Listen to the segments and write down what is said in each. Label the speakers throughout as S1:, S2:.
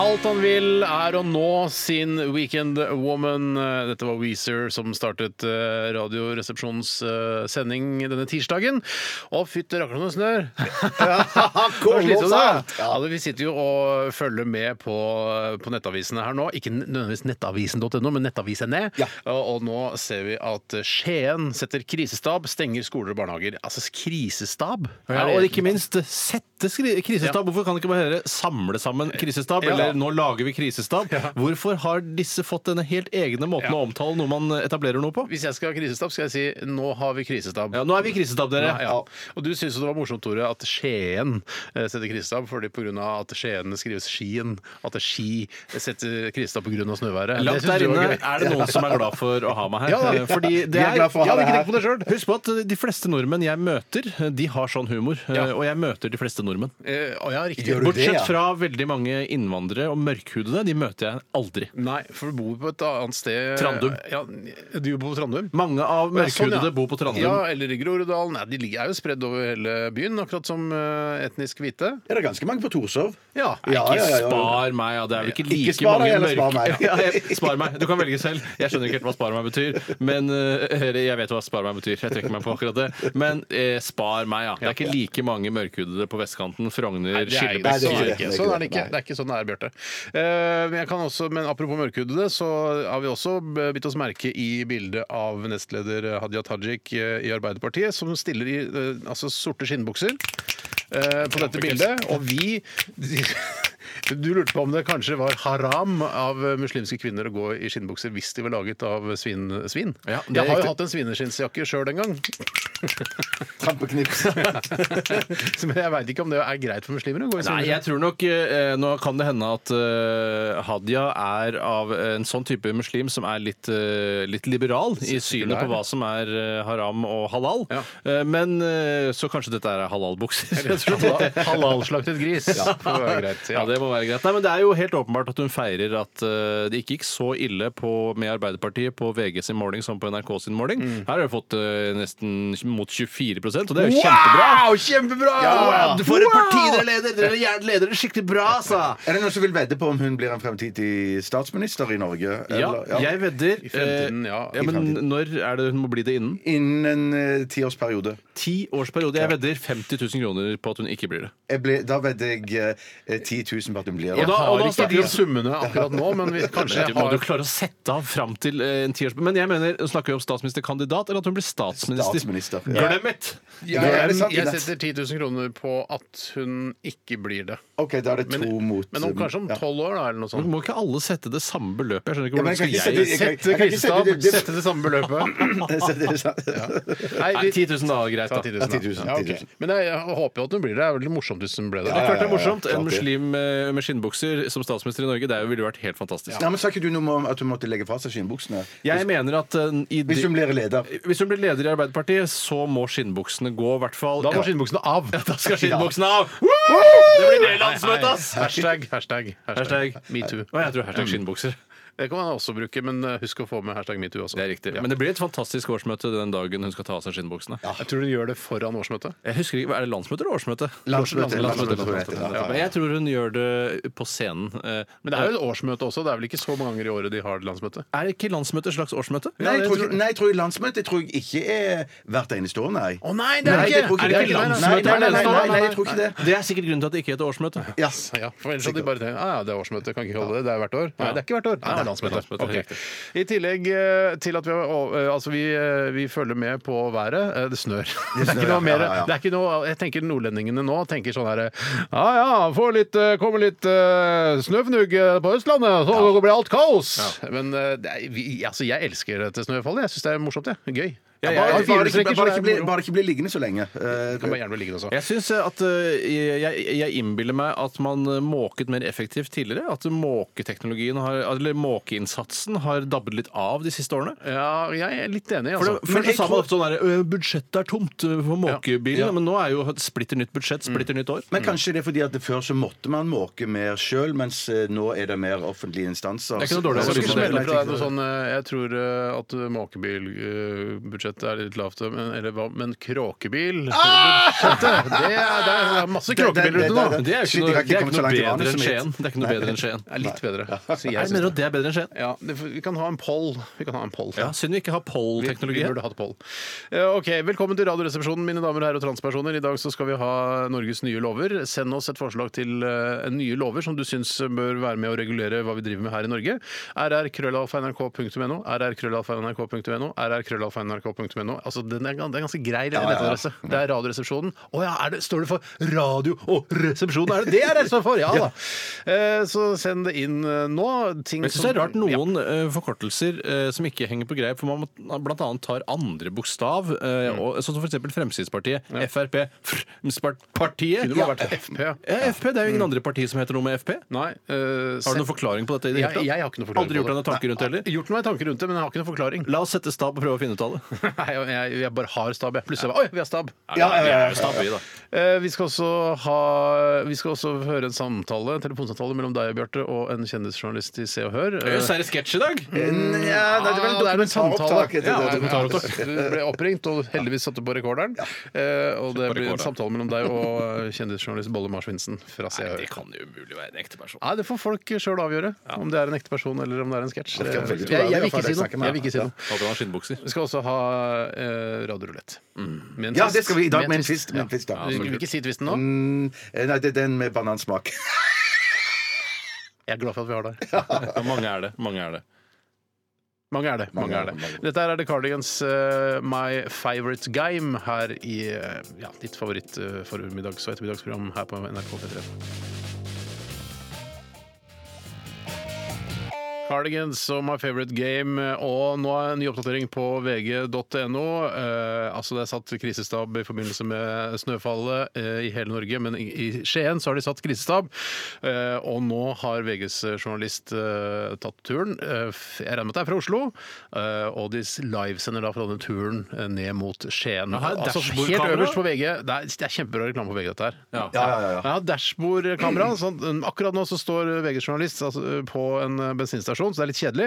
S1: Alt han vil er å nå sin Weekend Woman. Dette var Weezer som startet eh, Radioresepsjonens eh, sending denne tirsdagen. Å, fytti rakkeren og snør! Det var slitsomt, da. Ja, det- vi sitter jo og følger med på, på nettavisene her nå. Ikke nødvendigvis nettavisen.no, men nettavisene. Og, og nå ser vi at Skien setter krisestab, stenger skoler og barnehager. Altså krisestab?
S2: Ja,
S1: Er
S2: og
S1: det-
S2: ikke minst sette skri- krisestab. Hvorfor kan det ikke bare høre samle sammen krisestab?
S1: Ja.
S2: Eller nå lager vi krisestab. Hvorfor har disse fått denne helt egne måten
S1: Ja.
S2: å omtale noe man eh, etablerer noe på?
S1: Hvis jeg skal ha krisestab, skal jeg si 'nå har vi krisestab'.
S2: Ja, nå er vi krisestab, dere.
S1: Ja, ja. Og du syns det var morsomt, Tore, at Skien eh, setter krisestab fordi pga. at Skien skrives Skien. At det er Ski eh, setter krisestab pga. snøværet.
S2: Langt
S1: synes
S2: der
S1: du var
S2: inne
S1: gøy.
S2: er det noen som er glad for å ha meg her.
S1: Ja, da.
S2: Fordi det
S1: Vi er glad for å ha
S2: Jeg hadde
S1: deg her.
S2: ikke tenkt på det selv. Husk på at eh, de fleste nordmenn jeg møter, de har sånn humor.
S1: Ja.
S2: Og jeg møter de fleste nordmenn.
S1: Eh, Å ja, riktig.
S3: Gjør du det,
S2: Bortsett
S3: ja?
S2: fra veldig mange innvandrere og mørkhudede. De møter jeg aldri.
S1: Nei, for du bor på et annet sted.
S2: Trandum.
S1: Ja, du bor på Trandum?
S2: Mange av
S1: Å, ja, sånn,
S2: mørkhudede
S1: ja.
S2: bor på Trandum.
S1: Ja, eller i Groruddalen. Nei, de ligger- er jo spredd over hele byen, akkurat som eh, etnisk hvite.
S3: Er det ganske mange på Torshov?
S1: Ja.
S3: Ja, ja, ja, ja.
S2: Spar meg, ja. Det er vel ikke like
S3: Ikke spar deg,
S2: mange
S3: eller spar
S2: mørke-
S3: meg.
S2: Ja, jeg- spar meg. Du kan velge selv. Jeg skjønner ikke helt hva spar meg betyr. Men eh, eller jeg vet hva spar meg betyr. Jeg trekker meg på akkurat det. Men eh, spar meg, ja. Det er ikke like mange mørkhudede på vestkanten. Frogner,
S1: Det er-
S2: Skillebekk.
S1: sånn er
S3: det
S1: det
S3: er ikke
S1: ikke.
S3: det.
S1: Sånn er det ikke.
S3: Nei.
S1: Det er ikke sånn det er, Bjarte. Eh, Men, jeg kan også- men apropos mørkhudede, så har vi også bitt oss merke i bildet av nestleder Hadia Tajik eh, i Arbeiderpartiet, som stiller i eh, altså, sorte skinnbukser eh, på dette bildet. Og vi Du lurte på om det kanskje var haram av muslimske kvinner å gå i skinnbukser hvis de var laget av svin. svin.
S2: Ja, det er
S1: jeg har
S2: riktig.
S1: jo hatt en svineskinnsjakke sjøl en gang,
S3: Trampeknips.
S1: men jeg veit ikke om det er greit for muslimer å gå i
S2: Nei, jeg tror nok eh, Nå kan det hende at eh, Hadia er av en sånn type muslim som er litt, eh, litt liberal i synet på hva som er eh, haram og halal.
S1: Ja.
S2: Eh, men eh, så kanskje dette er halalbukser. rett og slett.
S1: Halal- Halalslaktet gris. Ja. Det var greit.
S2: Ja,
S1: Ja.
S2: det må være greit. Nei, men Det er jo helt åpenbart at hun feirer at eh, det ikke gikk så ille på, med Arbeiderpartiet på VG sin måling som på NRK sin måling.
S1: Mm.
S2: Her har hun fått eh, nesten mot 24 og det er jo kjempebra!
S1: kjempebra!
S2: Du får et parti dere leder! Dere leder det skikkelig bra, altså!
S3: Er det noen som vil vedde på om hun blir en fremtidig statsminister i Norge?
S2: Ja,
S3: Eller-
S2: jeg vedder.
S1: I fremtiden,
S2: eh,
S1: ja.
S2: ja, men når er det hun må bli det innen?
S3: Innen en eh, tiårsperiode.
S2: Ti års periode. Jeg vedder 50 000 kroner på at hun ikke blir det.
S3: Jeg ble, da vedder jeg eh, 10 000 på at hun blir
S1: Og
S3: det.
S1: da,
S2: har
S1: og da
S2: ikke
S1: snakker vi om
S2: tid.
S1: summene akkurat nå, men vi kanskje
S2: Du må
S1: har
S2: jo klare å sette av fram til eh, en tiårs... Men jeg mener, snakker vi om statsministerkandidat, eller at hun blir statsminister?
S3: Statsminister. Ja.
S2: Glem it!
S3: Ja, er det sant?
S1: jeg setter 10 000 kroner på at hun ikke blir det.
S3: OK, da er det to mot
S1: Men om, kanskje om
S3: ja.
S1: tolv år, da, eller noe sånt.
S2: Må ikke alle sette det samme beløpet? Jeg skjønner ikke hvordan
S3: Ja, men jeg kan ikke
S2: skal
S3: sette-
S2: jeg
S3: jeg kan-
S1: Sette
S3: kan ikke sette
S1: krisestab,
S3: det- det-
S1: sette det samme beløpet.
S3: Så det er sant.
S1: Nei,
S2: Nei,
S1: vi
S2: 10 000 da, greit.
S1: tar
S2: da.
S1: 10 000. da.
S3: 10 000,
S1: Ja, ok.
S3: 10 000.
S1: Men jeg, jeg håper jo at hun blir det. Det er veldig morsomt hvis hun ble det.
S2: Det er klart det er
S3: Ja, ja, ja,
S2: morsomt. En
S3: klart det.
S2: muslim eh, med skinnbukser som statsminister i Norge, det er jo- ville vært helt fantastisk.
S3: Nei, men Sa ikke du noe om at hun måtte legge fra seg skinnbuksene?
S2: Jeg mener at eh, i de-
S3: Hvis hun blir leder.
S2: hvis hun blir leder i Arbeiderpartiet, så må skinnbuksene gå, i hvert fall.
S1: Da
S2: Ja.
S1: må skinnbuksene av.
S2: Da skal skinnbuksene av! Det blir det landsmøtet, ass!
S1: Hashtag, hashtag,
S2: Hashtag
S1: metoo.
S2: Å, jeg tror hashtag skinnbukser.
S1: Det kan man også bruke, men eh, husk å få med hashtag metoo også.
S2: Det er riktig.
S1: Ja.
S2: Men det blir et fantastisk årsmøte den dagen hun skal ta av seg skinnbuksene.
S1: Jeg tror hun gjør det foran årsmøtet.
S2: Jeg husker ikke, Er det landsmøte eller årsmøte?
S3: Landsmøte, landsmøte,
S2: Landsmøte,
S3: tror jeg det heter.
S2: Ja, men jeg tror hun gjør det på scenen. eh,
S1: Men det er jo et årsmøte også. Det er vel ikke så mange ganger i året de har landsmøte?
S2: Er ikke landsmøte et slags årsmøte?
S3: Nei, jeg
S2: det
S3: tror, ikke- nei, jeg tror landsmøtet tror jeg ikke er hvert eneste år, nei.
S1: Å nei,
S3: Nei, jeg tror
S1: Er det ikke
S3: Nei, nei,
S1: landsmøte?
S3: Nei, nei,
S1: hvert
S3: nei,
S1: eneste år?
S3: nei, nei, jeg tror ikke det.
S2: Det er sikkert grunnen til at det ikke heter årsmøte.
S3: Ja.
S1: Ja, for ellers hadde de bare tenkt ah, ja, det er årsmøte, kan ikke holde det. Det er hvert år. Nei, det er ikke hvert år. Nei, det er landsmøte.
S2: Landsmøte,
S1: Ok.
S2: riktig.
S1: I tillegg eh, til at vi, har- å, eh, altså vi, eh, vi følger med på været. eh, Det snør. Det er
S3: snør,
S1: ikke
S3: ja.
S1: noe mer.
S3: Ja, ja, ja.
S1: Det er ikke noe, jeg tenker nordlendingene nå tenker sånn her Ja ja, får litt, eh, kommer litt eh, snøfnugg eh, på Østlandet, så blir alt kaos. Men eh, det er, vi, altså, jeg elsker dette snøfallet. Jeg syns det er morsomt, jeg. Gøy.
S2: Ja,
S1: jeg-
S3: Bare,
S1: jeg-
S3: bare, ikke,
S1: firestreker, så
S3: bare,
S1: det er
S3: ikke bli,
S1: moro.
S3: bare ikke bli liggende så lenge. Eh,
S1: Kan bare gjerne bli liggende også.
S2: Jeg synes at eh, jeg, jeg innbiller meg at man eh, måket mer effektivt tidligere. At måketeknologien har, eller måkeinnsatsen har dabbet litt av de siste årene.
S1: Ja, jeg er litt enig. Altså.
S2: For det, før så sa man ofte sånn her «Øh, Budsjettet er tomt øh, for måkebilen.
S3: Ja. Ja.
S2: Men nå er jo et splitter nytt budsjett, splitter nytt år.
S3: Men kanskje det er fordi at det før så måtte man måke mer sjøl, mens eh, nå er det mer offentlige instanser.
S2: Det er ikke noe dårlig
S1: Jeg skal ikke
S2: analyse.
S1: smelle på deg noe sånn eh, Jeg tror eh, at måkebilbudsjettet er litt lavt, men, eller hva Men kråkebil budsjettet, Det er, Ah! det er masse
S3: Det- det-
S1: kråkebiler ute nå!
S3: det-
S2: Det er jo
S3: Shit,
S2: ikke noe, det
S3: jeg har ikke
S2: er ikke
S3: kommet så
S2: noe
S3: langt i
S2: bedre enn
S3: manuset mitt.
S2: Skien. Det er ikke noe bedre enn Skien.
S1: Det er litt bedre. Så jeg
S2: Jeg mener
S1: synes
S2: at det er bedre enn Skien.
S1: ja, det- vi kan ha en poll. Vi kan ha en poll.
S2: Ja, Synd vi ikke har
S1: Vi
S2: poll-teknologi.
S1: burde hatt poll. Eh, Ok, Velkommen til Radioresepsjonen, mine damer og herrer og transpersoner. I dag så skal vi ha Norges nye lover. Send oss et forslag til eh, nye lover som du syns bør være med å regulere hva vi driver med her i Norge. rrkrøllalfa.nrk.no, rrkrøllalfa.nrk.no, rrkrøllalfa.nrk.no. Altså, den er, gan- det er ganske grei nettadresse. Det er Radioresepsjonen. Å ja, er det, står det for radio og resepsjon? Er det det er det står for? Ja da! Eh, Så send det inn eh, nå. Ting
S2: Jeg synes det er rart noen eh, forkortelser eh, som ikke henger på greip, for man må- blant annet tar andre bokstav, eh,
S1: Mm.
S2: og, sånn som for eksempel Fremskrittspartiet, FRP, Frp-partiet.
S1: Kunne bare vært FP. ja. Mm.
S2: Ja, FP, det er jo ingen andre partier som heter noe med FP.
S1: Nei, eh,
S2: Har du
S1: send-
S2: noen forklaring på dette? i det hele
S1: Jeg,
S2: tatt?
S1: jeg har ikke noe forklaring
S2: Aldri gjort
S1: på
S2: deg noen tanker rundt det heller?
S1: Nei, Gjort meg tanker rundt det, men jeg har ikke noen forklaring.
S2: La oss sette stab og prøve å finne ut av det.
S1: Nei, jeg, jeg bare har stab. Jeg. Plutselig bare Oi, vi har stab!
S3: Ja, ja, ja, ja.
S2: Stab, vi, da.
S1: Eh, vi, skal også ha, vi skal også høre en samtale, en telefonsamtale mellom deg, Bjarte, og en kjendisjournalist i Se og Hør. Eh,
S2: Seriøs sketsj i dag?
S3: Ja, det er vel
S1: ah, Mm, det er en samtale.
S3: dokumentaropptak.
S1: Ja,
S3: etter det.
S1: ja, du ble oppringt, og heldigvis satte du på rekorderen. Eh, og det blir en samtale mellom deg og eh, kjendisjournalist Bolle Marsvinsen fra Se og Hør.
S2: kan jo umulig være en ekte person.
S1: Nei, Det får folk sjøl avgjøre, om det er en ekte person eller om det er en sketsj. Eh,
S3: Det er
S1: Jeg,
S3: veldig
S1: jeg, vil ikke
S3: troverdig,
S1: si noe.
S3: snakker med.
S1: jeg vil ikke si
S3: Ja.
S1: noe.
S2: Hadde han skinnbukser?
S1: Vi skal også ha eh, radiorulett. Med en
S3: Mm. Ja,
S1: twist.
S3: det skal vi i dag,
S1: en
S3: med en twist, med en twist, da.
S1: Ja. Vi vil ikke si twisten nå.
S3: Mm, Nei, det er den med banansmak.
S1: Jeg er glad for at vi har det.
S2: Ja, mange er det. mange er det.
S1: Mange er det. mange er det. Dette her er The Cardigans eh, My Favorite Game her i eh, ja, ditt favoritt eh, formiddags- og ettermiddagsprogram her på NRK P3. Cardigans og My Favorite Game. Og nå er en ny oppdatering på vg.no. Eh, altså Det er satt krisestab i forbindelse med snøfallet eh, i hele Norge, men i, i Skien så har de satt krisestab. Eh, og nå har VGs journalist eh, tatt turen. Eh, f- jeg regner med at det er fra Oslo. Eh, og de s- livesender da fra denne turen eh, ned mot Skien.
S2: Jaha,
S1: altså Helt
S2: dashbordkamera?
S1: øverst på VG. Det er, det er kjempebra reklame på VG, dette her.
S2: Ja.
S3: Ja, ja, ja.
S1: Jeg har dashbordkamera. Sånn, um, akkurat nå så står VGs journalist altså, uh, på en uh, bensinstasjon, så det er litt kjedelig.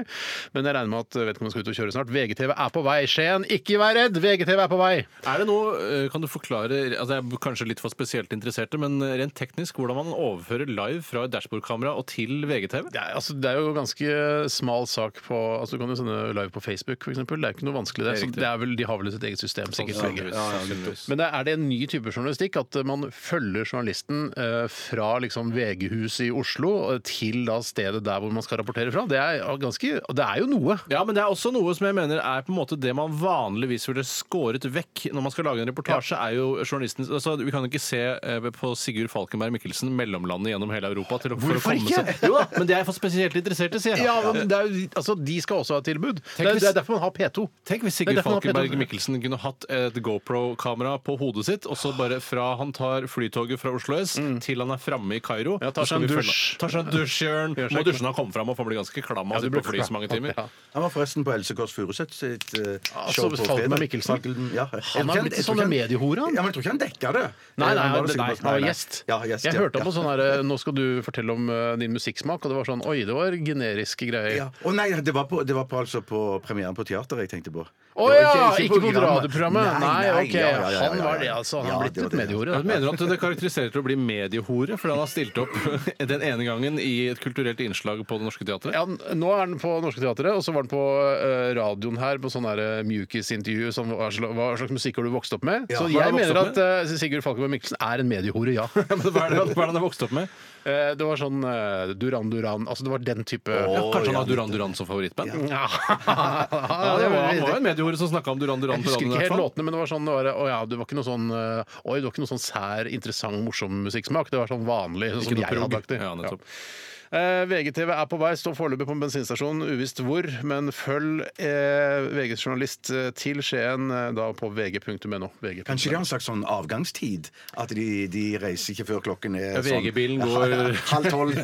S1: Men jeg regner med at uh, vedkommende skal ut og kjøre snart. VGTV er på vei. Skien, ikke vær redd! VGTV er på vei!
S2: Er det noe, eh, Kan du forklare altså Jeg er kanskje litt for spesielt interesserte, men rent teknisk hvordan man overfører live fra et dashbordkamera og til VGTV?
S1: Det er, altså, det er jo ganske smal sak på altså, Du kan jo sende live på Facebook, f.eks. Det er ikke noe vanskelig, det.
S2: Det er
S1: Så
S2: riktig. Sånn,
S1: det er vel, de har vel sitt eget system, sikkert.
S2: Ja,
S1: VG.
S2: ja, sannsynligvis.
S1: Men det- er det en ny type journalistikk at uh, man følger journalisten eh, fra liksom VG-huset i Oslo eh, til da stedet der hvor man skal rapportere fra? Det er, ja, ganske, det er jo noe.
S2: Ja, men det er også noe som jeg mener er på en måte det man vanligvis ville skåret vekk når man skal lage en reportasje, er jo journalisten altså, Vi kan jo ikke se eh, på Sigurd Falkenberg Mikkelsen mellomlandet gjennom hele Europa til å, for å
S1: Hvorfor
S2: komme
S1: ikke?
S2: seg Jo da, men det er for spesielt interesserte, sier jeg.
S1: Ja, men det er, jo- altså, De skal også ha et tilbud. Det er,
S2: hvis-
S1: det er derfor man har P2.
S2: Tenk hvis
S1: Det
S2: Sigurd
S1: er derfor han har
S2: Falkenberg
S1: P2.
S2: Mikkelsen kunne hatt et GoPro-kamera på hodet sitt, og så bare fra han tar flytoget fra Oslo S til han er framme i Kairo
S1: Mm. Ja, tar
S2: så skal
S1: seg en
S2: vi følge
S1: dusj.
S2: han. Tar seg en dusj, Jørn.
S1: Gjør seg
S2: Må
S1: ikke.
S2: dusje når han kommer fram, og for han blir ganske klam av å
S1: du
S2: sitte
S1: blir
S2: på fly så mange
S1: klam,
S2: timer.
S1: ja.
S3: Han var forresten på Else Kåss Furuseth sitt eh,
S1: Altså,
S3: show på
S1: Falkenberg
S3: fredag.
S1: Mikkelsen.
S3: Falken- ja. Jeg
S1: Han har
S3: tror
S1: blitt
S3: jeg
S1: sånn
S3: tror ikke
S1: mediehore, han.
S3: Ja, men jeg tror ikke han dekka det. Eh,
S1: Nei, nei,
S3: Han var
S1: han,
S3: det sikkert bare-
S1: han var
S3: nei, nei.
S1: gjest.
S3: Ja, gjest.
S1: jeg
S3: ja,
S1: hørte
S3: ja.
S1: ham på sånn her Nå skal du fortelle om eh, din musikksmak, og det var sånn Oi, det var generiske greier.
S3: Ja. Å nei, det var, på, det var på, altså på premieren på teateret jeg tenkte på.
S1: Å
S3: Det var
S1: ja! Ikke på radioprogrammet. Nei, OK.
S3: ja, ja, ja, ja, ja.
S1: Han var det, altså. Han
S3: Ja,
S1: har blitt
S3: det var
S1: et
S3: det.
S1: mediehore.
S2: Jeg mener du at det karakteriserer til å bli mediehore fordi han har stilt opp den ene gangen i et kulturelt innslag på Det Norske Teatret?
S1: Ja, nå er den på Norske Teatret, og så var den på eh, radioen her på sånn der, eh, mjukisintervju som hva slags, hva slags musikk har du vokst opp med? så
S2: hva har
S1: jeg
S2: du vokst
S1: mener
S2: opp
S1: at eh, Sigurd Falkenberg Mikkelsen er en mediehore, ja.
S2: Men Hva er det hva er det han har vokst opp med?
S1: Eh, det var sånn eh, Duran Duran Altså, det var den type
S2: Ja, kanskje han
S3: ja.
S2: har Duran Duran som favorittband?
S1: Ja,
S2: Ja,
S1: det
S2: det var, han
S1: var-
S2: var jo en mediehore som snakka om Duran Duran.
S1: Jeg
S2: på
S1: husker
S2: radioen i
S1: ikke
S2: hvert
S1: helt
S2: fall.
S1: låtene, men det var sånn det var, å, ja, det var ikke noe sånn eh, Oi, det var ikke noe sånn sær, interessant, morsom musikksmak. Det var sånn vanlig, sånn
S2: Ikke
S1: som
S2: noe
S1: jeg hadde
S2: prog.
S1: lagt det.
S2: Ja, nettopp.
S1: Eh, VGTV er på vei, står foreløpig på en bensinstasjon, uvisst hvor. Men følg eh, VGs journalist eh, til Skien eh, da på vg.no. VG.
S3: Kanskje de har en slags sånn avgangstid? At de, de reiser ikke før klokken er
S2: Ja, VG-bilen
S3: sånn-
S2: går-
S3: halv tolv.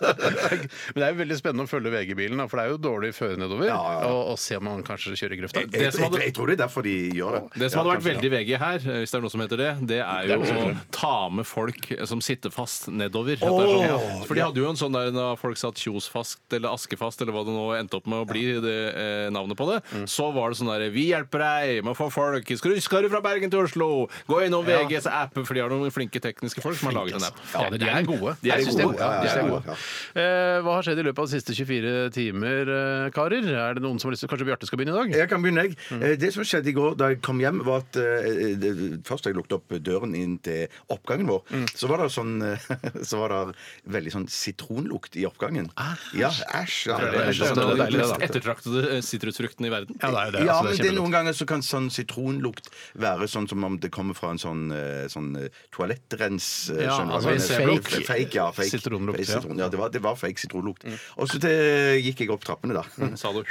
S1: Men det er jo veldig spennende å følge VG-bilen, da, for det er jo dårlig føre nedover.
S3: Ja, ja, ja.
S1: Og, og se om han kanskje kjører i grøfta.
S3: Jeg,
S2: Det som hadde-
S3: jeg, jeg tror det er derfor de gjør det.
S2: Det som
S3: Ja,
S2: hadde vært
S3: kanskje,
S2: veldig VG her, eh, hvis det er noe som heter det, det er jo
S1: Det er
S2: å
S1: det.
S2: ta med folk som sitter fast nedover. At det er sånn,
S3: Åh,
S2: For de hadde jo en sånn der når folk satt kjosfast eller askefast eller hva det nå endte opp med å bli det, eh, navnet på det, så var det sånn der Vi hjelper deg med å få folk. Skal du, skal du fra Bergen til Oslo? Gå innom
S1: Ja.
S2: VGs app, for de har noen flinke tekniske folk som har laget en app.
S1: Ja, de er gode.
S2: De er
S1: Jeg synes de
S2: gode.
S3: Ja, ja,
S1: De er
S3: ja,
S1: gode.
S3: ja.
S1: Eh, Hva har skjedd i løpet av de siste 24 timer, eh, karer? Er det noen som har lyst til Kanskje Bjarte skal begynne i dag?
S3: Jeg kan begynne, jeg. Eh, Det som skjedde i går da jeg kom hjem, var at eh, det- først da jeg lukket opp døren inn til oppgangen vår, så var det sånn eh, Så var det veldig sånn sitronlukt i oppgangen. Ja, æsj. Ja,
S2: Det er
S1: det er
S2: sånn den
S1: deilig,
S2: mest
S1: da.
S2: ettertraktede eh, sitrusfrukten i verden.
S3: ja, men det er noen ganger så kan sånn sitronlukt være sånn som om det kommer fra en sånn, eh, sånn eh, toalettrens eh,
S1: Ja,
S3: skjønner du
S1: altså
S3: hva
S1: en
S3: jeg mener?
S1: fake-
S3: fake, ja, fake.
S1: sitronlukt,
S3: Fake
S1: ja.
S3: sitron, ja. det var, det var fake sitronlukt. Og så det gikk jeg opp trappene, da.
S2: Sa du.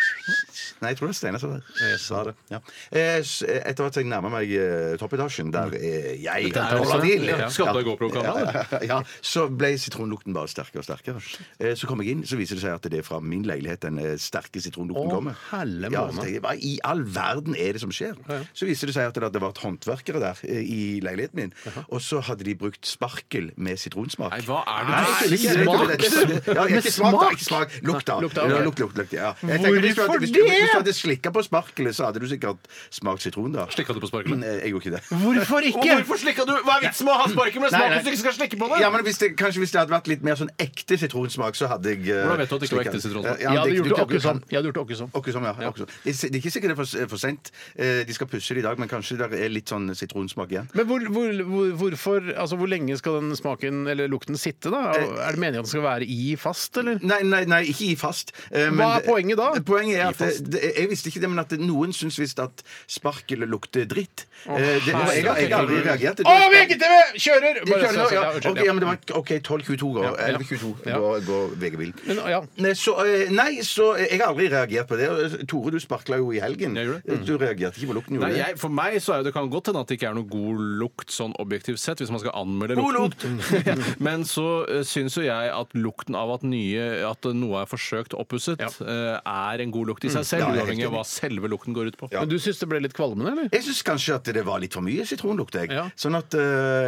S3: Nei, jeg tror det er Steinar som sa det. Ja. Eh, s- eh, Etter hvert som jeg nærmer meg eh, toppetasjen, der eh, jeg
S1: er
S3: er
S1: Steinar.
S3: olabil,
S2: Ja. Skapte av GoPro-kamera,
S3: Ja, ja, ja. Så ble sitronlukten bare sterkere og sterkere. Eh, Så kom jeg inn, så viser det seg at det er fra min leilighet den eh, sterke sitronlukten
S1: Å,
S3: kommer.
S1: helle
S3: Ja,
S1: måne.
S3: så tenkte jeg, hva i all verden er det som skjer? Så viser det seg at det hadde vært håndverkere der eh, i leiligheten min, og så hadde de brukt sparkel med sitronsmak.
S2: Nei, hva er det
S3: Nei,
S2: du
S3: jeg
S2: sier?
S3: vet ikke, det er-
S1: Smak?
S3: Ja,
S1: Med
S3: ikke smak, da.
S1: smak?
S3: Ikke smak. Lukt, da.
S1: Nei, lukt, da,
S3: Ja,
S1: ok.
S3: lukt, lukt, lukt, ja. Jeg tenker, hvis du hadde-
S1: Hvorfor
S3: hvis du-
S1: det?
S3: Hvis du hadde slikka på sparkelet, så hadde du sikkert smakt sitron, da.
S2: Slikka du på
S3: Mm,
S2: sparkelet?
S3: eh, Jeg gjorde ikke det.
S1: Hvorfor
S2: Og hvorfor slikka du? Hva er vitsen med å ha sparken med
S1: Nei,
S2: smak
S1: nei.
S2: hvis du ikke skal slikke på det?
S3: Ja, men hvis det, Kanskje hvis det hadde vært litt mer sånn ekte sitronsmak, så hadde jeg eh,
S2: Hvordan vet du at det ikke var
S3: slikket-
S2: ekte sitronsmak?
S1: Jeg
S3: Ja,
S1: hadde
S3: det-
S1: gjort
S3: du-
S1: det akkurat sånn. Jeg hadde gjort det akkurat sånn.
S3: Akkurat som, ja. akkurat som. Det er det er ikke sikkert det er for, for sent. Eh, De skal pusse det i dag, men kanskje det er litt sånn sitronsmak igjen.
S1: Men hvor, hvor, hvor, hvorfor, altså hvor lenge skal den smaken eller lukten sitte, da?
S3: Eh,
S1: Er det meningen at den skal være i fast, eller?
S3: Nei, nei, nei, ikke i fast. Eh,
S1: Hva er poenget da?
S3: Poenget er
S1: I
S3: at det, det, Jeg visste ikke det, men at det, noen syns visst at sparkel lukter dritt. Eh, det, og jeg, har- jeg har aldri reagert.
S1: Å, VGTV kjører!
S3: De kjører nå, ja.
S1: Ja, unnskyld,
S3: Ok, ja, men det var OK, 12-22 går.
S1: ja.
S3: 11-22
S1: Ja.
S3: går, går VG-bil.
S1: Men, ja.
S3: Nei så, eh, nei, så eh, jeg har aldri reagert på det. Og, eh, Tore, du sparkla jo i helgen.
S2: Jeg gjorde
S3: Du reagerte ikke på lukten, gjorde
S2: Nei,
S3: du?
S2: jeg, for meg så er jo det kan godt hende at det ikke er noe god lukt sånn objektivt sett, hvis man skal anmelde
S3: God
S2: lukten. Men så uh, syns jo jeg at lukten av at, nye, at noe er forsøkt oppusset, eh, er en god lukt i seg selv,
S3: Ja, jeg er
S2: uavhengig av
S3: helt
S2: hva selve lukten går ut på.
S3: Ja.
S1: Men du syns det ble litt kvalmende, eller?
S3: Jeg syns kanskje at det var litt for mye sitronlukt, jeg.
S1: Ja.
S3: Sånn at eh,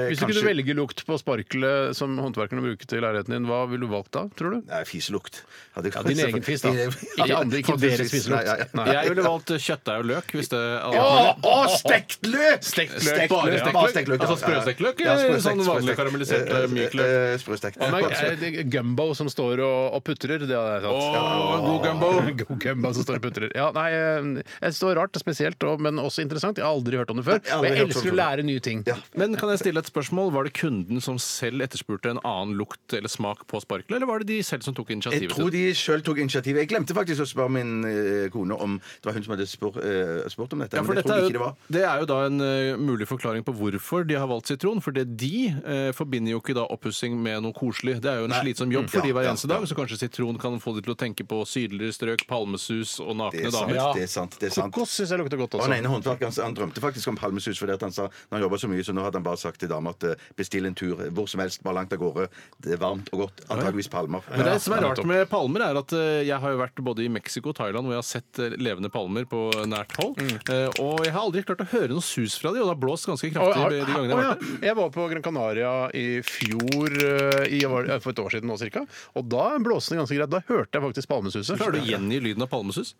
S1: Hvis du
S3: kanskje-
S1: kunne velge lukt på sparkelet som håndverkerne bruker til leiligheten din, hva ville du valgt da, tror du?
S3: Nei, fiselukt. Ja, det-
S1: Ja, din egen fis, da.
S3: Ja,
S1: Ikke andre, ikke
S3: faktisk.
S1: deres fiselukt.
S3: Nei, ja, ja.
S1: Nei.
S2: Jeg ville valgt eh, kjøttdeig og løk. Hvis det,
S3: Å, å, stekt løk!
S1: Stekt løk,
S3: Stekt
S2: bare
S3: løk,
S2: stekt
S3: bare
S2: løk.
S3: stekt løk.
S2: Altså sprøstekt løk,
S3: Ja,
S2: eller
S3: sprøstekt,
S2: sånn vanlig
S3: sprøstekt.
S2: karamellisert,
S3: Eh,
S2: myk løk?
S3: eh, Sprøstekt.
S1: Nei,
S3: Ja,
S1: eh, det er Gumbo som står og, og putrer, det hadde jeg
S2: Å,
S1: tatt.
S2: god gumbo!
S1: God gumbo som står og putrer. Ja, nei, eh, det står rart, spesielt, og, men også interessant. Jeg har aldri hørt om det før.
S3: Jeg har
S1: Og
S3: aldri
S1: jeg
S3: hørt om
S1: elsker
S3: det
S1: å
S3: før.
S1: lære nye ting.
S3: Ja.
S2: Men kan jeg stille et spørsmål? Var det kunden som selv etterspurte en annen lukt eller smak på sparkelet, eller var det de selv som tok
S3: Jeg
S2: initiativet
S3: tror
S2: til det?
S3: de sjøl tok initiativet. Jeg glemte faktisk å spørre min eh, kone om Det var hun som hadde spurt, eh, spurt om dette.
S2: Ja, for
S3: men det
S2: dette
S3: tror
S2: er
S3: jeg
S2: jo,
S3: ikke det var.
S2: det er jo da en eh, mulig forklaring på hvorfor de har valgt sitron. For det de eh, forbinder jo ikke da oppussing med noe koselig. Det er jo en slitsom jobb for
S3: Mm. Ja,
S2: de hver
S3: ja,
S2: eneste
S3: ja.
S2: dag, så kanskje sitron kan få de til å tenke på sydligere strøk, palmesus og
S3: Det
S2: nakne
S3: er sant.
S2: damer.
S3: Det er sant, det er sant.
S1: Kokos syns jeg lukter godt
S3: Og
S1: også.
S3: den ene håndverkeren han drømte faktisk om palmesus fordi at han sa når han jobba så mye, så nå hadde han bare sagt til dama at eh, bestill en tur hvor som helst, bare langt av gårde. Det er varmt og godt. Antageligvis palmer.
S2: Men det som er rart med palmer, er at eh, jeg har jo vært både i Mexico og Thailand hvor jeg har sett eh, levende palmer på nært hold.
S3: Mm.
S2: Eh, Og jeg har aldri klart å høre noe sus fra de, og det har blåst ganske
S1: Å,
S2: kraftig
S1: har-
S2: de gangene jeg
S1: Å,
S2: har
S1: ja.
S2: vært der.
S1: Jeg var på Gran Canaria i fjor, eh, i, var det- for et år siden nå cirka, og da blåste det ganske greit. Da hørte jeg faktisk palmesuset.
S2: Klarer du å gjengi lyden av palmesus?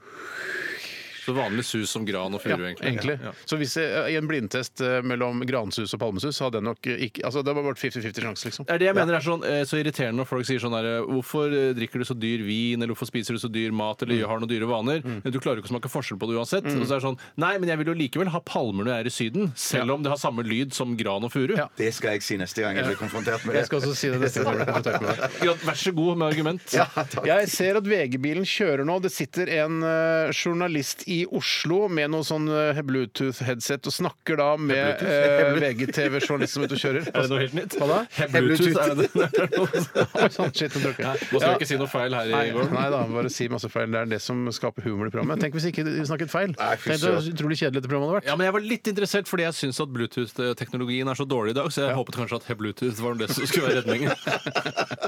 S2: Så vanlig sus som gran og furu,
S1: Ja, egentlig.
S2: Ja.
S1: Så hvis jeg, i en blindtest eh, mellom gransus og palmesus, så hadde jeg nok ikke altså Det var bare 50-50 sjanse, liksom.
S2: Det er det jeg mener er sånn, eh, så irriterende når folk sier sånn her eh, Hvorfor eh, drikker du så dyr vin, eller hvorfor spiser du så dyr mat, eller har noen dyre vaner? Du klarer jo ikke å smake forskjell på det uansett. Og så er det sånn Nei, men jeg vil jo likevel ha palmer når jeg er i Syden, selv om det har samme lyd som gran og furu.
S1: Ja.
S3: Det skal jeg si neste gang jeg blir konfrontert med det.
S1: Jeg skal også si det neste gang. jeg blir kontaktet med deg.
S2: Grat- Vær så god med argument.
S3: Ja, takk.
S1: Jeg ser at VG-bilen kjører nå. Det sitter en eh, journalist i Oslo med noe sånn eh, Bluetooth-headset og snakker da med eh,
S3: Bluetooth?
S1: VGTV-journalist som er ute og kjører.
S2: Er det noe helt nytt?
S1: Hva da?
S2: Bluetooth, er det det?
S1: Oi, sånn, shit, nå tråkker jeg.
S2: Nei, Nå skal vi ikke si noe feil her
S1: Nei,
S2: i gården.
S1: nei da, bare si masse feil. Det er det som skaper humor i programmet. Tenk hvis ikke vi snakket feil.
S3: Nei, fy
S1: Tenk så utrolig kjedelig dette programmet hadde vært.
S2: Ja, men Jeg var litt interessert fordi jeg syns at Bluetooth-teknologien er så dårlig i dag, så jeg håpet kanskje at Bluetooth var det som skulle være redningen.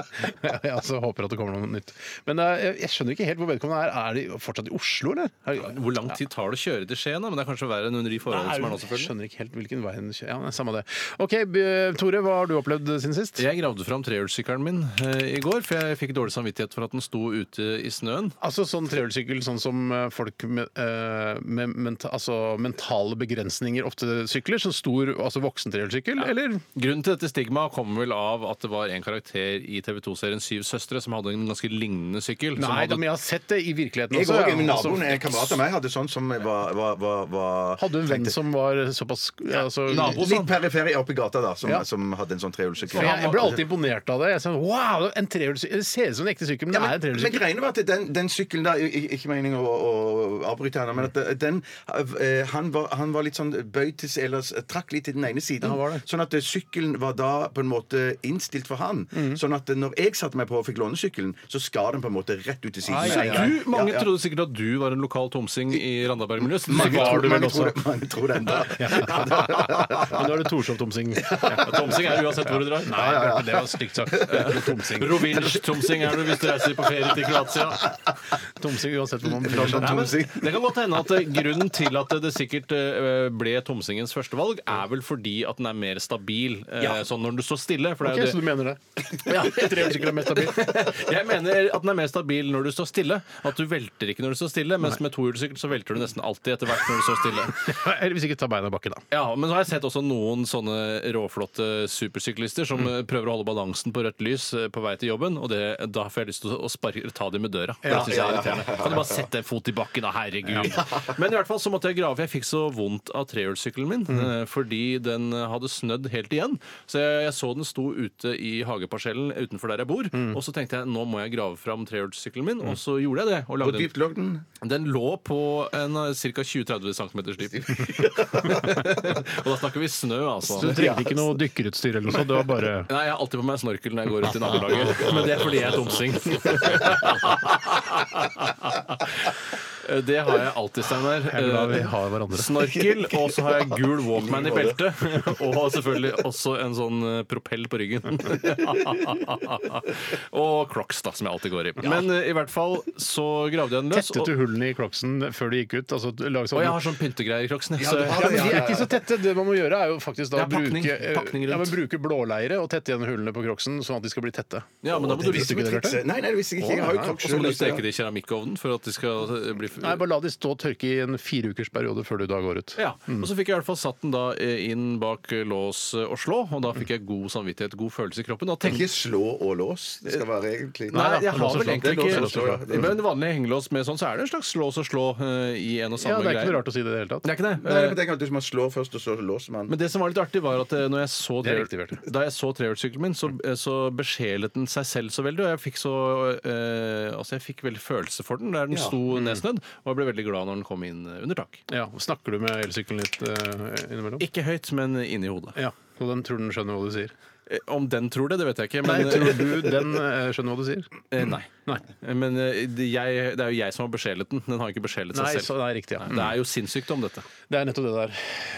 S1: Jeg altså, håper at det kommer noe nytt. Men eh, jeg, jeg skjønner ikke helt hvor vedkommende er. Er de fortsatt i Oslo, eller? Er,
S2: Hvor lang tid tar det å kjøre til Skien? da? Men det er kanskje verre enn under de forholdene som er nå,
S1: jeg
S2: selvfølgelig.
S1: skjønner ikke helt hvilken vei den kjører. Ja, men samme det. OK, b- Tore, hva har du opplevd siden sist?
S2: Jeg gravde fram trehjulssykkelen min eh, i går, for jeg fikk dårlig samvittighet for at den sto ute i snøen.
S1: Altså sånn trehjulssykkel sånn som eh, folk med, eh, med menta, altså, mentale begrensninger ofte sykler? Sånn stor altså voksen trehjulssykkel, eller?
S2: Grunnen til dette stigmaet kommer vel av at det var en karakter i TV 2-serien Syv søstre som hadde en ganske lignende sykkel. som
S1: Nei, da,
S2: hadde...
S1: men jeg har sett det i virkeligheten
S3: Jeg
S1: også.
S3: òg.
S1: ja.
S3: Min
S1: Altså,
S3: naboen, en kamerat av meg, hadde sånn som var, var, var, var
S1: Hadde du en venn som var såpass altså,
S2: nabo,
S3: Litt perifer oppe i gata, da, som,
S1: Ja.
S3: som hadde en sånn trehjulssykkel.
S1: For jeg, jeg ble alltid imponert av det. Jeg sa, wow, en trehjulssykkel Det ser ut som en ekte sykkel, men
S3: Ja,
S1: det er en
S3: men, men
S1: trehjulssykkel.
S3: greiene var at den, den sykkelen der ik- Ikke meningen å, å avbryte henne, men at den eh, han, var, han var litt sånn bøyd til Eller s- trakk litt til den ene siden.
S1: Ja, var det.
S3: Sånn at eh, sykkelen var da på en måte innstilt for han.
S2: Mhm.
S3: Sånn at eh, når jeg satte meg på og fikk låne sykkelen, så skar den på en måte rett ut til siden.
S2: Nei,
S3: med en gang.
S2: du, mange
S3: Ja, ja.
S2: trodde sikkert at du var en lokal tomsing i Randaberg-miljøet. så
S3: mange,
S2: var
S3: tror,
S2: du vel
S3: mange,
S2: også.
S3: tror det, mange tror det enda.
S1: Men nå er det Torshov-tomsing.
S2: Ja, tomsing er det uansett hvor du drar.
S1: Nei, det var stygt sagt. Tomsing.
S2: Rovinj-tomsing er du hvis du reiser på ferie til Kroatia.
S1: tomsing uansett hvor man
S3: Det var sånn
S2: Nei, men,
S3: tomsing.
S2: det kan godt hende at eh, Grunnen til at det sikkert eh, ble tomsingens førstevalg, er vel fordi at den er mer stabil eh, sånn når du står stille. For det
S1: Ok,
S2: er
S1: Så
S2: jo
S1: du mener det? Ja, Trehjulssykkel er mest stabil.
S2: det. Jeg mener at den er mer stabil når du står stille. At du velter ikke når du står stille, mens med tohjulssykkel så velter du nesten alltid etter hvert når du står stille.
S1: Eller hvis ikke ta beina i bakken, da.
S2: Ja, Men så har jeg sett også noen sånne råflotte supersyklister som eh, prøver å holde balansen på rødt lys eh, på vei til jobben, og det, da får jeg lyst til å sparke, ta dem med døra. For det synes jeg er irriterende. Kan du bare sette en fot i bakken, da? Herregud. Men i hvert fall så måtte jeg grave, for jeg fikk så vondt av trehjulssykkelen min eh, fordi den eh, hadde snødd helt igjen. Så jeg, jeg så den sto ute i hageparsellen utenfor der jeg bor, og så tenkte jeg nå må jeg grave fram trehjulssykkelen min, og så gjorde jeg det. og
S3: Hvor
S2: lagde en
S3: dypt lå den?
S2: den lå på en eh, ca. 20-30 cm dyp. og da snakker vi snø, altså.
S1: Så du trengte ikke noe dykkerutstyr eller noe sånt? Det var bare
S2: Nei, jeg har alltid på meg snorkel når jeg går rundt i nabolaget. Men det er fordi jeg er tomsing. Det har jeg alltid, Steinar. Eh,
S1: Jeg er glad vi har hverandre.
S2: Snorkel, og så har jeg gul Walkman i beltet. Og selvfølgelig også en sånn eh, propell på ryggen. Og Crocs, da, som jeg alltid går i. Men eh, i hvert fall så gravde jeg den løs.
S1: Tettet
S2: og-
S1: du hullene i kloksen før de gikk ut? Altså, laget
S2: Og
S1: sånn
S2: jeg har sånn pyntegreier i crocsene.
S3: Ja,
S2: så-
S3: du
S1: Ja,
S3: har
S1: men De er ikke så tette. Det man må gjøre, er jo faktisk da
S2: Ja, pakning.
S1: bruke, eh,
S2: Pakning rundt.
S1: ja, men bruke blåleire og tette igjen hullene på kroksen, sånn at de skal bli tette.
S2: Ja, men da må du
S1: visste
S2: liksom visste
S1: du ikke det, Bjarte?
S3: Nei, nei, det visste jeg ikke. Jeg har jo
S2: Og så må du steke
S3: kroppsøvelse.
S2: det i keramikkovnen for at de skal eh, bli f-
S1: Nei, bare la de stå og tørke i en fireukersperiode før du da går ut.
S2: ja, og Så fikk jeg i hvert fall satt den da eh, inn bak eh, lås eh, og slå, og da fikk jeg god samvittighet, god følelse i kroppen. Og tenkte
S3: Ikke slå og lås. Det skal være egentlig
S2: Nei,
S1: da,
S2: jeg
S1: lås
S2: har
S1: og
S2: vel
S1: slå.
S2: egentlig
S3: Det er lås og slå, ja.
S2: ikke
S3: Det er-
S2: Men vanlig hengelås med sånn, så er det en slags lås og slå eh, i en og
S1: Ja,
S2: samme
S1: Det er ikke
S2: greie.
S1: noe rart å si det i det hele tatt.
S2: Det er ikke det.
S3: Nei,
S2: Eh,
S3: men tenk at du man slår først, og så låser man.
S2: Men det som var litt artig, var at eh, når jeg så
S1: Det er
S2: trehjul-
S1: riktig, Bjarte.
S2: da jeg så trehjulssykkelen min, så, eh, så besjelet den seg selv så veldig. Og jeg fikk så eh, Altså, jeg fikk veldig følelse for den der den sto
S1: Mm.
S2: nedsnødd, og jeg ble veldig glad når den kom inn eh, under tak.
S1: Ja, Snakker du med elsykkelen litt eh, innimellom?
S2: Ikke høyt, men inni hodet.
S1: Ja, og den tror den skjønner hva du sier.
S2: Eh, Om den tror det, det vet jeg ikke.
S1: Nei,
S2: Men,
S1: tror du den eh, skjønner hva du sier?
S2: Eh, nei.
S1: Nei.
S2: Eh, men eh, det- jeg, det er jo jeg som har besjelet den. Den har ikke besjelet seg
S1: Nei,
S2: selv. Mm.
S1: så det er riktig, ja.
S2: Det er jo sinnssykdom, dette.
S1: Det er nettopp det der.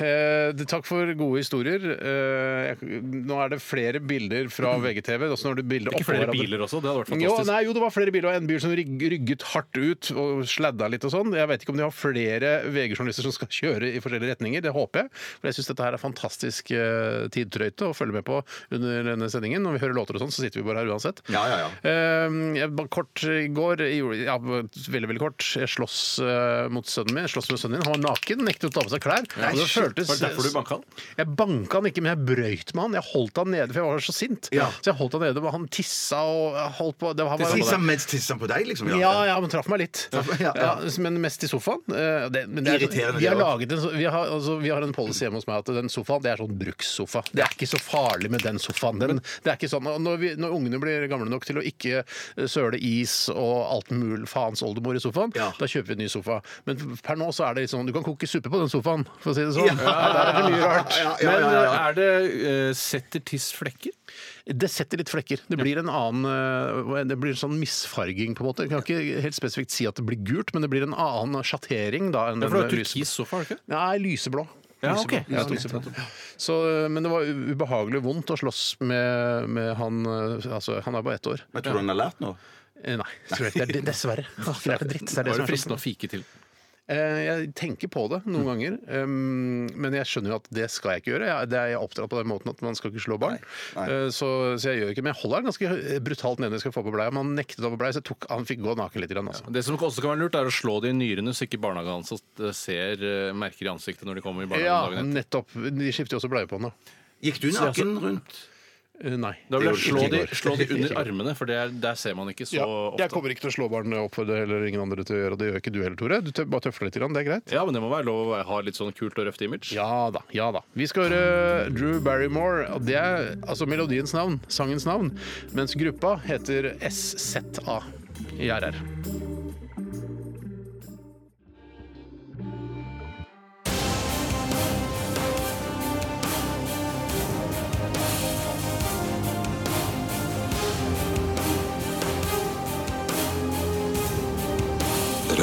S1: Eh, det- takk for gode historier. Eh, jeg, nå er det flere bilder fra VGTV. Også når det er bilder
S2: Mm. Ikke
S1: oppå
S2: flere
S1: hverandre.
S2: biler også, det hadde vært
S1: Jo,
S2: fantastisk.
S1: nei, jo, det var flere biler, og en bil som rygg- rygget hardt ut og sladda litt og sånn. Jeg vet ikke om de har flere VG-journalister som skal kjøre i forskjellige retninger, det håper jeg. For jeg syns dette her er fantastisk eh, tidtrøyte å følge med på under denne sendingen. Når vi hører låter og sånn, så sitter vi bare her uansett.
S3: Ja, ja, ja.
S1: Eh, jeg, bare kort i går, jeg gjorde- ja, veldig, veldig kort, jeg slåss eh, mot sønnen min. Jeg slåss med sønnen min. Han var naken, nektet å ta på seg klær. og det føltes,
S2: Var det derfor du banka han?
S1: jeg banka han ikke, men jeg brøyt med han. Jeg holdt han nede, for jeg var så sint.
S3: Ja.
S1: Så jeg holdt han nede, og han tissa og holdt på. Det var bare,
S3: Tisser han mens tisser han på deg, liksom?
S1: ja, ja, men traff meg litt.
S3: Traff- ja,
S1: Ja,
S3: ja.
S1: men mest i sofaen. Eh, Det, men det er,
S3: Irriterende,
S1: vi, har
S3: det også.
S1: laget en, så- vi, har, altså, vi har en policy hjemme hos meg at den sofaen det er sånn brukssofa. Det er ikke så farlig med den sofaen. Den, det er ikke sånn, og når, vi, når ungene blir gamle nok til å ikke eh, søle is og alt mulig faens oldemor i sofaen,
S3: Ja.
S1: da kjøper vi en ny sofa. Men per nå så er det litt sånn Du kan koke suppe på den sofaen, for å si det sånn. Der er det mye rart.
S3: Ja, ja,
S2: Men
S3: ja, ja.
S2: er det eh, setter tiss flekker?
S1: Det setter litt flekker. Det blir en annen eh, hva er det? Det blir en sånn misfarging, på en måte. Jeg kan ikke helt spesifikt si at det blir gult, men det blir en annen sjattering da enn
S2: Ja, for det
S1: den
S2: er turkis sofa, er det ikke?
S1: Nei, lyseblå.
S2: Ja,
S1: Lyseblå.
S2: ok.
S1: Ja, lyseblå. Så, eh, men det var u- ubehagelig vondt å slåss med, med han eh, Altså, han er bare ett år.
S3: Men tror du han har lært noe?
S1: Eh, Nei, tror jeg ikke. Det er- Dessverre. Åh, Det er for dritt. Det er det som
S2: Var det
S1: er så-
S2: fristende å fike til?
S1: Eh, Jeg tenker på det
S2: Mm.
S1: noen ganger, um, men jeg skjønner jo at det skal jeg ikke gjøre. Jeg, det er jeg oppdratt på den måten at man skal ikke slå barn. Eh, Så, så jeg gjør ikke Men jeg holder han ganske eh, brutalt nede når jeg skal få på bleia. Men han nektet å få bleie, så jeg tok, han fikk gå naken litt. Grann, altså.
S2: Det som også kan være lurt, er å slå det i nyrene, så ikke barnehageansatt eh, ser eh, merker i ansiktet når de kommer
S1: Ja,
S2: i barnehagen dagen etter.
S1: nettopp. De skifter jo også bleie på han, da.
S3: Gikk du naken rundt?
S1: Eh, Nei.
S2: Da vil jeg
S1: Det
S2: slå
S1: gjorde
S2: de,
S1: jeg ikke i går.
S2: slå de under armene, for det er, der ser man ikke så
S1: Ja, jeg
S2: ofte.
S1: kommer ikke til å slå barn opp for det, eller ingen andre til å gjøre. og Det gjør ikke du heller, Tore. Du tø- bare tøfler litt, grann, det er greit.
S2: Ja, men det må være lov å ha litt sånn kult og røft image.
S1: Ja da. ja da Vi skal høre eh, Drew Barrymore. og Det er altså melodiens navn, sangens navn. Mens gruppa heter SZA i RR.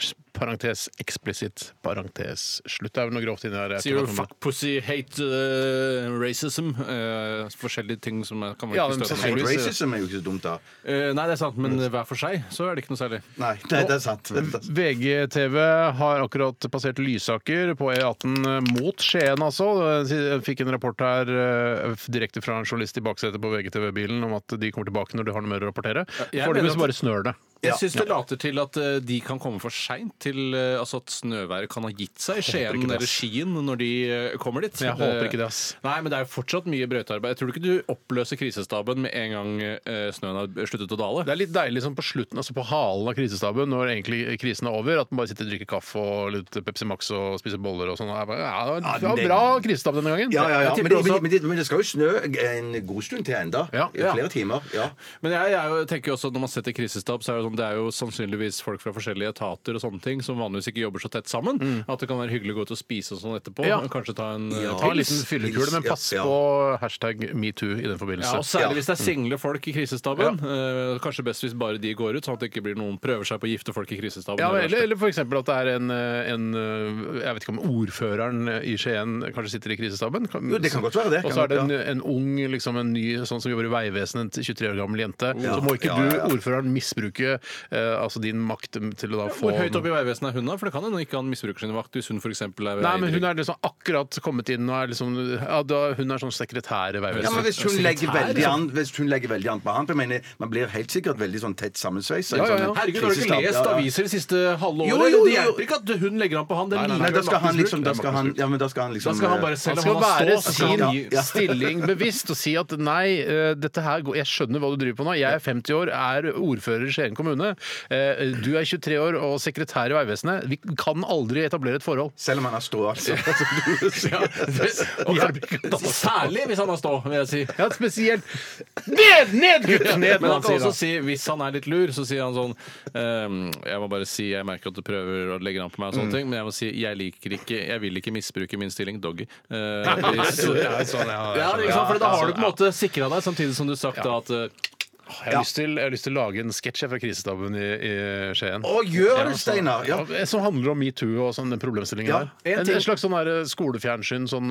S1: s- Parentes eksplisitt, parentes slutt. Det er vel noe grovt inni her. jeg
S2: Sier
S1: kan
S2: du
S1: ha
S2: fuck, pussy, hate, eh, racism? eh, forskjellige ting som er- kan være
S1: Ja,
S2: ikke
S1: men
S2: støtende.
S3: Hate
S1: Selvfølgelig.
S3: racism er jo ikke så dumt, da.
S2: Eh, nei, det er sant, men hver for seg så er det ikke noe særlig.
S3: Nei, nei det er sant. Vent, altså.
S1: VGTV har akkurat passert Lysaker på E18 mot Skien, altså. Jeg fikk en rapport her eh, direkte fra en journalist i baksetet på VGTV-bilen om at de kommer tilbake når de har noe mer å rapportere.
S2: jeg
S1: Foreløpig
S2: mener
S1: så
S2: at-
S1: bare snør det.
S2: Jeg syns det later til at eh, de kan komme for seint til eh, altså at snøværet kan ha gitt seg i Skien
S1: ikke det,
S2: eller
S1: ass.
S2: Skien når de eh, kommer dit.
S1: Jeg håper ikke det, ass.
S2: Nei, men det er jo fortsatt mye brøytearbeid. Jeg tror ikke du oppløser krisestaben med en gang eh, snøen har sluttet å dale.
S1: Det er litt deilig sånn på slutten, altså på halen av krisestaben, når egentlig krisen er over, at man bare sitter og drikker kaffe og litt Pepsi Max og spiser boller og sånn. Det er bare, Ja, det var- det var
S3: det-
S1: bra krisestab denne gangen.
S3: Ja, ja, ja.
S2: Jeg
S3: Men,
S2: tipper
S3: det- men,
S2: også-
S3: men, det- men det skal jo snø en god stund til enda.
S1: Ja,
S2: ja.
S3: Flere timer. ja.
S2: Men jeg, jeg jo- tenker jo også at når man setter krisestab, så er det, sånn, det er jo sannsynligvis folk fra forskjellige etater og sånne ting som vanligvis ikke jobber så tett sammen. At det kan være hyggelig å gå ut og spise og sånn etterpå.
S1: Mm. Ja.
S2: og Kanskje ta en eh,
S3: Ja.
S1: Ta en
S2: pils.
S1: liten fyllekule, men
S3: Ja,
S1: pass
S3: ja.
S1: på hashtag metoo i den forbindelse.
S2: Ja, og
S3: Ja.
S2: Særlig hvis det er single folk i krisestaben. Eh, kanskje best hvis bare de går ut, sånn at det ikke blir noen prøver seg på å gifte folk i krisestaben.
S1: Ja,
S2: Det er
S1: eller, eller f.eks.
S2: verst.
S1: at det er en, eh, en eh, Jeg vet ikke om ordføreren i Skien kanskje sitter i krisestaben?
S3: Jo, det kan godt være det.
S1: Og så er det en, en ung, liksom en ny sånn som jobber i Vegvesenet, en 23 år gammel jente.
S3: Ja.
S1: Så må ikke
S3: Ja,
S1: du,
S3: ja, ja.
S1: ordføreren, misbruke eh, altså din makt til å da få
S2: Hvor høyt oppe i Vegvesenet er hun, da? For det kan hende ikke han misbruker sine vakter. Hvis hun for eksempel er
S1: Nei, men hun er liksom akkurat kommet inn og er liksom ja, da, Hun er sånn sekretær i
S3: Ja, men
S1: Vegvesenet.
S3: hvis hun,
S2: Sekretær,
S3: legger veldig
S2: liksom.
S3: an, hvis hun legger veldig an på han, for jeg mener, man blir helt sikkert veldig sånn tett sammensveisa.
S1: Ja, ja, ja.
S2: Herregud, har du ikke lest aviser det siste halve året?
S3: Jo, jo, jo.
S2: Det hjelper ikke at hun legger an på han. Det
S1: Nei, nei, nei,
S2: ligner
S3: Nei, da
S2: jo
S3: skal han
S2: maktmisbruk.
S3: liksom Da skal han, ja, men da skal han liksom
S2: Da skal han bare
S1: Han
S2: selv om
S1: skal
S2: han har
S1: være
S2: stå, så skal
S1: sin
S2: han gi
S3: Ja.
S1: stilling bevisst og si at nei, eh, dette her går, jeg skjønner hva du driver på nå. Jeg er 50 år, er ordfører i Skien kommune. Eh, Du er 23 år og sekretær i Vegvesenet. Vi kan aldri etablere et forhold.
S3: Selv om han har stå, altså. som du sier.
S2: Og Kar- Særlig hvis han har stå, vil jeg si.
S1: Ja, spesielt Ned, ned, gutt! Ned,
S2: Men
S1: må
S2: han
S1: han
S2: kan
S1: si
S2: også
S1: da.
S2: si, hvis han er litt lur, så sier han sånn ehm, Jeg må bare si, jeg merker at du prøver å legge an på meg, og
S1: Mm.
S2: sånne ting men jeg må si jeg liker ikke Jeg vil ikke misbruke min stilling, doggy. Eh, hvis-
S1: Ja, sånn, ja,
S2: ja, ikke sant? For da har du på en måte sikra deg, samtidig som du har sagt da at eh,
S1: Jeg har lyst til, jeg har lyst til å lage en sketsj her fra krisestaben i, i Skien.
S3: Å, gjør
S1: altså.
S3: det, Steinar! Ja.
S1: Ja, som handler om metoo og sånn den problemstillingen
S3: Ja,
S1: der.
S2: en
S1: En,
S2: ting-
S1: en slags sånn der skolefjernsyn, sånn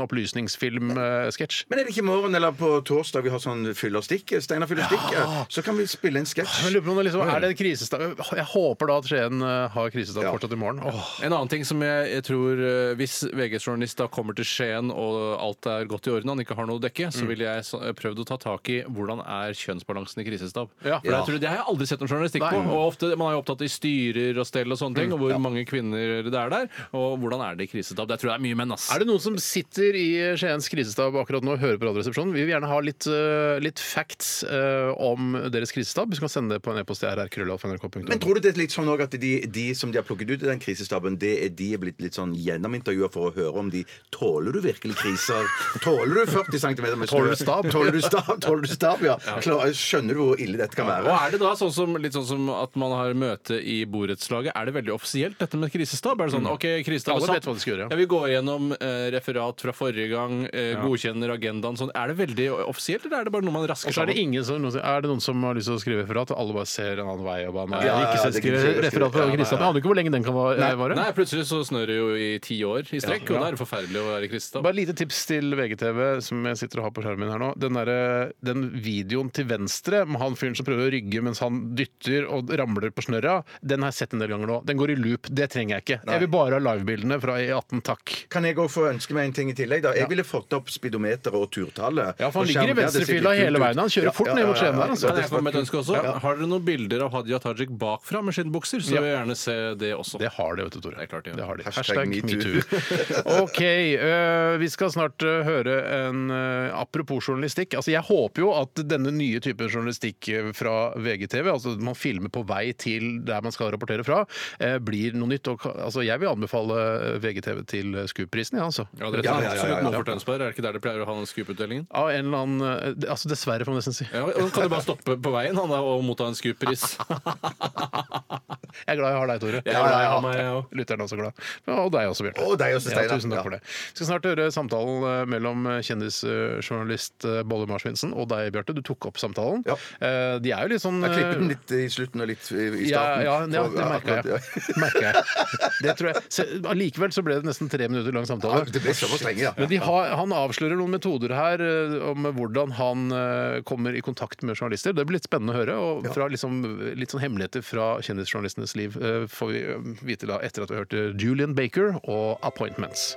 S1: eh, opplysningsfilm-sketsj.
S3: Men er det ikke i morgen eller på torsdag vi har sånn fyller stikk? Steinar fyller stikk? eh, Så kan vi spille en
S1: Jeg
S3: sketsj.
S1: lurer på om det liksom, er det en krisestab Jeg håper da at Skien eh, har krisestab
S3: Ja.
S1: fortsatt i morgen. Åh.
S2: En annen ting som jeg, jeg tror eh, Hvis VG-journalist da kommer til Skien og
S1: Mm.
S2: eh, alt er godt i orden, han ikke har noe å dekke, så ville jeg så- prøvd å ta tak i hvordan er kjønnsbalansen i nesestab.
S1: Ja.
S2: For det, tror jeg, det har jeg aldri sett noen journalistikk på.
S1: Nei. Mm.
S2: Og ofte, Man er jo opptatt i styrer og stell og sånne ting, og hvor mange kvinner det er der. Og hvordan er det i krisestab. Der tror jeg det er mye menn, ass.
S1: Er det noen som sitter i Skiens krisestab akkurat nå og hører på Radioresepsjonen? Vi vil gjerne ha litt, eh, litt facts eh, om deres krisestab. Så kan du sende det på en e-post til
S3: Men
S1: rrkrøllalfa.nrk.no.
S3: tror du det er litt sånn også at de, de som de har plukket ut i den krisestaben, det er de er blitt litt sånn gjennomintervjua for å høre om de Tåler du virkelig kriser? Tåler du 40 cm med
S1: Tåler
S3: snø?
S1: du stab?
S3: Tåler du stab? Tåler du stab, ja. Klar, skjønner du hvor ille dette kan
S2: Og
S3: være?
S2: er det da sånn som, litt sånn som at man har møte i borettslaget? Er det veldig offisielt, dette med krisestab? Er det sånn, ok, krisestab
S1: Mm. Alle
S2: er satt.
S1: vet hva de skal gjøre, ja.
S2: Jeg vil gå gjennom eh, referat fra forrige gang, eh, godkjenner agendaen sånn. Er det veldig offisielt, eller er det bare noe man rasker
S1: Og så er det
S2: sammen?
S1: ingen som, er det noen som har lyst til å skrive referat, og alle bare ser en annen vei og bare nei,
S3: Ja, ja,
S1: ikke se-
S3: ja, det kan
S1: skrive
S3: du skrive,
S1: referat fra
S3: skrive.
S1: krisestab. Jeg aner ikke hvor lenge den kan va- vare.
S2: Nei, plutselig så snør det jo i ti år i strekk, og da er det forferdelig å være i krisestab.
S1: Bare lite tips til VGTV, som jeg sitter og har på skjermen min her nå. Den, derre- den videoen til venstre med han fyren som prøver å rygge mens han dytter og ramler på snørra, den har jeg sett en del ganger nå. Den går i loop. Det trenger jeg ikke. Jeg vil bare ha livebildene fra E18, takk.
S3: Kan jeg òg få ønske meg en ting i tillegg? da? Jeg ville fått opp speedometeret og turtallet.
S1: Ja, for han
S3: Og
S1: ligger i
S3: skjermen, det hadde sett
S1: venstrefila
S3: litt kult
S1: hele
S3: ut.
S1: veien. Han kjører fort ned mot skjermen der, altså.
S2: Kan jeg komme med et ønske også? Har dere noen bilder av Hadia Tajik bakfra med skinnbukser, så
S1: Ja.
S2: vil jeg gjerne se det også.
S1: Det har det, vet du, Tore.
S2: Det er klart det, ja.
S1: det har de.
S3: Hashtag
S1: Hashtag
S3: metoo.
S1: metoo. OK. øh, vi skal snart øh, høre en øh, Apropos journalistikk. Altså, jeg håper jo at denne nye typen journalistikk øh, fra VGTV, altså at man filmer på vei til der man skal rapportere fra, eh, blir noe nytt. Og, ka- altså, jeg vil anbefale øh, VGTV til SKUP-prisen, jeg, ja, altså.
S2: Ja, det er
S3: Ja, ja, ja, ja,
S2: absolutt
S3: ja.
S2: noe for Tønsberg. Er det ikke der de pleier å ha den skuputdelingen?
S1: Av en eller annen øh, d- Altså, dessverre, får man nesten si.
S2: Ja, og han kan jo bare stoppe på veien han da, og motta en Scoop-pris.
S1: Jeg er glad jeg har deg, Tore.
S2: Jeg er glad jeg har meg, jeg også.
S1: Lytteren er også glad. Og deg også, Bjarte.
S3: Og deg også,
S1: Ja,
S3: Steinar.
S1: tusen takk
S3: Ja.
S1: for det. Vi skal snart høre samtalen eh, mellom kjendisjournalist eh, Bolle Marsvinsen og deg, Bjarte. Du tok opp samtalen.
S3: Ja.
S1: Eh, De er jo litt sånn
S3: Jeg klippet den
S1: eh,
S3: litt i slutten og litt i i
S1: ja,
S3: starten.
S1: ja, ja,
S3: for
S1: det merka
S3: akkurat-
S1: jeg. Merker jeg. Det tror jeg. Se, Allikevel så ble det nesten tre minutter lang
S3: Ja,
S1: samtale.
S3: det ble såpass lenge, ja.
S1: Men de har, han avslører noen metoder her eh, om hvordan han eh, kommer i kontakt med journalister. Det blir litt spennende å høre. Og fra liksom, litt sånn hemmeligheter fra kjendisjournalistenes liv eh, får vi eh, vite da etter at vi har hørt eh, Julian Baker og 'Appointments'.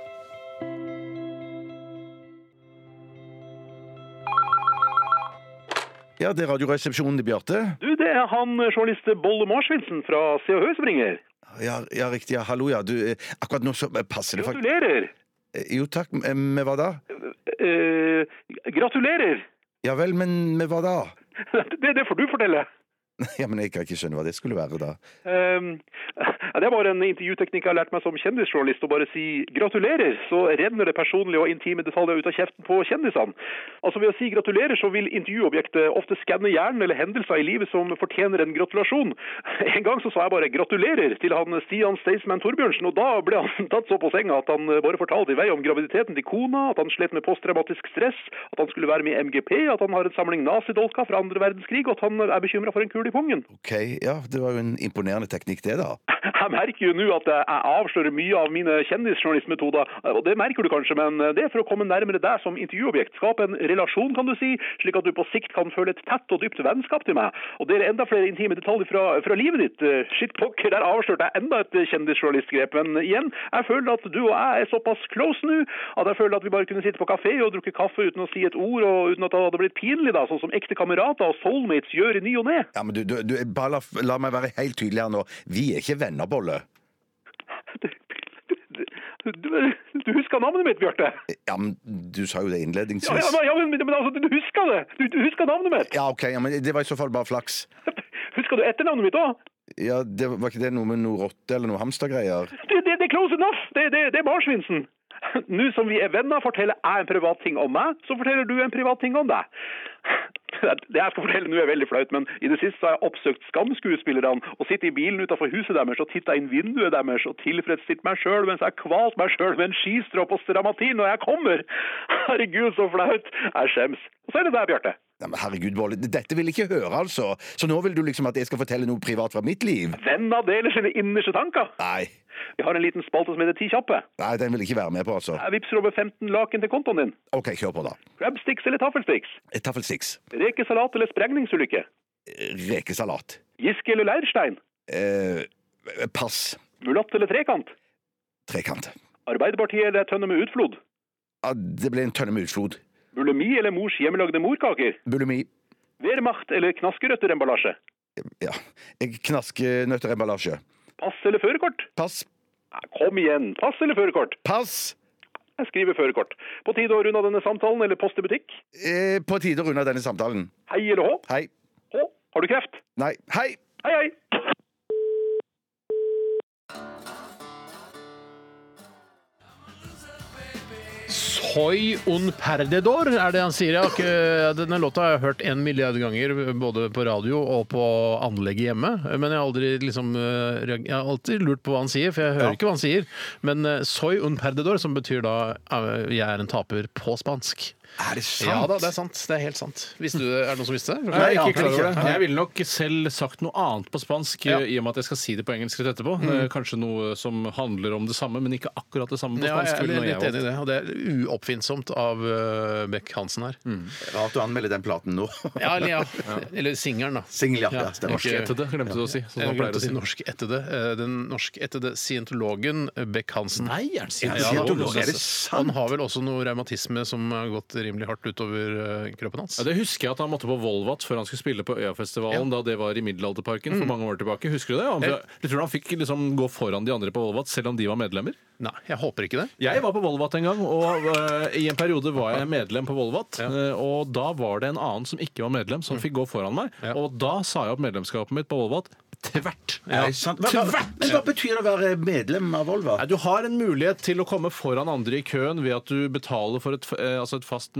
S3: Ja, det er Radioresepsjonen til Bjarte.
S4: Du, det er han eh, journalist Bolle Marsvinsen fra Se og Hør som ringer.
S3: Ja, ja, riktig. Ja. Hallo, ja. Du, eh, akkurat nå så eh, passer det faktisk
S4: Gratulerer!
S3: Jo, takk. eh, Med hva da?
S4: Eh, gratulerer!
S3: Ja vel, men med hva da?
S4: Det, det får du fortelle.
S3: Ja, men jeg kan ikke skjønne hva det skulle være da.
S4: Ehm, ja, det er bare en intervjuteknikk jeg har lært meg som kjendisjournalist, å bare si gratulerer, så renner det personlige og intime detaljer ut av kjeften på kjendisene. Altså Ved å si gratulerer, så vil intervjuobjektet ofte skanne hjernen eller hendelser i livet som fortjener en gratulasjon. En gang så sa jeg bare gratulerer til han Stian Staysman Torbjørnsen, og da ble han tatt så på senga at han bare fortalte i vei om graviditeten til kona, at han slet med posttraumatisk stress, at han skulle være med i MGP, at han har en samling nazidolker fra andre verdenskrig, og at han er bekymra for en kul i pungen.
S3: Ok, ja, det var jo en imponerende teknikk det da.
S4: Jeg merker jo nå at jeg avslører mye av mine kjendisjournalistmetoder, og det merker du kanskje, men det er for å komme nærmere deg som intervjuobjekt. Skape en relasjon, kan du si, slik at du på sikt kan føle et tett og dypt vennskap til meg. Og det er enda flere intime detaljer fra, fra livet ditt. Eh, Shit pokker, der avslørte jeg enda et kjendisjournalistgrep, men igjen, jeg føler at du og jeg er såpass close nå at jeg føler at vi bare kunne sitte på kafé og drukke kaffe uten å si et ord, og uten at det hadde blitt pinlig, da, sånn som ekte kamerater og soulmates gjør i ny og ne.
S3: Ja, men du, du, du bare la, la meg være helt tydelig her nå. Vi er ikke venner, Bolle.
S4: Du, du, du husker navnet mitt, Bjarte?
S3: Eh, Ja, men du sa jo det
S4: Ja, ja,
S3: innledningsvis.
S4: men- ja, men, men altså, du husker det! Du, du husker navnet mitt!
S3: Ja, ok, ja, men det var i så fall bare flaks.
S4: Husker du etternavnet mitt òg?
S3: Ja, det var ikke det noe med noe rotte eller noe hamstergreier?
S4: Det, det, det er close enough! Det, det, det er Marsvinsen. Nå som vi er venner, forteller jeg en privat ting om meg, så forteller du en privat ting om deg. Det jeg skal fortelle nå er veldig flaut, men i det siste så har jeg oppsøkt skamskuespillerne og sitter i bilen utenfor huset deres og titter inn vinduet deres og tilfredsstilt meg sjøl mens jeg kvalt meg sjøl med en skistrapp og stramatin når jeg kommer. Herregud, så flaut. Jeg skjems. Og så er det deg, Bjarte.
S3: Ja, men herregud, Bolle, dette vil jeg ikke høre, altså. Så nå vil du liksom at jeg skal fortelle noe privat fra mitt liv?
S4: Venner deler sine innerste tanker.
S3: Nei,
S4: Vi har en liten spalte som heter Ti kjappe.
S3: nei, den vil jeg ikke være med på, altså.
S4: Jeg vippser over 15 laken til kontoen din.
S3: Ok, kjør på, da. Eh,
S4: Crabsticks eller taffelsticks?
S3: Taffelsticks.
S4: Rekesalat eller sprengningsulykke?
S3: Eh, Rekesalat.
S4: Giske eller leirstein?
S3: Eh, pass.
S4: Mulatt eller trekant?
S3: Trekant.
S4: Arbeiderpartiet eller tønne med utflod?
S3: Ja, det ble en tønne med utflod.
S4: Bulimi eller mors hjemmelagde morkaker?
S3: Bulimi.
S4: Wehrmacht eller knaskerøtteremballasje?
S3: Ja. eh, Knaskenøtteremballasje.
S4: Pass eller førerkort?
S3: Pass.
S4: Nei, Kom igjen, pass eller førerkort?
S3: Pass!
S4: Jeg skriver førerkort. På tide å runde av denne samtalen, eller post i butikk?
S3: Eh, på tide å runde av denne samtalen.
S4: Hei eller hå?
S3: Hei.
S4: Hå? Har du kreft?
S3: Nei. Hei!
S4: Hei, hei!
S1: Soy un perdedor, er det han sier. Jeg har ikke, denne låta har jeg hørt en milliard ganger, både på radio og på anlegget hjemme. Men jeg har aldri liksom eh, reag- Jeg har alltid lurt på hva han sier, for jeg hører ikke hva han sier. Men eh, soy un perdedor, som betyr da eh, jeg er en taper på spansk.
S3: Er det sant?
S1: Ja da, det er sant. Det er helt sant. Visste du, er det noen som visste det?
S2: Nei, jeg er
S3: jeg
S2: ikke klar
S3: aner
S2: over
S3: ikke.
S2: det. Jeg ville nok selv sagt noe annet på spansk, eh,
S1: Ja. Mm.
S2: i og med at jeg skal si det på engelsk rett etterpå. Eh, Kanskje noe som handler om det samme, men ikke akkurat det samme på
S1: Ja,
S2: spansk.
S1: jeg
S2: ville
S1: er
S2: nå
S1: litt
S2: jeg
S1: enig i det. Og det er uoppfinnsomt av eh, Beck-Hansen her.
S3: Rart å anmelde den platen nå.
S1: Ja, eller, ja. eller singelen, da.
S3: Singel, ja.
S1: Ja,
S3: ja. Stemmer.
S2: valgte.
S1: ikke-
S2: Norsk etede, glemte du å si. Sånn som
S1: Jeg
S2: man pleier
S1: glemte å
S2: å
S1: si
S2: si.
S1: norskættede. Eh, Den norskættede scientologen Beck-Hansen.
S2: Nei, er det
S1: Ja,
S2: sant?
S1: ja,
S2: Ja,
S1: han-
S3: Scientolog, er det
S1: Han
S3: sant?
S1: har vel også noe revmatisme som har gått rimelig hardt utover eh, kroppen hans.
S2: Ja, det husker jeg at han måtte på Volvat før han skulle spille på Øyafestivalen, da det var i Middelalderparken
S1: Mm.
S2: for mange år tilbake. Husker du det? Han, jeg tror han fikk liksom gå foran de andre på Volvat, selv om de var medlemmer.
S1: Nei, jeg håper ikke det.
S2: Jeg var på Volvat en gang, og eh, i en periode var jeg medlem på Volvat. eh, og da var det en annen som ikke var medlem,
S3: Mm.
S2: som fikk gå foran meg.
S1: Ja.
S2: Og da sa jeg opp medlemskapet mitt på Volvat tvert.
S3: Er det sant? Hva, hva, men hva betyr det å være medlem av Volva?
S2: Nei, du har en mulighet til å komme foran andre i køen ved at du betaler for et, f- eh, altså et fast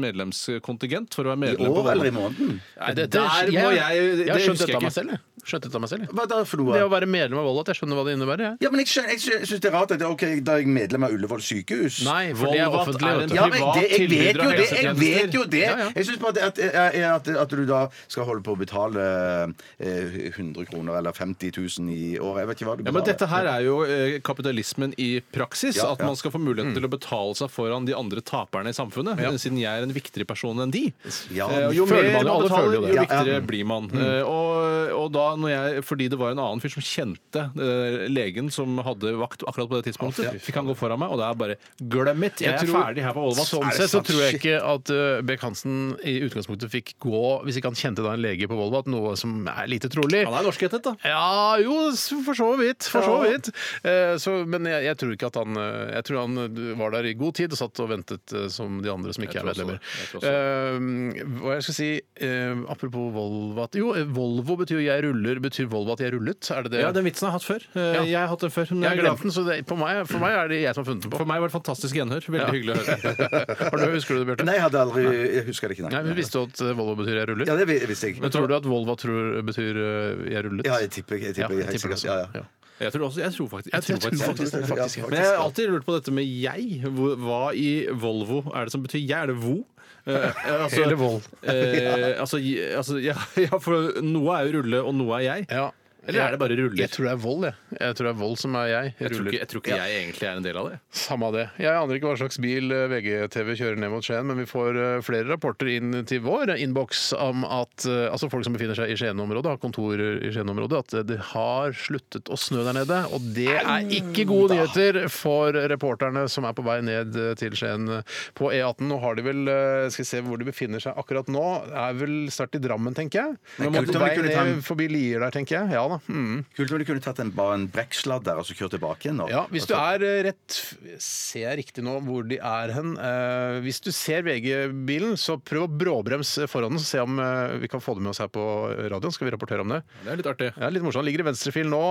S2: medlemskontingent for å være
S3: I
S2: medlem på
S3: år eller i
S2: Volvat.
S3: måneden?
S1: Nei, det,
S2: der må jeg- det
S1: har skjønt
S2: husker jeg
S1: dette av meg
S2: ikke.
S1: selv. jeg. Skjønt dette av meg selv. jeg.
S3: Hva da for noe?
S1: Det å være medlem av Volvat, jeg skjønner hva det innebærer. Jeg.
S3: Ja, men jeg, skjønner, jeg syns- syns det er rart at det, ok, da er jeg medlem av Ullevål sykehus.
S1: Nei, for det er
S2: Volvat
S1: offentlig.
S2: er
S1: vet
S2: en
S1: du.
S3: Ja, men
S2: privat
S3: det, jeg vet
S2: tilbyder
S3: jo
S2: av
S3: det! Jeg
S2: helsetjenester.
S3: vet jo det.
S1: Ja, ja.
S3: Jeg syns bare det at, eh, er- er at, at du da skal holde på å betale eh, 100 kroner eller 50 000 i året. Jeg vet ikke hva du
S2: Ja, men
S3: betaler.
S2: Dette her er jo eh, kapitalismen i praksis.
S3: Ja,
S2: at
S3: ja.
S2: man skal få muligheten til å betale seg foran de andre taperne i samfunnet. Siden jeg er en viktigere person enn de.
S3: Ja,
S2: Eh, og jo
S1: føler
S2: mer
S1: man jo,
S2: man
S1: alle
S2: betaler,
S1: føler jo
S2: jo
S1: det.
S2: viktigere blir man. Eh, og, og da, når jeg, fordi det var en annen fyr som kjente eh, legen som hadde vakt akkurat på det tidspunktet, fikk han gå foran meg, og da er jeg bare Glem it! Jeg,
S1: Jeg
S2: er
S1: tror-
S2: ferdig her på Olvat.
S1: Sånn sett så tror jeg ikke at eh, Beck-Hansen i utgangspunktet fikk gå, hvis ikke han kjente da en lege på Volvat, noe som er lite trolig.
S2: Han er norskhettet, da.
S1: Ja, jo, s- for så vidt. For så vidt. Eh, så, men jeg, jeg tror ikke at han eh, Jeg tror han eh, var der i god tid og satt og ventet eh, som de andre som ikke er
S2: tror også
S1: medlemmer.
S2: det. Jeg tror
S1: Eh, hva jeg skal si eh, Apropos Volvat Jo, eh, Volvo betyr jo 'jeg ruller', betyr Volvo at 'jeg rullet'? Er det det?
S2: Ja, den vitsen har jeg hatt før. Eh,
S1: Ja.
S2: Jeg har hatt den før. Men
S1: jeg
S2: jeg
S1: har
S2: har
S1: glemt
S2: glemt
S1: den,
S2: den.
S1: så det, på meg, for meg er det jeg som har funnet den på.
S2: For meg var det fantastisk gjenhør. Veldig hyggelig å høre.
S1: Har du, husker du det, Bjarte?
S3: Nei, jeg hadde aldri Jeg husker det ikke,
S1: Nei,
S3: nei.
S1: men Visste du at eh, Volvo betyr 'jeg ruller'?
S3: Ja, det vi- visste jeg.
S1: Men tror du at Volva tror, betyr eh, 'jeg rullet'?
S3: Ja, jeg tipper jeg tipper,
S1: Ja, jeg
S3: helt
S1: tipper det
S3: sikkert.
S1: også.
S3: Ja, ja.
S1: Ja.
S2: Jeg tror, også, jeg tror faktisk, jeg
S1: Jeg
S2: tror
S1: tror
S2: faktisk,
S1: faktisk det, faktisk.
S3: Ja,
S2: Men jeg har
S3: ja.
S2: alltid lurt på dette med jeg. Hvor- Hva i Volvo er det som betyr jeg? Er det vo? Eh, altså,
S1: Eller vold.
S2: eh, altså, je- altså ja, ja, for noe er jo rulle, og noe er jeg.
S1: Ja.
S2: Eller er det bare ruller?
S1: Jeg tror det er vold, jeg. Jeg tror det er vold som er jeg.
S2: Jeg tror
S1: Ruller.
S2: ikke, jeg, tror ikke jeg egentlig er en del av det.
S1: Samme av det. Jeg aner ikke hva slags bil eh, VGTV kjører ned mot Skien, men vi får eh, flere rapporter inn til vår innboks om at eh, altså folk som befinner seg i Skien-området, har kontorer i Skien-området, at eh, det har sluttet å snø der nede. Og det er ikke gode nyheter for reporterne som er på vei ned eh, til Skien eh, på E18. Nå har de vel eh, Skal vi se hvor de befinner seg akkurat nå. Er vel snart i Drammen, tenker jeg.
S3: Nei,
S1: Men må på
S3: kult om vi
S1: vei
S3: kunne ta en-
S1: ned forbi Lier der, tenker jeg. Ja da. Mm.
S3: Kult om du kunne tatt en, bare en brekksladd der og så kjørt tilbake igjen. nå.
S1: Ja, hvis du
S3: Altså,
S1: er eh, rett Ser jeg riktig nå hvor de er hen? Eh, hvis du ser VG-bilen, så prøv å bråbremse foran den, så se om eh, vi kan få det med oss her på radioen. Skal vi rapportere om det?
S2: Det er litt artig.
S1: Det er litt morsomt. Han ligger i venstrefil nå.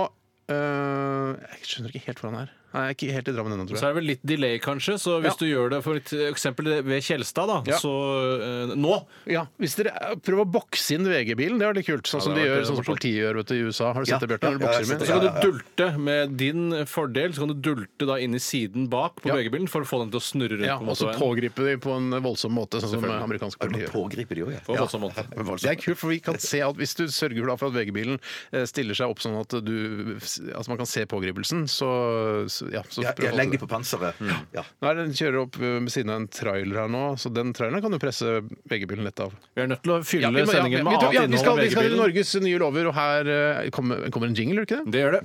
S1: Eh, jeg skjønner ikke helt hvor han er. Nei, jeg er ikke helt i Drammen ennå, tror
S2: Så
S1: jeg.
S2: er det vel litt delay, kanskje. Så hvis
S1: Ja.
S2: du gjør det for et eksempel ved Kjelstad, da,
S1: Ja.
S2: så eh, nå
S1: Ja, hvis dere eh, Prøv å bokse inn VG-bilen. Det er litt kult. Sånn som de
S2: det har vært
S1: gjør, sånn som
S2: morsomt.
S1: politiet gjør vet du, i USA. Har du
S3: Ja,
S1: sett det, Bjarte?
S3: ja,
S1: når de
S3: ja,
S1: bokser dem
S3: jeg har sett
S2: Så
S1: inn?
S2: kan
S3: Ja, ja,
S2: du dulte med din fordel Så kan du dulte da inn i siden bak på
S1: Ja.
S2: VG-bilen for å få den til å snurre rundt
S1: Ja,
S2: på
S1: og så
S2: motorveien.
S1: pågripe de på en voldsom måte, sånn som
S2: Selvfølgelig.
S1: amerikansk
S3: Ja,
S1: politi
S3: men
S1: gjør.
S3: pågriper de òg,
S2: På voldsom måte.
S1: Det er kult, for vi kan se at hvis du sørger da for at VG-bilen eh, stiller seg opp sånn at du Altså man kan se pågripelsen, så, så ja, så
S3: Ja, jeg legger de på panseret. Ja.
S1: Nå er den kjører opp eh, ved siden av en trailer her nå, så den traileren kan du presse VG-bilen lett av.
S2: Vi er nødt til å fylle
S1: vi, må-
S2: sendingen
S1: vi,
S2: med annet
S1: ja, vi, skal,
S2: innhold.
S1: vi
S2: enn
S1: skal til
S2: VG-bilen.
S1: Norges nye lover, og her eh, kommer, kommer en jingle, gjør det ikke det?
S2: Det gjør det.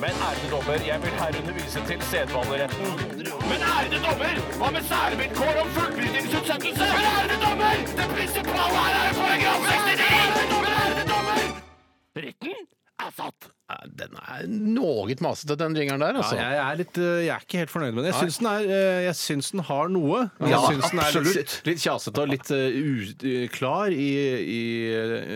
S5: Men er
S6: Ærede dommer, jeg vil herunder vise til sedvaneretten. Men ærede dommer, hva med særvilkår om fullbyrdingsutsettelse? Men ærede dommer, det prinsipale her er paragraf 69! Men ærede dommer, retten er satt.
S1: Nei, Den er noe masete, den jingeren der, altså.
S2: Ja, jeg, er litt, eh, jeg er ikke helt fornøyd med den. Jeg syns den, er, eh, jeg syns den har noe. men
S1: Ja,
S2: jeg syns den er litt,
S1: absolutt.
S2: litt kjasete og litt eh, uklar i, i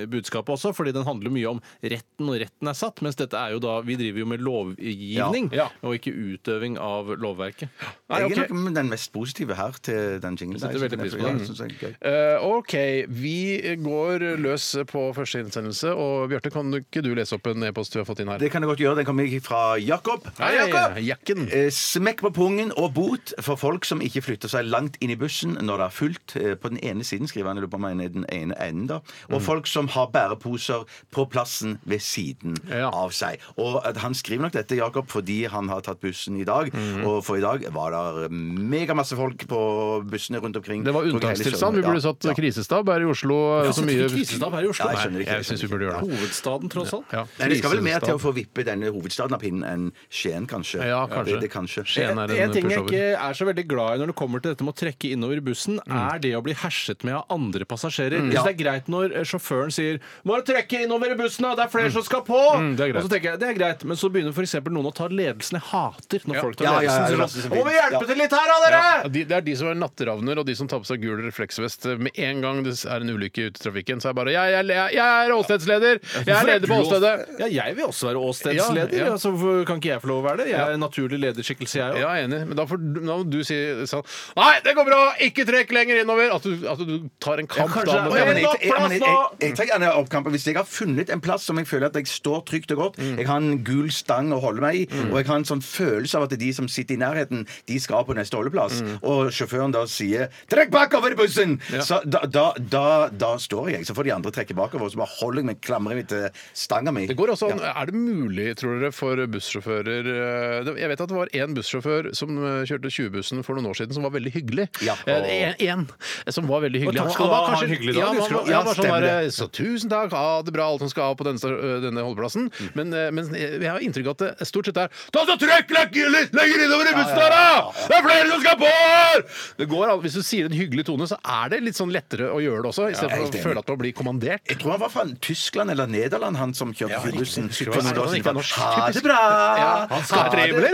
S2: eh, budskapet også, fordi den handler mye om retten, og retten er satt. Mens dette er jo da Vi driver jo med lovgivning,
S1: Ja. Ja.
S2: og ikke utøving av lovverket.
S1: Nei,
S7: Jeg er
S1: ok.
S7: nok den mest positive her til den jinglen.
S2: Setter veldig pris på
S7: Ja,
S2: den.
S7: synes jeg er gøy.
S1: Eh, OK, vi går løs på første innsendelse. Og Bjarte, kan du ikke du lese opp en e-post du har fått inn her?
S7: Det kan jeg godt gjøre. Den kommer fra Jakob.
S1: Hei, Jakob! Jakken.
S7: Eh, Smekk på pungen og bot for folk som ikke flytter seg langt inn i bussen når det er fullt. eh, På den ene siden skriver han, eller på meg, den ene enden da.
S1: Mm.
S7: Og folk som har bæreposer på plassen ved siden
S1: Ja.
S7: av seg. Og at han skriver nok dette, Jakob, fordi han har tatt bussen i dag.
S1: Mm.
S7: Og for i dag var det megamasse folk på bussene rundt omkring.
S1: Det var
S7: På hele
S1: unntakstilstand. Vi
S7: Sørlandet.
S1: burde satt
S7: Ja, ja.
S1: krisestab her i Oslo. så mye
S2: krisestab her i Oslo.
S7: Nei, jeg skjønner
S1: Nei,
S7: ikke, jeg
S1: jeg syns vi
S7: skjønner
S1: burde gjøre det.
S2: Hovedstaden, tross alt.
S1: Ja,
S7: Nei, det skal vel mer til å
S1: krisestab.
S7: få vippe denne hovedstaden av pinnen enn Skien, kanskje.
S1: Ja, kanskje.
S7: Det, det kanskje.
S1: Skien er
S2: En
S1: en
S2: ting jeg
S1: pushover.
S2: ikke er så veldig glad i når det kommer til dette med å trekke innover i bussen,
S1: Mm.
S2: er det å bli herset med av andre passasjerer. Jeg synes det er greit når eh, sjåføren sier 'må du trekke innover i bussen, da, det er flere som skal på'.
S1: Mm. det er greit.
S2: og så tenker jeg det er greit, men så begynner f.eks. noen å ta ledelsen. Jeg hater når folk tar
S7: Ja, ja, ja, det er
S2: ledelsen.
S7: masse som
S2: Så, sånn, 'Må vi
S7: Ja.
S2: hjelpe til litt her, da, dere?'
S1: Ja, de, det er de som er natteravner og de som tar på seg gul refleksvest med en gang det er en ulykke ute i trafikken. Så er det bare jeg, jeg, jeg, jeg er åstedsleder! Jeg er
S2: Hvorfor
S1: leder på
S2: du ås-
S1: åstedet!
S2: Ja, jeg vil også være åstedsleder.
S1: Ja, ja.
S2: Altså, hvorfor kan ikke jeg få lov å være det? Jeg er en naturlig lederskikkelse, jeg òg.
S1: Ja, jeg er enig, men da, får, du- da må du si sånn Nei, det går bra! Ikke trekk lenger innover! At du, at du tar en kamp
S2: kanskje-
S1: da
S2: Å,
S1: mot
S7: Ja, men
S1: den.
S7: jeg, jeg, jeg, men jeg, jeg, jeg trenger gjerne oppkamp. Hvis jeg har funnet en plass som jeg føler at jeg står trygt og
S1: Mm.
S7: godt Jeg har en gul stang å holde meg i, og jeg har en sånn følelse av at de som sitter i nærheten, de skal på neste holdeplass,
S1: Mm.
S7: og sjåføren da sier 'trekk bakover i bussen', så da, da, da, da står jeg. Så får de andre trekke bakover, og så bare holder jeg meg, klamrer meg til stanga mi.
S1: Det går også an. Er det mulig, tror dere, for bussjåfører eh, det- Jeg vet at det var én bussjåfør som eh, kjørte 20-bussen for noen år siden, som var veldig hyggelig.
S7: Ja.
S1: Eh, en, en som var veldig hyggelig.
S2: takk skal du
S1: var
S2: ha, ha en hyggelig dag,
S1: Ja, han
S2: husker du?
S1: var, ja,
S7: Ja,
S1: han var sånn
S7: stemmer
S1: der, eh, så tusen takk, ha det bra, alt som skal av på denne, sta- ø, denne holdeplassen. Men, eh, men jeg jeg har inntrykk av at det stort sett er Ta så trykk lenger lenger innover i bussen her, da! Det er flere som skal på her! Det går an. Hvis du sier en hyggelig tone, så er det litt sånn lettere å gjøre det også, istedenfor
S7: helt
S1: for å
S7: enig.
S1: føle at man blir kommandert.
S7: Jeg tror han var fra Tyskland eller Nederland, han som kjørte ja, bussen.
S1: var sånn at han ikke var norsk.
S7: Ha det bra!
S1: han
S7: Ha
S1: skal
S7: det
S1: trivelig,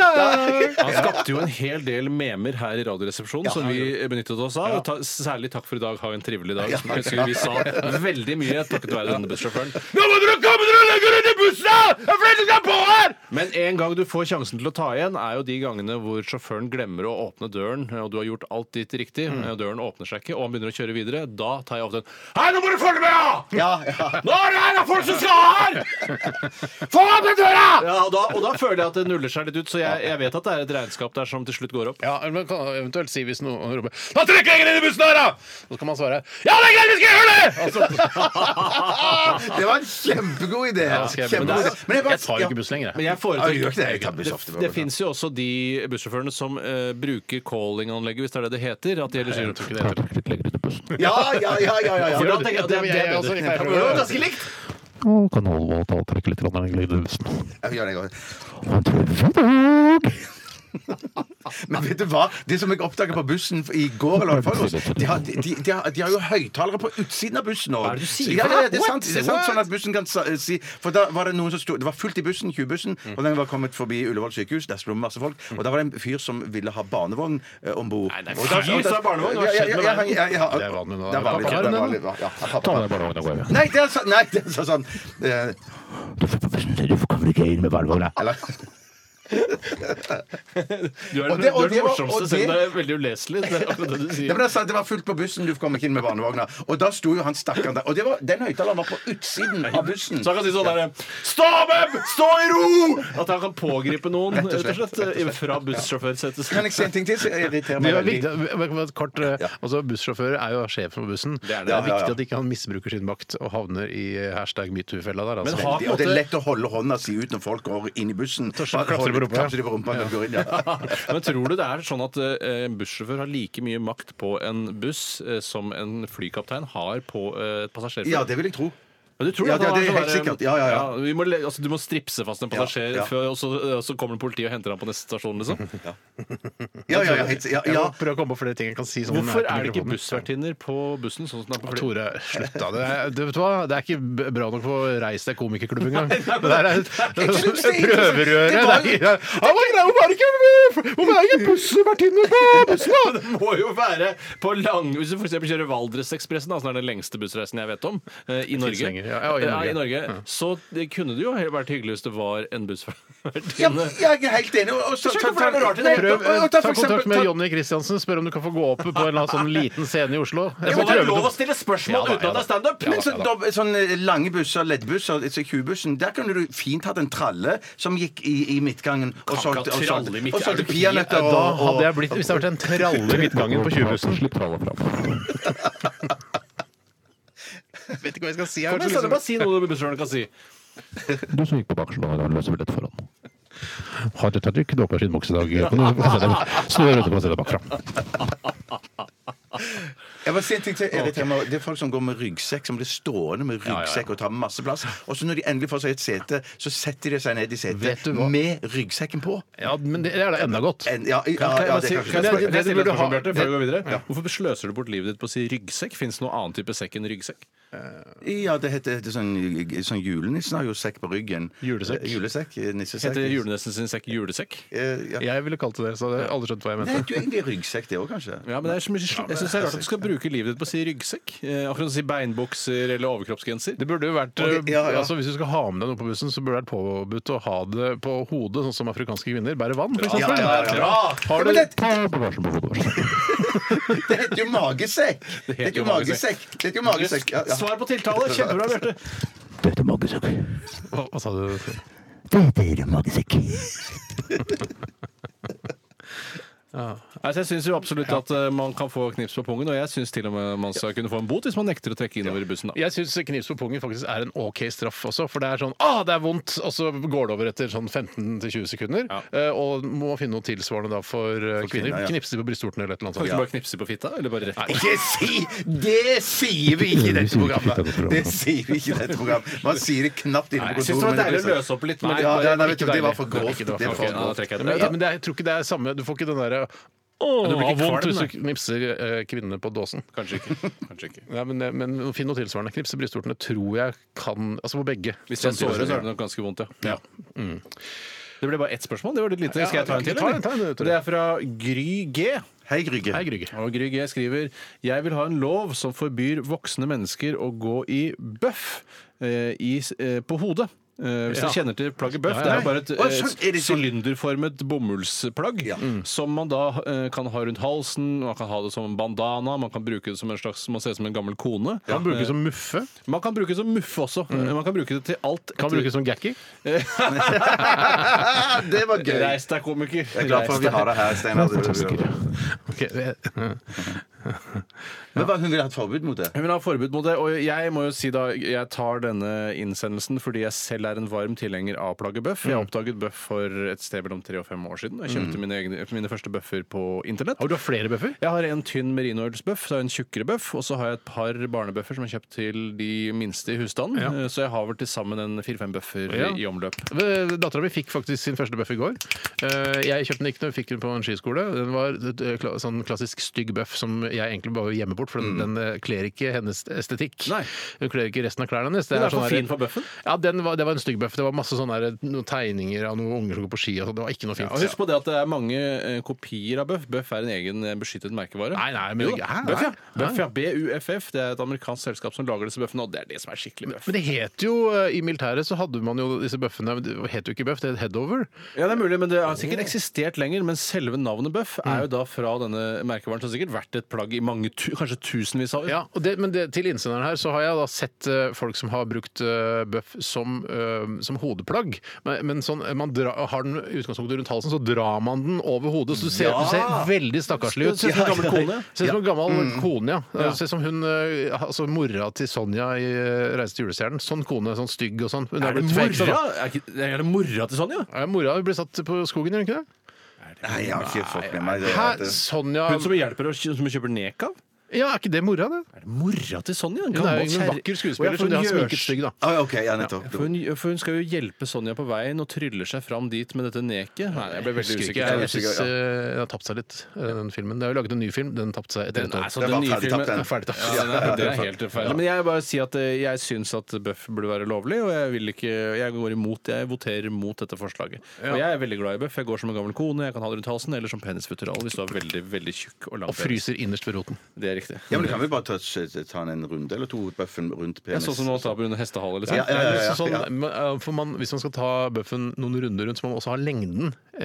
S2: Han skapte jo en hel del memer her i Radioresepsjonen som vi benyttet oss av. og Ta, særlig takk for i dag, ha en trivelig dag. Som jeg husker vi sa veldig mye takket være denne bussjåføren.
S1: Nå må dere komme dere lenger inn i bussen! da! Det er flere som skal på her!
S2: Men en gang du får sjansen til å ta igjen, er jo de gangene hvor sjåføren glemmer å åpne døren, og du har gjort alt ditt riktig, og døren åpner seg ikke, og han begynner å kjøre videre. Da tar jeg ofte en Hei, nå må du følge med, ja!
S7: Ja, ja.
S2: Nå er det her, det er folk som skal her! Få opp den døra! Ja, og da, og da føler jeg at det nuller seg litt ut, så jeg, jeg vet at det er et regnskap der som til slutt går opp.
S1: Ja, eller man kan eventuelt si hvis noen roper 'Da trykker jeg inn i bussen her, da!' Så kan man svare 'Ja, det er greit, vi skal gjøre det!'
S2: Altså,
S7: Ah, Det var en kjempegod idé.
S1: Ja, skal jeg begynne?
S7: Kjempegod idé. Men
S1: jeg,
S7: bare-
S1: tar jo
S7: ja.
S1: ikke buss lenger, jeg.
S2: Men jeg
S7: Ja, du gjør ikke det. Jeg
S2: foretrekker
S7: tar buss ofte.
S2: Det, det fins jo også de bussjåførene som eh, bruker callinganlegget, hvis det er det det heter. At de heller sier
S1: tror ikke det heter
S7: Ja, ja, ja, ja, ja, ja.
S2: For da tenker jeg at det er
S1: men
S2: det
S1: jeg er
S2: er
S1: også
S2: bedre.
S1: litt feil
S7: Det
S1: på
S7: var
S1: det.
S7: ganske likt. Kan holde på å Men vet du hva? Det som jeg oppdaget på bussen i går eller for, de, har, de, de, har, de har jo høyttalere på utsiden av bussen nå.
S2: er det du sier?
S7: Ja, ja, ja, det er sant, det er sant sånn at bussen kan sa- si For da var det noen som sto Det var fullt i bussen, 20-bussen,
S2: Mm.
S7: og den var kommet forbi Ullevål sykehus. Der sto det masse folk. Og da var det en fyr som ville ha barnevogn eh, om bord.
S2: Nei, det er fyr som har barnevogn, hva
S7: Ja, ja,
S2: skjedde
S7: ja,
S2: med
S7: ja,
S2: verden?
S7: ja, ja, ja.
S1: Det er vanlig nå.
S7: Det er vanlig.
S1: Pappa har
S7: det
S1: den
S7: er
S1: ennå.
S7: vanlig, ja, ja, pappa. Nei, det er sånn Nei, det er så- sånn eh,
S2: Du er
S7: Og det-
S2: den- du
S7: og
S2: er den
S7: det var- og
S2: morsomste, selv om
S7: det-
S2: det er veldig uleselig. Det er akkurat det du
S7: Ja,
S2: sier.
S7: men det, er sant, det var fullt på bussen, du kom ikke inn med barnevogna. Og da sto jo han stakkaren der. Og det var, den høyttaleren var på utsiden av bussen.
S2: Så han kan si sånn derre Stå dem! Stå i ro! At han kan pågripe noen, rett og slett, eh, fra
S7: Kan
S2: bussjåførsetet.
S7: jeg si en ting til? Så jeg irriterer meg
S1: Det er
S7: veldig.
S1: viktig, et kort, eh, altså Bussjåfører er jo sjefen på bussen. Det er,
S7: Ja, ja, ja.
S1: viktig at ikke han misbruker sin makt og havner i eh, hashtag metoo-fella der. Altså.
S2: Men har-
S7: Og det er lett å holde hånda si ut når folk går inn i bussen.
S1: å klatre på rumpa.
S7: Klapser de på rumpa når de går inn, ja.
S2: Men tror du det er sånn at eh, en bussjåfør har like mye makt på en buss eh, som en flykaptein har på eh, et passasjerfly?
S7: ja, det vil jeg tro.
S2: Ja, du tror
S7: Ja,
S2: det, at han
S7: det er
S2: sånn
S7: helt
S2: der,
S7: sikkert. Ja, ja, ja.
S2: vi må, le- altså, du må stripse fast en passasjer,
S7: Ja, ja.
S2: Før, og, så, og så kommer politiet og henter ham på neste stasjon, liksom.
S7: Ja, ja, ja, helt- ja,
S1: Jeg
S7: ja.
S1: må prøve å komme på flere ting jeg kan si. sånn som den
S2: Hvorfor
S1: til
S2: er det ikke
S1: mikrofonen.
S2: bussvertinner på bussen? sånn som det er på fly?
S1: Tore, slutt da. Det er, det, vet du hva? det er ikke b- bra nok for Reis deg komikerklubb engang. Det der er et prøverøre. Det er ikke- Han var grei, Hvorfor er det ikke Hvorfor er det ikke bussvertinne på bussen, da?
S2: Det må jo være på lang Hvis du for eksempel kjører Valdresekspressen, da, som er den lengste bussreisen jeg vet om, eh, i Norge, Eh,
S1: lenger, ja. Ja, i Norge.
S2: Ja, i Norge så det kunne det jo he- vært hyggelig hvis det var en
S7: Ja,
S2: bussvertinne.
S7: jeg er helt enig. Og så,
S2: Skjønner ikke hvorfor det er rart i det hele
S1: Prøv,
S7: Og- og-
S1: eh,
S7: og ta for
S1: ta kontakt
S7: eksempel-
S1: med
S7: ta-
S1: Jonny Christiansen. Spør om du kan få gå opp på en eller annen sånn liten scene i Oslo.
S2: Det
S1: Jeg
S2: må
S1: skal
S2: være
S1: prøve
S2: lov å
S1: det.
S2: stille spørsmål
S1: Ja da,
S2: uten at det er standup!
S7: Men så, dob- sånne lange busser, leddbusser, altså Q-bussen, der kunne du fint hatt en tralle som gikk i, i midtgangen og
S2: Kan ikke
S7: solgte,
S2: ha
S7: og
S2: tralle i
S7: solgte,
S2: midtgangen.
S7: og solgte
S2: Er du
S7: peanøtter og,
S1: Da
S7: og
S1: hadde jeg blitt, hvis det hadde vært en tralle i midtgangen på 20-bussen Slipp tralla fram. Vet ikke hva jeg skal si. Jeg har
S2: Men
S1: vært så
S2: Steinar,
S1: liksom-
S2: bare si noe bussjåføren kan si.
S8: Du som gikk på bakersen og har en løsebillett foran. Har et trykk, dåper sin bukse i dag. Kan du få se det? Snur rundt og få se det bakfra.
S7: Jeg bare sier en ting til irriterer meg. Det er folk som går med ryggsekk, som blir stående med ryggsekk og tar masse plass. Og så når de endelig får seg et sete, så setter de seg ned i
S1: Vet
S7: setet
S1: du hva?
S7: med ryggsekken på.
S1: Ja, men det det er da enda godt.
S7: En, ja, ja,
S2: Kan jeg
S7: ja,
S2: bare
S7: det
S2: si-
S7: er
S2: kan
S7: kanskje
S2: jeg
S7: det.
S1: Det-
S2: spørre-
S1: det-
S2: kan jeg stille
S1: det-
S2: et spørsmål, Bjarte, før
S1: det-
S2: vi går videre? Hvorfor sløser du bort livet ditt på å si ryggsekk? Fins det noen annen type sekk enn ryggsekk?
S7: Ja, det heter, heter sånn, sånn Julenissen har jo sekk på ryggen.
S1: Julesekk.
S7: Eh, Julesekk, eh, Nissesekk.
S2: Heter julenissen sin sekk julesekk?
S7: Eh, ja.
S1: Jeg ville kalt det det, så hadde jeg aldri skjønt hva jeg
S7: Det
S1: mente.
S7: heter jo egentlig ryggsekk, det òg, kanskje.
S2: Ja, men det er så mye, Jeg syns det er rart at du skal bruke livet ditt på å si ryggsekk. Eh, Akkurat som å si beinbukser eller overkroppsgenser.
S1: Det burde jo vært,
S7: Ok, ja, ja.
S1: altså Hvis du skal ha med deg noe på bussen, så burde det vært påbudt å ha det på hodet, sånn som afrikanske kvinner bærer vann. For eksempel.
S7: ja, ja, ja.
S1: Har
S7: Ja, men
S1: du,
S7: det,
S8: Bagasjen på hodet.
S7: det heter jo magesekk! Det heter jo magesekk. Det heter jo magesekk. Ja, ja.
S2: Svar på tiltale! Kjempebra, Bjarte.
S8: Dette er magesekk.
S1: hva, hva sa du?
S8: Dette er magesekk.
S2: Altså, jeg syns jo absolutt at eh, man kan få knips på pungen, og jeg syns til og med man skal kunne få en bot hvis man nekter å trekke innover i bussen. Da.
S1: Jeg syns knips på pungen faktisk er en OK straff også, for det er sånn ah, det er vondt, og så går det over etter sånn 15-20 sekunder. eh, Og må finne noe tilsvarende da for, eh, kvinner.
S7: kvinner, ja.
S1: Knipse de på brystvorten eller et eller
S2: Kan
S1: annet
S2: ikke
S1: sånt.
S2: bare knipse på fitta, eller bare rett
S7: Ikke si! Det sier vi ikke i dette programmet. Det sier vi ikke i dette programmet. Man sier det knapt inne
S2: Nei,
S7: på
S2: jeg syns det var
S7: kontoret. men
S2: deilig å
S7: det-
S2: løse opp litt, men
S7: Nei,
S2: det
S7: ja,
S2: var
S7: ja, nei,
S2: ikke
S7: vet du, det var
S2: deilig.
S7: for grovt.
S1: Ikke det var
S7: Det er
S1: for
S7: for
S2: Ok, da
S7: grovt.
S2: trekker jeg
S1: Men,
S2: det.
S1: men det, er- jeg tror ikke det er samme Du får ikke den derre
S2: Åh,
S1: Det blir
S2: kvalm,
S1: vondt hvis
S2: nei.
S1: du knipser eh, kvinnene på dåsen.
S2: Kanskje ikke. Kanskje ikke.
S1: Nei, men, eh, men finn noe tilsvarende. Knipse brystvortene tror jeg kan Altså på begge.
S2: Hvis det er såret, så er Sånn det nok ganske vondt, ja. Mm. Det ble bare ett spørsmål. Det var litt lite. Skal jeg ta en til?
S1: Ta en- ta en,
S2: eller?
S1: Tore.
S2: Det er fra Gry G.
S7: Hei, Grygge.
S1: Hei, Grygge.
S2: Og Gry G skriver Jeg vil ha en lov som forbyr voksne mennesker å gå i bøff eh, i, s- eh, på hodet. Eh, hvis
S1: Ja.
S2: dere kjenner til plagget bøff,
S1: Ja,
S2: det
S1: ja.
S2: er jo bare et,
S7: Å, sånn, er
S2: eh,
S7: det sånn?
S2: sylinderformet bomullsplagg Mm. som man da eh, kan ha rundt halsen, man kan ha det som en bandana, man kan bruke det som en slags Man ser ut som en gammel kone.
S1: Kan brukes som muffe.
S2: Eh, man kan bruke det som muffe også.
S7: Mm.
S2: Eh, Man kan bruke det til alt.
S1: Kan brukes som gakki.
S7: Det var gøy.
S2: Reis deg, komiker.
S7: Jeg er glad for at vi har det her, Steinar.
S1: Ok, det-
S7: Men hva, Hun ville hatt forbud mot det?
S2: Hun vil ha forbud mot det, og jeg må jo si da, jeg tar denne innsendelsen fordi jeg selv er en varm tilhenger av plagget bøff.
S1: Mm.
S2: Jeg oppdaget bøff for et sted mellom tre og fem år siden. Jeg kjøpte mine, egne, mine første bøffer på internett.
S1: Har du flere bøffer?
S2: Jeg har en tynn merinoilsbøff, så har jeg en tjukkere bøff, og så har jeg et par barnebøffer som er kjøpt til de minste i husstanden. Eh,
S1: Ja.
S2: Så jeg har vel til sammen en fire-fem bøffer
S1: Ja.
S2: i omløp.
S1: Dattera mi Eh, fikk faktisk sin første bøff i går. Eh, Jeg kjøpte den ikke når vi fikk den på en skiskole. Den var et, eh, kla- sånn klassisk stygg bøff som jeg egentlig bare vil gjemme bort, for den, den eh, kler ikke hennes estetikk.
S2: Mm. Nei.
S1: Den kler ikke resten av klærne hennes. Det
S2: Den er for
S1: sånn
S2: fin
S1: der-
S2: for bøffen.
S1: Ja, den var, det var en stygg bøff. Det var masse sånne der, noen tegninger av noen unger som går på ski og sånn. Det var ikke noe fint.
S2: Og husk på det at det er mange eh, kopier av bøff. Bøff er en egen eh, beskyttet merkevare.
S1: Nei, nei, men-
S2: Jo da.
S1: Hæ?
S2: Bøff, ja.
S1: Nei.
S2: Bøff, ja. BUFF. Det er et amerikansk selskap som lager disse bøffene, og det er det som er skikkelig bøff.
S1: Men det het jo, eh, i militæret så hadde man jo disse bøffene, men det het jo ikke bøff, det het headover.
S2: Ja, det er mulig, men det har sikkert eksistert lenger. Men selve navnet bøff er jo da fra denne merkevaren, som har sikkert vært et plagg i mange tu kanskje tusenvis av år.
S1: Ja, og det, men det, til innsenderen her så har jeg da sett eh, folk som har brukt eh, bøff som, eh, som hodeplagg. Men, men sånn, eh, man dra, har den i utgangspunktet rundt halsen, så drar man den over hodet. Så du ser, du ser veldig stakkarslig ut.
S2: Ser ut som en gammel kone. Mm.
S1: Ser ut som en gammel kone, ja. Det Ser ut som hun, eh, altså mora til Sonja i eh, Reise til julestjernen. Sånn kone, sånn stygg og sånn. Hun
S2: Er det
S1: blitt
S2: mora?
S1: fengselet, da.
S2: Er, ikke- er det mora til Sonja?
S1: Ja, mora ble satt på skogen, gjør hun ikke det?
S7: Nei, jeg har ikke fått med meg det.
S1: Hæ, Sonja
S2: Hun som hjelper oss, som vi kjøper nek av?
S1: Ja, er ikke det mora, det?
S2: Er det mora til Sonja? En
S1: Hun er
S2: gammel
S1: jo en
S2: kjerre-
S1: vakker
S2: Å,
S1: skuespiller
S2: ja, for
S1: som de har
S2: hun gjør-
S1: sminket stygg, da.
S3: Ah, ok, ja, nettopp.
S2: For hun, for hun skal jo hjelpe Sonja på veien og tryller seg fram dit med dette neket. Nei, jeg ble veldig
S1: Husker ikke,
S2: usikker.
S1: jeg syns eh, den har tapt seg litt, eh, den filmen. Det er jo laget en ny film, den tapte seg etter
S2: Den
S1: et
S2: er
S1: år.
S2: så
S3: Det
S2: den
S3: var
S2: nye
S3: ferdig
S2: filmen
S3: tapt, den.
S2: er ferdig tapt.
S3: Ja,
S2: Ja,
S3: den er-
S2: det er helt feil. Men jeg bare sier at eh, jeg syns at bøff burde være lovlig, og jeg vil ikke Jeg går imot, jeg voterer mot dette forslaget. Og jeg er veldig glad i bøff. Jeg går som en gammel kone, jeg kan ha det rundt halsen, eller som penisfutteral hvis du er veldig, veldig tjukk og
S1: Og
S2: lang
S1: fryser innerst ved roten.
S2: Det er riktig.
S3: Ja, men Kan vi bare ta,
S7: eh,
S3: ta en runde eller to bøffen rundt
S2: Jeg
S3: penis?
S2: så som nå taper under hestehale, liksom.
S3: Ja, ja, ja, ja.
S1: Så Sånn, men, eh, for man, hvis man skal ta bøffen noen runder rundt, så må man også ha lengden. Eh,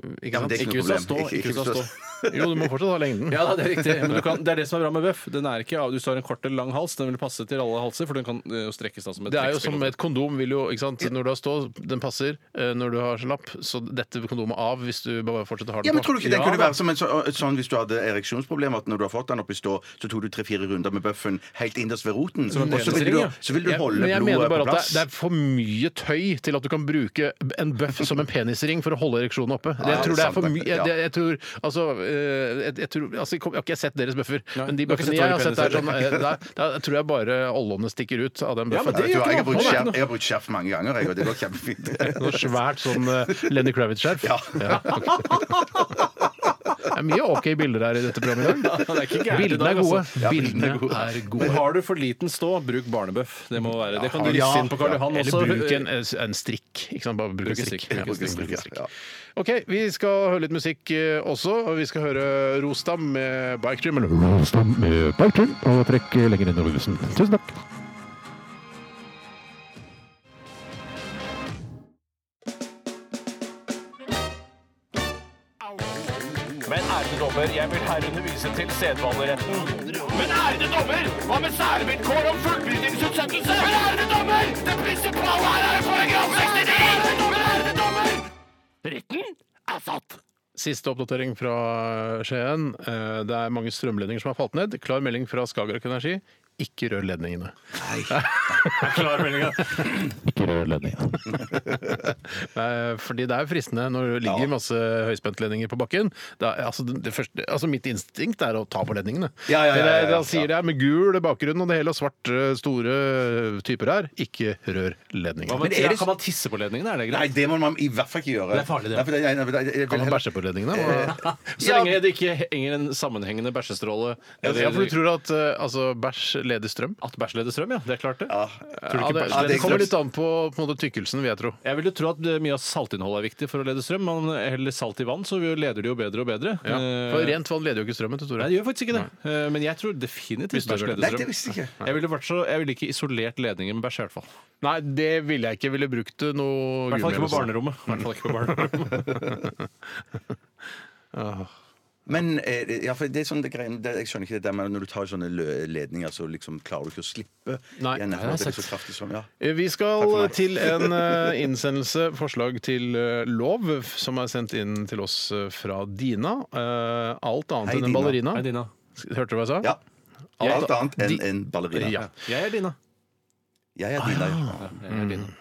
S1: ikke
S3: men
S1: sant?
S3: det er ikke
S2: Ikke
S3: noe
S2: hvis du
S3: problem.
S2: har stå. Ikke hvis du har stå.
S1: Jo, du må fortsatt ha lengden.
S2: Ja, da, det er riktig. Men du kan, det er det som er bra med bøff. Den er ikke, av- Hvis du har en kort eller lang hals, den vil passe til alle halser, for den kan eh, jo strekkes da som et
S1: Det er jo
S2: trekkspill.
S1: som et kondom. Vil jo, ikke sant? Når du har stå, den passer. Eh, Når du har slapp, så detter kondomet av hvis du bare fortsetter å ha den
S3: Ja, men
S1: på.
S3: Tror du ikke det
S1: Ja,
S3: kunne
S1: da.
S3: være som en så, sånn hvis du hadde ereksjonsproblemer, at når du har fått den opp i stå, så tok du tre-fire runder med bøffen helt innerst ved roten,
S2: en
S3: og så vil
S2: penisring,
S3: du,
S2: ja.
S3: så vil du
S1: Jeg-
S3: holde
S1: men jeg
S3: blodet
S1: mener bare
S3: på
S1: at det,
S3: plass?
S1: er- det er for mye tøy til at du kan bruke en bøff som en penisring for å holde ereksjonen oppe. Det, jeg
S3: Ja, det er
S1: tror det er for
S3: sant,
S1: mye
S3: det. Ja.
S1: jeg, jeg tror, altså, eh, jeg, jeg tror, altså, jeg kom- Jeg har ikke sett deres bøffer,
S2: Nei,
S1: men de
S2: du har ikke sett
S1: bøffene jeg har
S2: våre
S1: sett, er
S2: peniser.
S1: sånn eh, Der der tror jeg bare ollene stikker ut av den
S2: Ja, men
S1: bøffen.
S2: det
S3: Jeg
S2: gjør
S3: tror
S2: ikke noe.
S3: jeg har brukt
S2: Det er ikke
S3: skjerf- jeg har brukt skjerf mange ganger, jeg, og det går kjempefint.
S1: Noe svært sånn eh, Lenny Kravitz-skjerf.
S3: Ja.
S1: Det er mye OK bilder her i dette programmet i dag.
S2: Ja, det er ikke gærent i
S1: Bildene
S2: dag,
S1: er gode.
S2: altså.
S1: Bildene er
S2: Men
S1: gode.
S2: har du for liten stå, bruk barnebøff. Det må være. Det kan du
S3: Ja.
S2: riste inn på Karl Johan også.
S1: Eller bruk en, eh, en strikk. Ikke sant? Bare bruk en strikk.
S2: Bruk en strikk,
S1: Ja,
S2: bruk en
S1: bruk en strikk.
S3: Ja.
S1: OK, vi skal høre litt musikk eh, også. Og vi skal høre Rostam med Bike Dream. Eller
S9: Råstam med Bergtun, og trekk lenger inn i rusen. Tusen takk.
S10: Men ærede dommer, jeg vil herunder vise til sedvaneretten. Men ærede dommer, hva med særvilkår om fullbyrdingsutsettelse? Men ærede dommer, det prinsipale her er paragraf 69! Men ærede dommer, retten er satt.
S1: Siste oppdatering fra Skien. Eh, Det er mange strømledninger som har falt ned. Klar melding fra Skagerrak Energi. Ikke rør ledningene.
S2: Klar melding, ja.
S9: Ikke rør ledningen.
S1: Eh, Fordi det er fristende når det ligger masse høyspentledninger på bakken. Det er, altså, det første, altså mitt instinkt er å ta på ledningene.
S3: Ja, ja, ja, ja, ja,
S1: Men jeg-
S3: ja.
S1: Da sier det er med gul bakgrunn og det hele, og svarte, store eh, typer her. Ikke rør ledningene.
S2: Men
S3: er det-
S2: Kan man tisse på ledningen? Er det
S3: Nei,
S2: greit?
S3: det må man i hvert fall ikke gjøre.
S2: Det er farlig, det.
S3: Nei, for nei, nei, for jeg-
S1: Kan
S3: jeg vil
S1: man
S3: heller-
S1: bæsje på ledningene? Hva-
S2: Så lenge det ikke henger en sammenhengende bæsjestråle
S1: Ja, for du tror at eh, altså, bæsj leder strøm?
S2: At bæsj leder strøm, ja. Det er klart, det. Tror
S3: Ja.
S2: du ikke
S1: Ja, det, det
S2: bæsj leder
S1: kommer
S2: strøm?
S1: litt an på, på en måte, tykkelsen, vil jeg tro.
S2: Jeg vil jo tro at eh, mye av saltinnholdet er viktig for å lede strøm. Man heller salt i vann, så vi leder det jo bedre og bedre.
S1: Ja.
S2: Eh,
S1: For rent vann leder jo ikke strømmen til Tore.
S2: Nei, det gjør faktisk ikke det. Eh, Men jeg tror definitivt bæsj leder
S3: Nei,
S2: strøm.
S3: det visste jeg ikke.
S2: Jeg ville, vært så, jeg ville ikke isolert ledningen med bæsj, i hvert fall.
S1: Nei, det ville jeg ikke. Ville brukt eh, noe
S2: I hvert fall ikke på
S1: gummi
S2: barnerommet. I hvert fall ikke på barnerommet.
S3: Men eh, ja, for det er sånn det greien, det, jeg skjønner ikke det der med når du tar sånne lø- ledninger, så liksom klarer du ikke å slippe.
S1: Nei,
S3: igjen,
S1: det
S3: etter
S1: har
S3: at det
S1: jeg
S3: er så kraftig som, ja.
S1: Eh, Vi
S3: Takk
S1: skal
S3: for meg.
S1: til en eh, innsendelse, forslag til eh, lov, f- som er sendt inn til oss eh, fra Dina. Eh, Alt annet
S3: Hei,
S1: enn en
S3: Dina.
S1: ballerina.
S2: Hei, Dina.
S1: S- Hørte du hva jeg sa?
S3: ja.
S1: Ja.
S3: Alt annet enn
S1: De-
S3: en ballerina.
S1: Ja.
S2: Jeg er Dina.
S3: Jeg er dina.
S1: Ah.
S2: Jeg er Dina.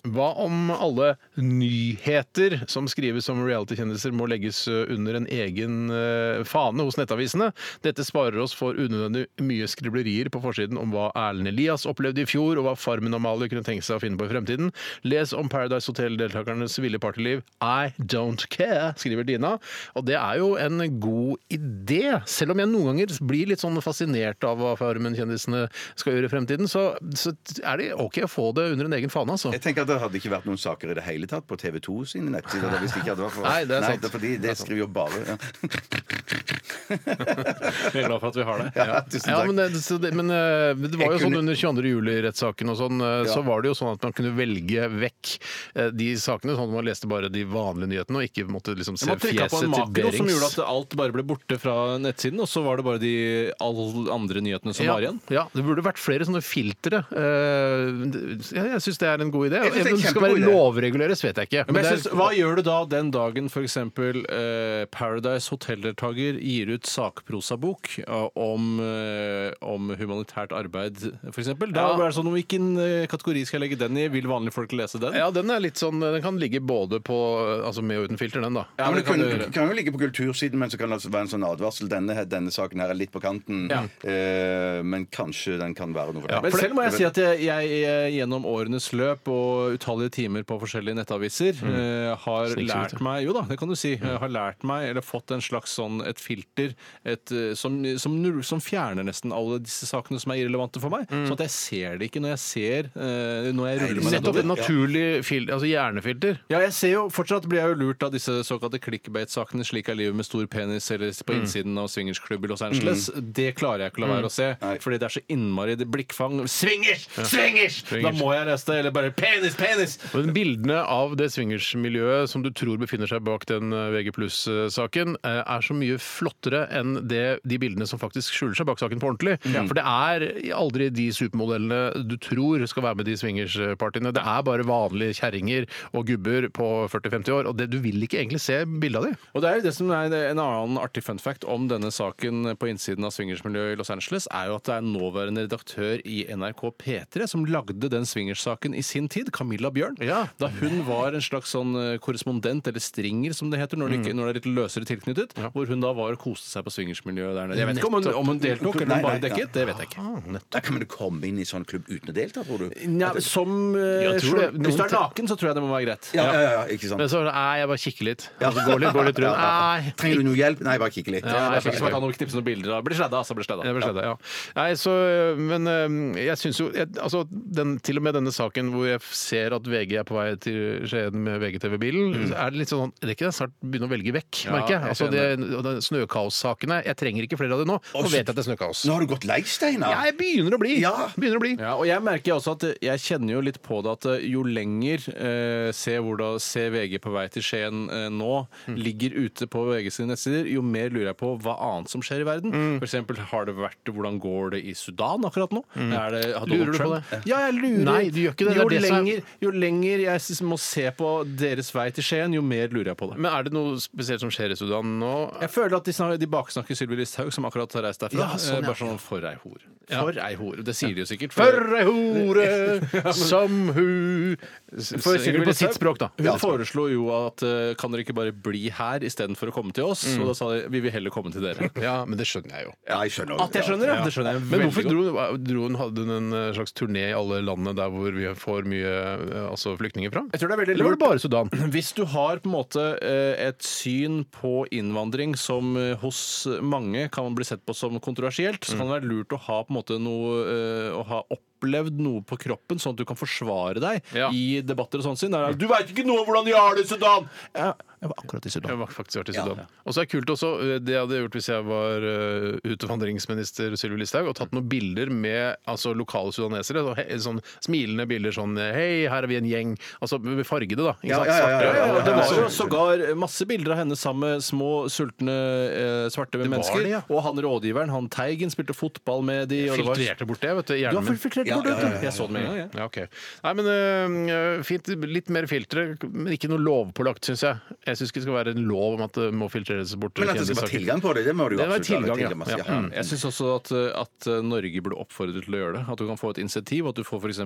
S1: Hva om alle nyheter som skrives som reality-kjendiser må legges eh, under en egen eh, fane hos nettavisene? Dette sparer oss for unødvendig mye skriblerier på forsiden om hva Erlend Elias opplevde i fjor, og hva Farmen og Amalie kunne tenke seg å finne på i fremtiden. Les om Paradise Hotel-deltakernes ville partyliv. I don't care, skriver Dina. Og det er jo en god idé, selv om jeg noen ganger blir litt sånn fascinert av hva Farmen-kjendisene skal gjøre i fremtiden, så, så er det OK å få det under en egen fane, altså.
S3: Jeg tenker at Det hadde ikke vært noen saker i det hele tatt på TV 2 sine nettsider. hvis det ikke hadde vært for...
S1: Nei, det er sant.
S3: Nei, fordi det skriver jo bare ja.
S2: Jeg er glad for at vi har det.
S3: Ja, tusen
S1: Ja,
S3: takk.
S1: men det, så det, men eh, det var jo
S3: Jeg kunne-
S1: sånn under 22. juli-rettssaken og sånn, eh, så
S3: Ja.
S1: var det jo sånn at man kunne velge vekk eh, de sakene, sånn at man leste bare de vanlige nyhetene og ikke måtte liksom se
S2: Man trykka på
S1: fjeset
S2: en
S1: til
S2: makro som gjorde
S1: Berings.
S2: at alt bare ble borte fra nettsiden, og så var det bare de alle andre nyhetene som
S1: Ja,
S2: var igjen.
S1: ja, det burde vært flere sånne filtre. Eh, det- ja, jeg syns det er en god idé.
S3: Jeg synes det er
S1: om det skal
S3: kjempegod
S1: være
S3: idé.
S1: lovreguleres, vet jeg ikke.
S2: Men jeg
S1: det er-
S2: synes, Hva gjør du da den dagen f.eks. Eh, Paradise Hotel-deltaker gir ut sakprosabok eh, om, eh, om humanitært arbeid, f.eks.?
S1: Ja.
S2: Da er det sånn, Hvilken eh, kategori skal jeg legge den i? Vil vanlige folk lese den?
S1: ja, den er litt sånn Den kan ligge både på Altså med og uten filter, den, da.
S2: Ja,
S3: Ja, men
S2: det
S3: det
S2: kan
S3: kan,
S2: du gjøre.
S3: kan jo ligge på kultursiden, men så kan det altså være en sånn advarsel. Denne, her- denne saken her er litt på kanten, eh, men kanskje den kan være noe for deg.
S2: Men selv må jeg si at jeg, jeg eh, gjennom årenes løp og utallige timer på forskjellige nettaviser
S1: Mm.
S2: eh, har
S1: Snikskryt,
S2: lært
S1: ja. Mm.
S2: meg Jo da, det kan du si. Jeg har lært meg, eller fått en slags sånn et filter et, eh, som, som, null- som fjerner nesten alle disse sakene som er irrelevante for meg. Sånn at jeg ser det ikke når jeg ser eh, Når jeg ruller meg
S1: Mm. Nettopp
S2: nedover.
S1: et naturlig fil, altså hjernefilter.
S2: Ja, jeg ser jo, Fortsatt blir jeg jo lurt av disse såkalte clickbait-sakene. 'Slik er livet med stor penis' eller 'På innsiden av swingersklubb i Los Angeles'. Det klarer jeg ikke å la være å se, fordi det er så innmari det blikkfang. Swingers! Swingers! Da må jeg lese det. Eller bare 'penis, penis'!
S1: Men bildene av det swingersmiljøet som du tror befinner seg bak den eh, VG pluss-saken, eh, er så mye flottere enn det, de bildene som faktisk skjuler seg bak saken på ordentlig.
S2: Mm.
S1: For det er aldri de supermodellene du tror skal være med de swingerspartiene. Det er bare vanlige kjerringer og gubber på 40-50 år, og det, du vil ikke egentlig se bildet av dem.
S2: Og det er jo det som er en annen artig fun fact om denne saken på innsiden av swingersmiljøet i Los Angeles, er jo at det er en nåværende redaktør i NRK P3 som lagde den swingersaken i sin tid, Camilla Bjørn.
S1: Ja.
S2: Da hun var en slags sånn eh, korrespondent, eller stringer som det heter når
S3: Mm.
S2: det, ikke, når det er litt løsere tilknyttet, hvor hun da var og koste seg på swingersmiljøet der nede. Jeg vet ikke om hun, om hun deltok, eller
S3: Mm. Nei,
S2: om hun bare
S3: nei,
S2: dekket, det vet jeg ikke.
S3: Da kan man jo komme inn i sånn klubb uten å delta, tror du?
S2: Nja, som eh,
S1: Jeg tror det-
S2: journal- Hvis du er naken, så tror jeg det må være greit.
S3: Ja, ja, ja, ikke sant?
S1: Men så er det nei, jeg bare kikker litt. Altså, går litt, går litt rundt. Nei.
S3: Trenger du noe hjelp? Nei, bare kikke litt.
S2: Ja,
S1: Ja,
S2: det er
S1: jeg
S2: ikke som at han må knipse noen bilder av. Blir sledda, altså. Blir sledda.
S1: Det blir sledda, ja. Nei, så, øh, men øhm, jeg syns jo jeg, altså, den, Til og med denne saken hvor jeg ser at VG er på vei til Skien med VGTV-bilen, så er det litt sånn Det er ikke det snart begynner å velge vekk,
S2: Ja,
S1: merker jeg.
S2: jeg
S1: Altså, det, og det, snøkaossakene Jeg trenger ikke flere av det nå. Nå vet jeg at det er snøkaos.
S3: Nå har du gått lei, Steinar.
S1: Jeg begynner å bli!
S3: Ja.
S1: Begynner å bli.
S2: Ja, og jeg merker også at jeg kjenner jo litt på det at jo lenger eh, se, hvordan, se VG på vei til Skien eh, nå
S1: Mm.
S2: ligger ute på VG sine nettsider, jo mer lurer jeg på hva annet som skjer i verden.
S1: Mm.
S2: For eksempel, har det vært hvordan går det i Sudan akkurat nå? Er det, har Donald
S1: Mm. Lurer du på
S2: Trump-
S1: det?
S2: Ja, jeg lurer.
S1: Nei, du gjør ikke det. Det
S2: Jo,
S1: er det som er-
S2: lenger, jo lenger jeg s- må se på deres vei til Skien, jo mer lurer jeg på det.
S1: Men er det noe spesielt som skjer i Sudan nå?
S2: Jeg føler at de, snak- de baksnakker Sylvi Listhaug, som akkurat har reist derfra.
S1: Ja, sånn,
S2: Eh,
S1: ja.
S2: Bare sånn for ei hor. For ei hor. Det sier de jo sikkert.
S1: For ei hore som hu
S2: For
S1: Synger på sitt språk, da.
S2: Hun foreslo jo at eh, kan dere ikke bare bli her istedenfor å komme til oss? Og da sa de vi vil heller komme til dere.
S1: Ja, men det skjønner jeg jo.
S3: Ja, jeg skjønner.
S2: At jeg skjønner, ja! Det skjønner jeg
S1: Men
S2: veldig
S1: hvorfor
S2: godt.
S1: dro, dro hun, hadde hun en eh, slags turné i alle landene der hvor vi får mye eh, altså flyktninger fra?
S2: Jeg tror det er veldig
S1: Eller var det
S2: lurt.
S1: bare Sudan?
S2: Hvis du har på en måte eh, et syn på innvandring som eh, hos mange kan bli sett på som kontroversielt, så kan det være lurt å ha på en måte noe eh, å ha opplevd noe på kroppen, sånn at du kan forsvare deg
S1: Ja.
S2: i debatter og sånn. sin. Der er det, Du veit ikke noe om hvordan de har det i Sudan! Ja, jeg var akkurat i Sudan.
S1: Jeg har faktisk vært i Sudan. Og så er det kult også, eh, det jeg hadde gjort hvis jeg var eh, utvandringsminister Sylvi Listhaug, og tatt noen bilder med altså, lokale sudanesere. Så, he- sånn smilende bilder sånn eh, Hei, her er vi en gjeng. Altså med fargede, da. Ikke
S3: Ja,
S1: sant?
S3: ja, ja,
S1: Svarte.
S3: ja, ja, ja, ja.
S2: Det var jo sågar masse bilder av henne sammen med små, sultne eh, svarte mennesker.
S1: det, ja.
S2: Og han rådgiveren, han Teigen, spilte fotball med de. Og det var...
S1: Filtrerte bort det, vet du. i
S2: Du
S1: Hjernen
S2: har
S1: min.
S2: filtrert bort det, vet du. Jeg så det med en gang. jeg.
S1: Mm. Ja, ok. Nei, men øh, fint. Litt mer filtre, men ikke noe lovpålagt, syns jeg. Jeg syns ikke det skal være en lov om at det må filtreres bort.
S3: Men at det skal være
S1: kjendissaker.
S3: tilgang på det, det må du jo
S1: Det var
S3: absolutt ha.
S1: tilgang, ja.
S3: Tilgang, masse,
S1: Ja.
S2: Jeg syns også at, eh, at Norge burde oppfordre til å gjøre det. At du kan få et insentiv, og at du får f.eks.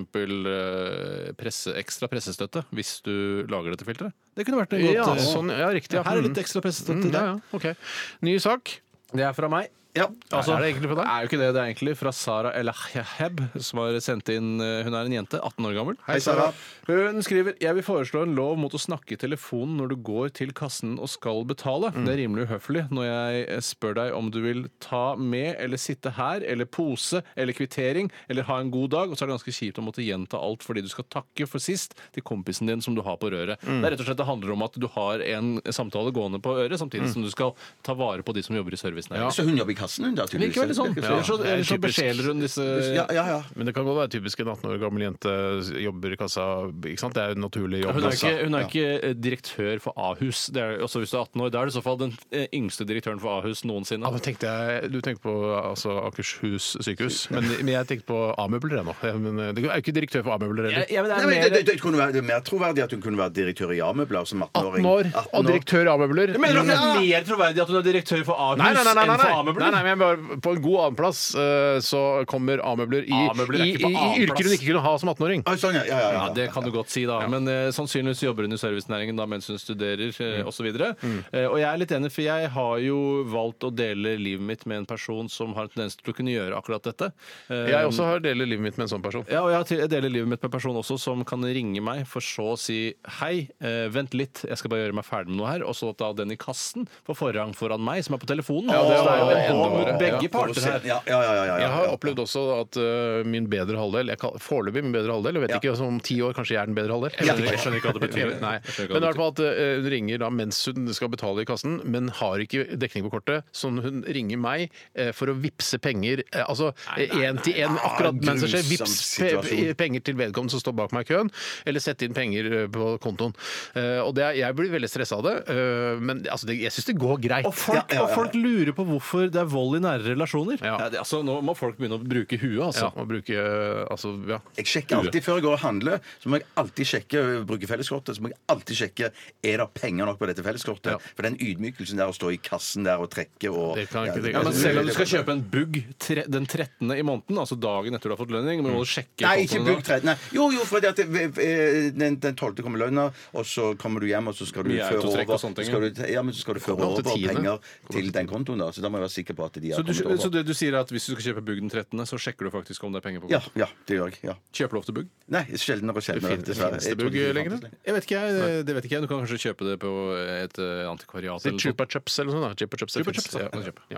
S2: Presse, ekstra pressestøtte hvis du lager dette filteret. Det kunne vært noe
S1: Ja,
S2: godt. eh,
S1: sånn, ja, riktig. Ja.
S2: Her er litt ekstra
S1: Mm,
S2: pressestøtte til
S1: ja,
S2: deg.
S1: ja, ok. Ny sak.
S2: Det er fra meg.
S3: Ja.
S2: Altså,
S1: er det egentlig på deg?
S2: er jo ikke det. Det er egentlig fra Sara Elaheb, som har sendt inn eh, Hun er en jente, 18 år gammel.
S3: Hei, Sara.
S2: Hun Eh, skriver Jeg vil foreslå en lov mot å snakke i telefonen når du går til kassen og skal betale.
S1: Mm.
S2: Det er rimelig uhøflig når jeg eh, spør deg om du vil ta med eller sitte her, eller pose, eller kvittering, eller ha en god dag, og så er det ganske kjipt å måtte gjenta alt fordi du skal takke for sist til kompisen din som du har på røret.
S1: Mm.
S2: Det er rett og slett det handler
S1: Mm.
S2: om at du har en samtale gående på øret, samtidig som du skal ta vare på de som jobber i servicenæringen.
S3: Så hun jobber i kassen hun da,
S2: Det virker veldig sånn.
S3: Det virker
S2: Ellers så,
S1: det er
S2: ellers så
S1: typisk.
S2: besjeler hun disse
S3: Ja, ja, ja.
S1: Men det kan godt være typisk en 18 år gammel jente jobber i kassa. ikke sant? Det er jo en naturlig jobb.
S2: Hun er,
S1: altså.
S2: ikke, hun er ikke eh, direktør for Ahus. Det er, også hvis du er 18 år, Da er det i så fall den eh, yngste direktøren for Ahus noensinne.
S1: Ja, men tenkte jeg, Du tenker på altså, Akershus sykehus, men, men jeg tenkte på A-møbler jeg nå. Jeg, men, eh, det er jo ikke direktør for A-møbler heller.
S2: men
S3: Nei, men det, det, det kunne være det er mer troverdig at hun kunne være direktør i A-møbler som 18-åring.
S1: 18 år
S3: 18
S1: og direktør A-møbler.
S2: Mener du at det er mer troverdig at hun er direktør for Ahus
S1: Nei, nei, nei, nei,
S2: enn
S1: nei,
S2: for
S1: nei, nei,
S2: A-møbler?
S1: men jeg bare, På en god annenplass eh, så kommer A-møbler i,
S2: A-møbler er
S1: i, i,
S2: ikke på
S1: i
S2: annenplass.
S1: yrker hun ikke kunne ha som 18-åring.
S3: Oi, sånn, ja, ja, ja, ja.
S2: Ja, det kan du godt si, da. Men eh, sannsynligvis jobber hun i servicenæringen da mens hun studerer eh,
S1: Mm.
S2: osv. Eh, og jeg er litt enig, for jeg har jo valgt å dele livet mitt med en person som har en tendens til å kunne gjøre akkurat dette. Eh,
S1: Jeg også har deler livet mitt med en sånn person.
S2: Ja, og jeg har til- jeg deler livet mitt med en person også som kan ringe meg for så å si hei, eh, vent litt, jeg skal bare gjøre meg ferdig med noe her, og så ta den i kassen får forrang foran meg, som er på telefonen.
S1: Ja, det er-
S2: Så det
S1: det er
S2: er jo
S1: enda
S2: mot
S1: verre.
S2: begge parter her.
S3: Provosert. Ja, ja, ja, ja, ja,
S1: Jeg har
S3: ja.
S1: opplevd også at eh, min bedre halvdel jeg kall- Foreløpig min bedre halvdel. Jeg vet
S3: Ja.
S1: ikke altså, om ti år kanskje jeg er den bedre halvdel.
S2: Jeg skjønner ikke- jeg skjønner ikke hva det betyr.
S1: Jeg vet- Nei.
S2: Jeg skjønner ikke hva
S1: Men i hvert
S2: det
S1: fall at eh, hun ringer da mens hun skal betale i kassen, men har ikke dekning på kortet, så hun ringer meg eh, for å vippse penger eh, Altså én til én
S2: Ah,
S1: akkurat mens det skjer.
S3: grusom
S1: Vips pe-
S3: situasjon.
S1: penger til vedkommende som står bak meg i køen, eller sette inn penger eh, på kontoen. Eh, Og det er, jeg blir veldig stressa av det, eh, men altså, det, jeg syns det går greit.
S2: Og folk, og folk lurer på hvorfor det er vold i nære relasjoner.
S1: Ja.
S2: det, altså, nå må folk begynne å bruke huet,
S1: Ja,
S2: altså.
S1: å bruke eh, Altså, ja.
S3: Jeg sjekker alltid før jeg går og handler, så må jeg alltid sjekke eh, bruke felleskortet. Så må jeg alltid sjekke er det penger nok på dette felleskortet.
S1: Ja.
S3: For den ydmykelsen der å stå i kassen der og trekke og
S1: Det kan jeg ikke tenke
S2: Ja, men
S1: Altså,
S2: selv om du skal kjøpe en bugg tre, den 13. i måneden, altså dagen etter du har fått lønning, må du sjekke
S3: Nei, ikke
S2: kontoen
S3: bruk
S2: da.
S3: 13. Nei. Jo, jo, for det at det- eh, den, den 12. kommer lønna, og så kommer du hjem, og så skal du
S2: Mye
S3: føre over,
S2: autotrekk og sånne ting,
S3: skal du, ja, men så skal du føre
S1: Kommer opp
S3: over
S1: til tiende.
S3: penger til den kontoen, da. Så da må jeg være sikker på at de har
S2: Så du,
S3: kommet
S2: så
S3: over.
S2: det du sier er at hvis du skal kjøpe bugg den 13., så sjekker du faktisk om det er penger på
S3: Ja,
S2: kontoen?
S3: ja, det gjør jeg. Ja.
S2: Kjøper du ofte bugg?
S3: Nei, sjeldnere og sjeldnere.
S1: Finnes-
S3: dessverre.
S1: finnes
S3: Jeg
S1: det
S3: tror
S1: bugg
S3: ikke det
S1: lenger,
S3: fantes
S1: eller?
S2: Jeg vet ikke, jeg. Det vet ikke jeg. Du kan kanskje kjøpe det på et eh, antikvariat.
S1: Litt
S2: eller noe sånt.
S1: Chupa Chups eller noe sånt. da. Chupa Chups, det
S2: Chupa
S1: finnes.
S2: Chups, ja.
S1: Ja, ja. ja.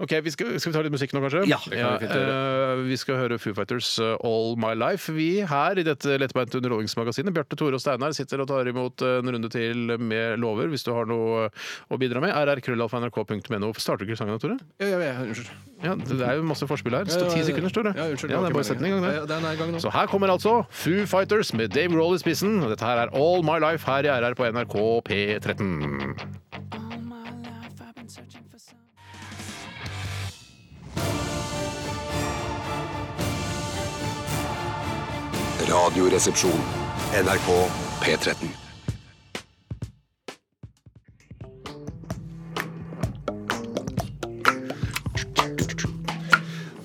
S1: Ok, vi skal, skal vi ta litt musikk nå, kanskje?
S3: Ja, det kan vi
S1: Ja,
S3: fint
S1: eh, vi skal høre Foo Fighters eh, All My Life. Vi her i dette lettbeinte underholdningsmagasinet, Bjarte, Tore og Steinar, sitter og tar imot eh, en runde til med lover, hvis du har noe eh, å bidra med. rrkrøllalfa.nrk.no. Starter du ikke sangen, da, Tore?
S2: Ja, ja, ja, unnskyld. Eh,
S1: Ja, det er jo masse forspill her. Står ti sekunder, står det.
S2: Ja, unnskyld.
S1: Ja, det
S2: var
S1: er bare å
S2: ikke
S1: sette den i gang,
S2: meningen.
S1: det.
S2: Ja, den er i gang nå.
S1: Så her kommer altså Foo Fighters med Dave Roll i spissen. Og Dette her er All My Life her i RR på NRK P13.
S11: Radioresepsjon. NRK P13.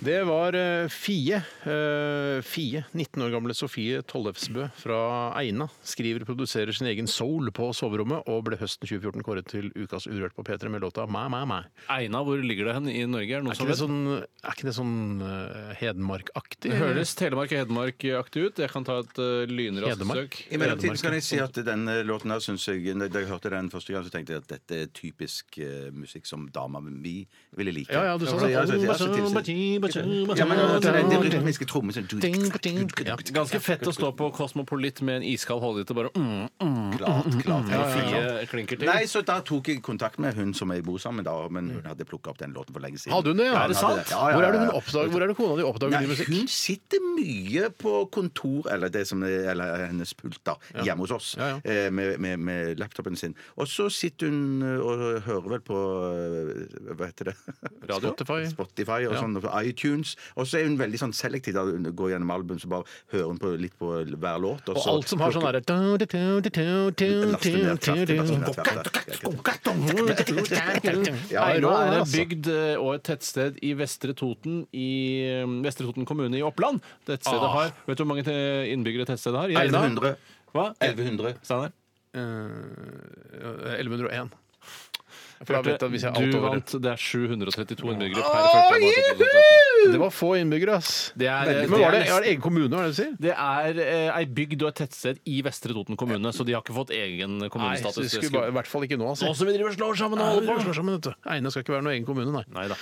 S1: Det var eh, Fie. eh, Fie, 19 år gamle Sofie Tollefsbø fra Eina, skriver og produserer sin egen soul på soverommet, og ble høsten 2014 kåret til ukas Urørt på P3 med låta Mæ, mæ, mæ.
S2: Eina, hvor ligger det hen i Norge?
S1: Er
S2: Er det noen
S1: ikke
S2: som
S1: det
S2: vet?
S1: sånn, er ikke det sånn eh, Hedmark-aktig?
S2: Det høres Telemark og Hedmark-aktig ut. Jeg kan ta et uh, lynraskt
S1: Hedmark.
S2: søk.
S3: I mellomtiden så kan jeg si at denne låten her synes jeg, Da jeg hørte den første gang, så tenkte jeg at dette er typisk eh, musikk som dama mi ville like.
S1: Ja, ja, du sa
S3: Altså,
S1: det.
S3: jeg- jeg- jeg- jeg- jeg- jeg- Ja, men altså, den- den rytmiske trommen sånn
S1: Ja.
S2: Ganske fett å stå på Kosmopolit med en iskald holdning til bare mm,
S3: Klart, klart. helt fint.
S2: fire klinker til.
S3: Nei, så da tok jeg kontakt med hun som jeg bor sammen med, da, men hun hadde plukka opp den låten for lenge siden.
S1: Hadde hun det? Ja,
S3: Ja, hun hadde det. Ja, ja,
S1: Hvor er det
S3: ja,
S1: hun
S3: ja.
S1: oppdager, hvor er det kona di oppdager
S3: Nei,
S1: ny musikk?
S3: hun sitter mye på kontor, eller, det som er, eller hennes pult, da, hjemme hos oss,
S1: Ja, ja.
S3: eh, Med, med, med laptopen sin. Og så sitter hun eh, og hører vel på eh, Hva heter det?
S1: Radio? Spotify.
S3: Spotify og sånn, og på iTunes. Og så er hun veldig sånn selektiv. Da. Hun går gjennom album, så bare hører hun på litt på hver låt.
S1: Og
S3: så
S1: alt som har sånn
S3: plukker-
S1: derre Laster
S3: Laster ned, klapper, laster ned, klapper. Ja,
S2: Eina
S1: Eina
S2: er
S1: er
S2: en
S1: altså.
S2: bygd eh, og et tettsted i Vestre Toten i eh, Vestre Toten kommune i Oppland. Tettstedet
S1: Ah.
S2: har, Vet du hvor mange te- innbyggere tettstedet har? I Eina?
S3: 1100.
S2: Hva?
S3: 1100.
S2: Steinar?
S1: Eh, 1101. For da vet jeg at hvis jeg er
S2: Du
S1: alt over
S2: vant. Det er 732 innbyggere per 1. januar 2013.
S1: Det var få innbyggere, ass.
S2: Det er, det
S1: Men var det,
S2: er
S1: var
S2: nesten-
S1: det egen kommune, hva er det du sier?
S2: det er eh, ei bygd og et tettsted i Vestre Toten kommune, så de har ikke fått egen
S1: så
S2: kommunestatus.
S1: det skulle bare, I hvert fall ikke nå, altså.
S2: Nå som vi driver og slår sammen og
S1: Nei,
S2: holder
S1: det
S2: på!
S1: slår sammen, vet du. Eina skal ikke være noen egen kommune, nei.
S2: Neida.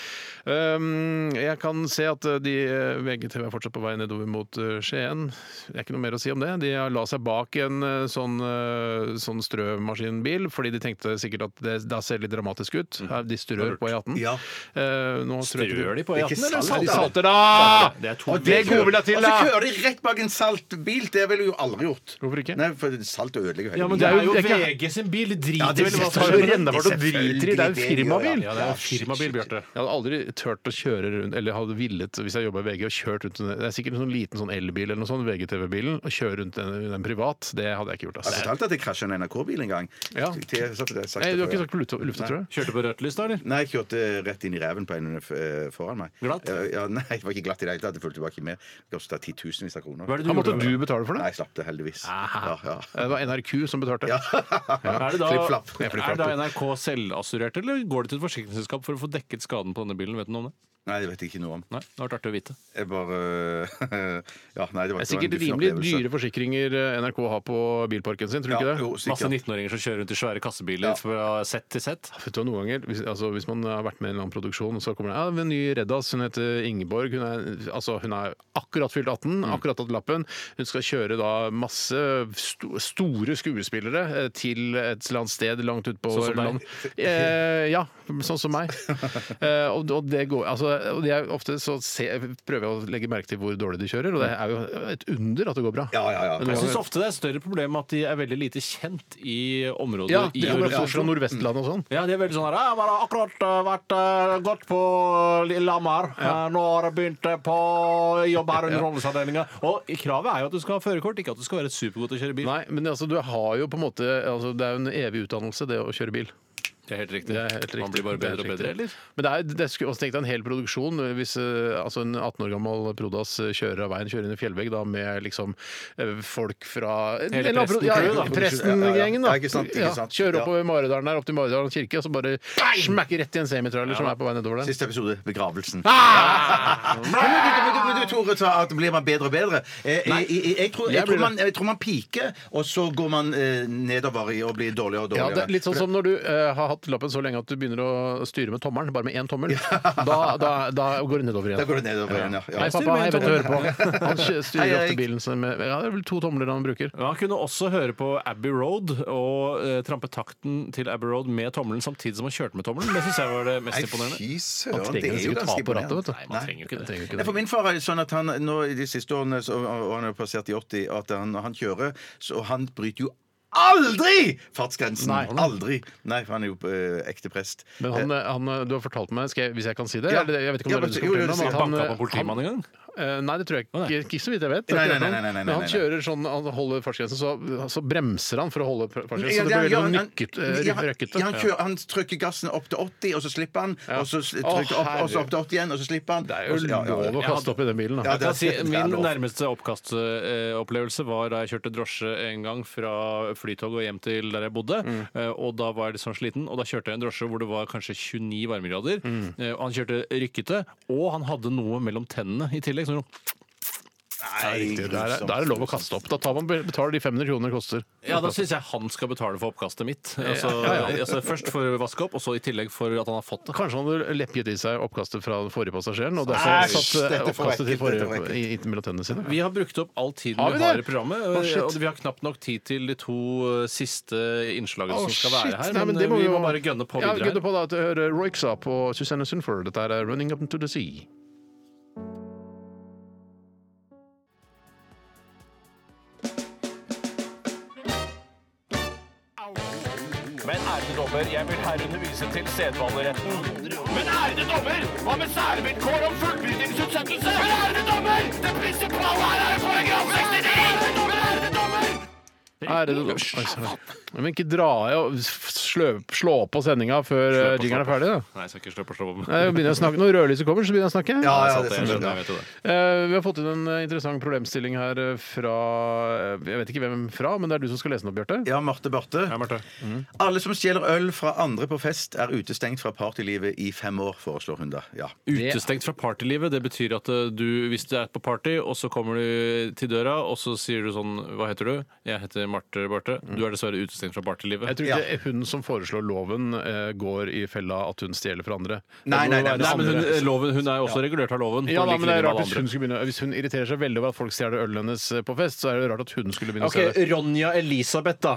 S1: Um, jeg kan se at uh, de uh, VGTV er fortsatt på vei nedover mot uh, Skien. Det er ikke noe mer å si om det. De har la seg eh, bak en uh, sånn, uh, sånn strømaskinbil, fordi de tenkte sikkert at det da ser det litt dramatisk ut.
S2: Mm.
S1: Her, de strør på E18.
S3: Ja.
S1: Eh, nå strør ikke
S2: Strør de på
S3: Det er
S2: E18,
S3: ikke
S2: eller
S3: salt,
S2: salter de? Salter,
S3: da.
S2: da!
S3: Det er to-
S2: Og det gode vil jeg til,
S3: Og så
S2: da!
S3: kører de rett bak en saltbil. Det ville jeg jo aldri gjort.
S1: Hvorfor ikke?
S3: Nei, for salt ødelegger hele
S2: Ja, men
S3: bilen.
S2: det er jo
S1: det er ikke-
S2: VG sin bil. De
S3: Ja,
S2: driter
S3: det
S2: vel i hva som
S1: tar jo
S2: skjer.
S1: rennefart og driter i. Det er jo
S3: Selvfølgelig, det gjør jeg.
S1: firmabil.
S3: Ja,
S2: Det er en firmabil, Bjarte.
S1: Jeg hadde aldri turt å kjøre rundt, eller hadde villet, hvis jeg jobba i VG, og kjørt rundt en, Det er sikkert en sånn liten sånn elbil eller noe sånn, VGTV-bilen, og kjøre rundt den, den privat. Det hadde jeg ikke gjort.
S3: Jeg
S1: ass.
S3: fortalte at jeg krasja en NRK-bil en gang.
S1: Ja.
S3: Til- til- så- det har jeg sagt
S1: Nei,
S3: det
S1: du har
S3: før,
S1: ikke
S3: ja.
S1: sagt på lufta, lufta, tror jeg.
S2: Kjørte på rødt lys, da, eller?
S3: Nei, jeg kjørte rett inn i reven på en f- eh, foran meg.
S2: Glatt?
S3: Ja, ja, nei, det var ikke glatt i det hele tatt. Det fulgte bare ikke med. Det kosta titusenvis av kroner.
S2: Hva er det
S1: Da
S2: du
S1: måtte
S2: gjorde?
S1: du betale for
S3: Nei,
S1: det?
S3: jeg slapp det heldigvis. Ja, ja.
S1: Det var NRK som betalte.
S2: Er det da,
S3: Flipp-flapp.
S2: er det da NRK selvassurert, eller går det til et forsikringsselskap for å få dekket skaden på denne bilen? Vet du noe om det?
S3: Nei, det vet jeg ikke noe om.
S2: Nei, det har vært artig å vite.
S3: Jeg bare eh, Ja, nei, det var
S1: Det er sikkert rimelig dyre forsikringer eh, NRK har på bilparken sin, tror du
S3: Ja,
S1: ikke det?
S3: jo,
S2: Masse
S3: sikkert.
S2: 19-åringer som kjører rundt i svære kassebiler
S3: Ja.
S2: fra sett til sett.
S1: Vet du, hva, noen ganger, hvis, altså, hvis man har vært med i en eller annen produksjon, og så kommer det ja, en ny Reddas, hun heter Ingeborg. Hun er, altså, hun er akkurat fylt 18, akkurat tatt lappen. Hun skal kjøre da masse sto, store skuespillere eh, til et eller annet sted langt ut på
S2: Sånn som deg?
S1: land. Eh, ja, sånn som meg. eh, og, og det går altså, og det er, Ofte så ser, prøver jeg å legge merke til hvor dårlig de kjører, og det er jo et under at det går bra.
S3: Ja, ja, ja.
S1: Men
S2: Jeg
S1: noen
S2: syns
S1: ganger-
S2: ofte det er et større problem at de er veldig lite kjent i området
S1: ja,
S2: i
S1: det er
S2: Oslo.
S1: bare fra Nordvestlandet og sånn.
S2: Ja, de er veldig sånn her Jeg har akkurat eh, vært eh, gått på Lillehammer. Eh, Nå har jeg begynt eh, på jobb her under Rollesandelinga. Og kravet er jo at du skal ha førerkort, ikke at du skal være supergod til å kjøre bil.
S1: Nei, men altså, du har jo på en måte altså, Det er jo en evig utdannelse, det å kjøre bil.
S2: Det er helt riktig.
S1: Det er helt riktig.
S2: Man blir bare
S1: Det er
S2: bedre og
S1: helt
S2: bedre,
S1: riktig.
S2: eller?
S1: Men det er, det skulle også tenkt deg en hel produksjon hvis eh, altså en 18 år gammel Prodas eh, kjører av veien, kjører inn i fjellvegg da med liksom eh, folk fra en
S2: Hele
S1: eller annen pro-
S2: presten-
S1: ja,
S2: crew, da.
S1: Presten-gjengen,
S3: Ja,
S1: da.
S3: ja, ja. Ja, ikke sant, ikke sant.
S1: kjører
S3: Ja.
S1: oppover Maridalen her, opp til Maridalen kirke, og så bare smekker rett i en semitrailer som er på vei nedover der.
S3: Siste episode begravelsen.
S1: Ah!
S3: Men du, du, du, du, Tore sa at blir man bedre og bedre. Eh, Jeg, jeg, jeg, tror, jeg,
S1: Jeg blir
S3: tror man, jeg tror man piker, og så går man eh, nedover i og blir
S1: Ja,
S3: dårligere og
S1: det
S3: dårligere.
S1: er litt sånn som når du eh, har hatt lappen så lenge at du begynner å styre med tommelen, bare med én tommel. Da, da, da går det nedover igjen.
S3: Da går det nedover igjen, ja. ja.
S1: Hei, pappa. Hei, vet du hører på. Han kjø-
S3: Hei,
S1: styrer
S3: Erik.
S1: ofte bilen sin med Ja, det er vel to tomler han bruker.
S2: Men Han kunne også høre på Abbey Road og eh, trampe takten til Abbey Road med tommelen samtidig som han kjørte med tommelen. Det syns jeg var det mest imponerende.
S3: Fy
S1: Han
S3: søren, det
S1: trenger
S3: er jo
S1: sikkert ta
S3: ganske
S1: på rattet,
S3: imponerende.
S1: vet du.
S2: Nei, man trenger jo ikke det.
S1: Trenger ikke
S3: Nei,
S1: det.
S3: for min far er sånn at han nå i de siste årene, så, og han er passert i 80, at han, når han kjører, så han bryter jo aldri fartsgrensen!
S1: Nei.
S3: Aldri! Nei, for han er jo eh, ekte prest.
S1: Men han, eh, han, du har fortalt meg, skal jeg, hvis jeg kan si det
S3: Ja.
S1: eller, Jeg vet ikke om
S3: Ja,
S1: det
S3: men-
S1: er det
S3: jo,
S1: du
S3: jo,
S1: skal
S3: sier-
S1: fortelle om,
S2: Banka
S1: at
S2: på politimannen en gang?
S1: Eh, Nei, det tror jeg ikke. Ikke så vidt jeg vet. Det
S3: Nei,
S1: tror jeg
S3: nei,
S1: ikke
S3: nei, nei,
S1: han.
S3: nei,
S1: Men han
S3: nei, nei.
S1: kjører sånn, han holder fartsgrensen, så, så bremser han for å holde fartsgrensen.
S3: Ja,
S1: Så det
S3: det-
S1: blir
S3: ja,
S1: noe
S3: han-
S1: nykket, eh,
S3: ja, han-
S1: røkkete.
S3: ja, han, kjører, han trykker gassen opp til 80, og så slipper han.
S1: Ja.
S3: Og så s-
S1: Å,
S3: trykker opp, og så opp til 80 igjen, og så slipper han.
S1: Det er
S3: og så- ja, ja,
S1: jo
S3: ja.
S1: lov å kaste opp i den bilen, da.
S3: Ja,
S2: Jeg kan si,
S3: det er
S2: min
S3: lov.
S2: nærmeste oppkastopplevelse var da jeg kjørte drosje en gang fra Flytoget og hjem til der jeg bodde. Eh, Og da var jeg litt sånn sliten, og da kjørte jeg en drosje hvor det var kanskje 29 varmegrader. Eh, Og han kjørte rykkete, og han hadde noe mellom tennene i tillegg. Sånn,
S3: Nei,
S1: Det er- Da er, det lov å kaste opp. Da tar man, betaler de 500 kroner det koster.
S2: ja, da syns jeg han skal betale for oppkastet mitt. Altså, altså Først for å vaske opp, og så i tillegg for at han har fått det.
S1: Kanskje han hadde lepjet i seg oppkastet fra den forrige passasjeren, og derfor
S3: Æsj,
S1: satt eh,
S3: dette får
S1: oppkastet til
S3: ekkelt, dette
S1: forrige
S3: får
S1: i, i, mellom tennene sine.
S2: Vi har brukt opp all tiden
S1: Har
S2: vi,
S1: vi
S2: har i
S1: det?
S2: programmet. eh,
S1: Å, shit.
S2: og vi har knapt nok tid til de to eh, siste
S1: Å,
S2: innslagene som skal
S1: shit.
S2: være her.
S1: Nei,
S2: men
S1: det
S2: eh, vi
S1: jo-
S2: må bare gønne på
S1: ja,
S2: videre. her.
S1: gønne på da, til å høre Royksa på Susanne Sundford. Dette er 'Running Up To The Sea'.
S10: Men ærede dommer, jeg vil herunder vise til sedvaneretten. Men ærede dommer, hva med særvilkår om fullbyrdingsutsettelse? Men ærede dommer, det prinsipale her er paragraf 69! Men ærede dommer!
S1: Er det- Oi, sorry. Men ikke dra i og slø, slå på sendinga
S2: Slå
S1: før
S2: på,
S1: eh, jingeren er
S2: slå på.
S1: ferdig, da.
S2: Nei, jeg skal ikke slå på slå på.
S1: Nei, jeg begynner å snakke. Når rødlyset kommer, så begynner jeg å snakke.
S3: Ja, ja,
S2: Sant, jeg
S3: det er
S2: skjønner,
S3: sånn.
S2: jeg vet jo det.
S1: Eh, vi har fått inn en eh, interessant problemstilling her eh, fra eh, Jeg vet ikke hvem fra, men det er du som skal lese den opp, Bjarte.
S3: Ja, Marte Børte.
S1: Mhm.
S3: Alle som stjeler øl fra andre på fest, er utestengt fra partylivet i fem år, foreslår hun da. Ja.
S2: Utestengt fra partylivet, det betyr at eh, du, hvis du er på party, og så kommer du til døra, og så sier du sånn Hva heter du? Jeg heter Marte Barte. Du er dessverre utestengt fra
S1: Jeg
S2: partylivet.
S1: tror ikke det er hun som foreslår loven, eh, går i fella at hun stjeler fra andre. Det
S3: Nei,
S1: må
S3: nei,
S1: jo
S3: nei,
S1: være
S2: Nei, men hun,
S1: andre.
S2: eh, loven, hun er jo også regulert av loven. på
S1: Ja, da,
S2: lik
S1: men det er
S2: linje med
S1: rart Hvis hun
S2: alle andre.
S1: skulle begynne Hvis hun irriterer seg veldig over at folk stjeler ølet hennes eh, på fest, så er det rart at hun skulle begynne
S2: Ok,
S1: å se det.
S2: Ronja Elisabeth, da.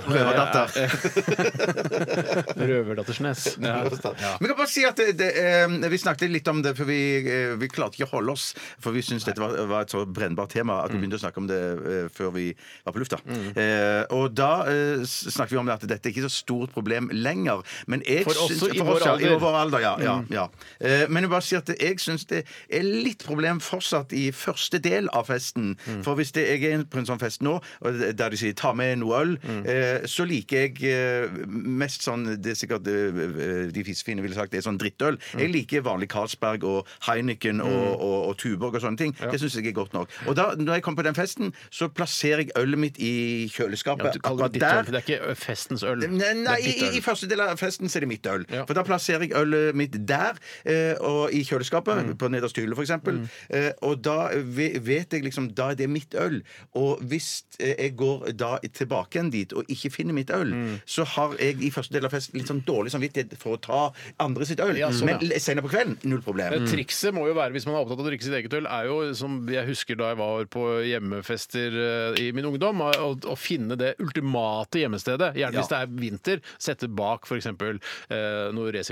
S1: Røverdattersnes.
S3: Men jeg kan bare si at det, det, eh, Vi snakket litt om det, for vi, eh, vi klarte ikke å holde oss. For vi syntes dette var, var et så brennbart tema
S1: Mm.
S3: at vi begynte å snakke om det eh, før vi var på lufta. Eh, og da eh, s- snakket vi om at dette er ikke så stort problem lenger. Men jeg
S1: For oss
S3: syns,
S1: i vår
S3: ja,
S1: alder.
S3: I vår alder ja,
S1: Mm.
S3: ja, ja. Eh, men jeg bare sier at jeg syns det er litt problem fortsatt i første del av festen.
S1: Mm.
S3: For hvis det, jeg er på en sånn fest nå, og der de sier 'ta med noe øl',
S1: Mm.
S3: eh, så liker jeg eh, mest sånn Det er sikkert eh, de fisefine ville sagt det er sånn drittøl.
S1: Mm.
S3: Jeg liker vanlig Carlsberg og Heineken og, og, og Tuborg og sånne ting. Det syns jeg er godt nok. Og da når jeg kommer på den festen, så plasserer jeg ølet mitt i
S1: Ja,
S3: kjøleskapet.
S1: du kaller
S3: Akkurat
S1: det ditt øl, for det er ikke eh, festens øl.
S3: Nei, nei
S1: Det er ditt
S3: i,
S1: øl.
S3: i første del av festen så er det mitt øl.
S1: Ja.
S3: For da plasserer jeg ølet mitt der, eh, og i kjøleskapet,
S1: Mm.
S3: på nederste hylle f.eks. eksempel Eh, og da ve- vet jeg liksom Da er det mitt øl. Og hvis eh, jeg går da tilbake igjen dit og ikke finner mitt øl,
S1: Mm.
S3: så har jeg i første del av festen litt sånn dårlig samvittighet for å ta andre sitt øl.
S1: Ja, sånn,
S3: Men l- senere på kvelden, null problem.
S2: Mm.
S1: Men Trikset må jo være, hvis man er opptatt av å drikke sitt eget øl, er jo som jeg husker da jeg var på hjemmefester eh, i min ungdom, å, å finne det ultimate gjemmestedet. Gjerne hvis det er vinter, sette bak f.eks. Eh, noe eh,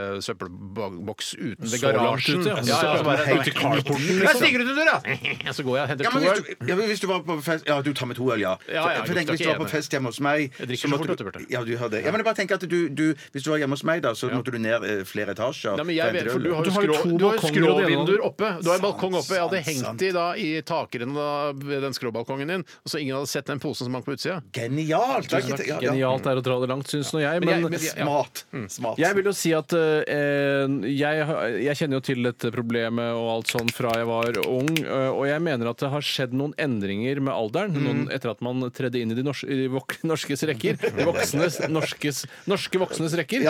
S1: resirkuleringssøppelboks utenfor
S2: Så langt
S1: garasjen.
S2: ut, ja.
S1: ja, ja, så bare,
S3: Helt
S1: helt
S3: i carporten,
S1: Jeg stikker ut en dør, ja! Så går jeg og
S3: Ja,
S1: henter
S3: men
S1: to
S3: hvis
S1: øl.
S3: du, ja, men hvis du var på fest Ja, du tar med to øl, ja. For,
S1: ja,
S3: for
S1: jeg
S3: tenk,
S1: drikker
S3: hvis du var på
S1: ikke
S3: fest hjemme hos meg
S1: Jeg drikker
S3: så
S1: så
S3: måtte
S1: fort,
S3: du-
S1: vet du, Bjarte.
S3: Ja, du har det. Ja, men jeg bare tenker at du, du Hvis du var hjemme hos meg, da, så måtte du ned eh, flere etasjer.
S1: Nei, men
S3: for å
S1: jeg,
S3: hente
S1: vet- for du har jo
S2: Du har
S3: øl.
S2: jo
S1: skrå-
S2: to
S1: du har jo
S2: balkonger
S1: skråvinduer
S2: alene.
S1: oppe. Du har en balkong
S3: Sant,
S1: oppe. Jeg hadde hengt
S3: sant,
S1: de da i takrennen da, ved den skråbalkongen din, så ingen hadde sett den posen som hang på utsida.
S3: Genialt! Det er ikke- ja, ja.
S2: Genialt er å dra det langt, syns nå jeg.
S1: Men jeg-
S2: Men,
S1: men jeg- ja.
S3: Smart.
S1: Mm.
S3: Smart.
S2: Jeg vil jo si at eh, jeg, har- jeg kjenner jo til dette problemet og alt sånn fra jeg var ung, eh, og jeg mener at det har skjedd noen endringer med alderen
S3: Mm.
S2: noen, etter at man tredde inn i de, nors i de vok norskes rekker. De voksnes, norskes, norske voksnes rekker.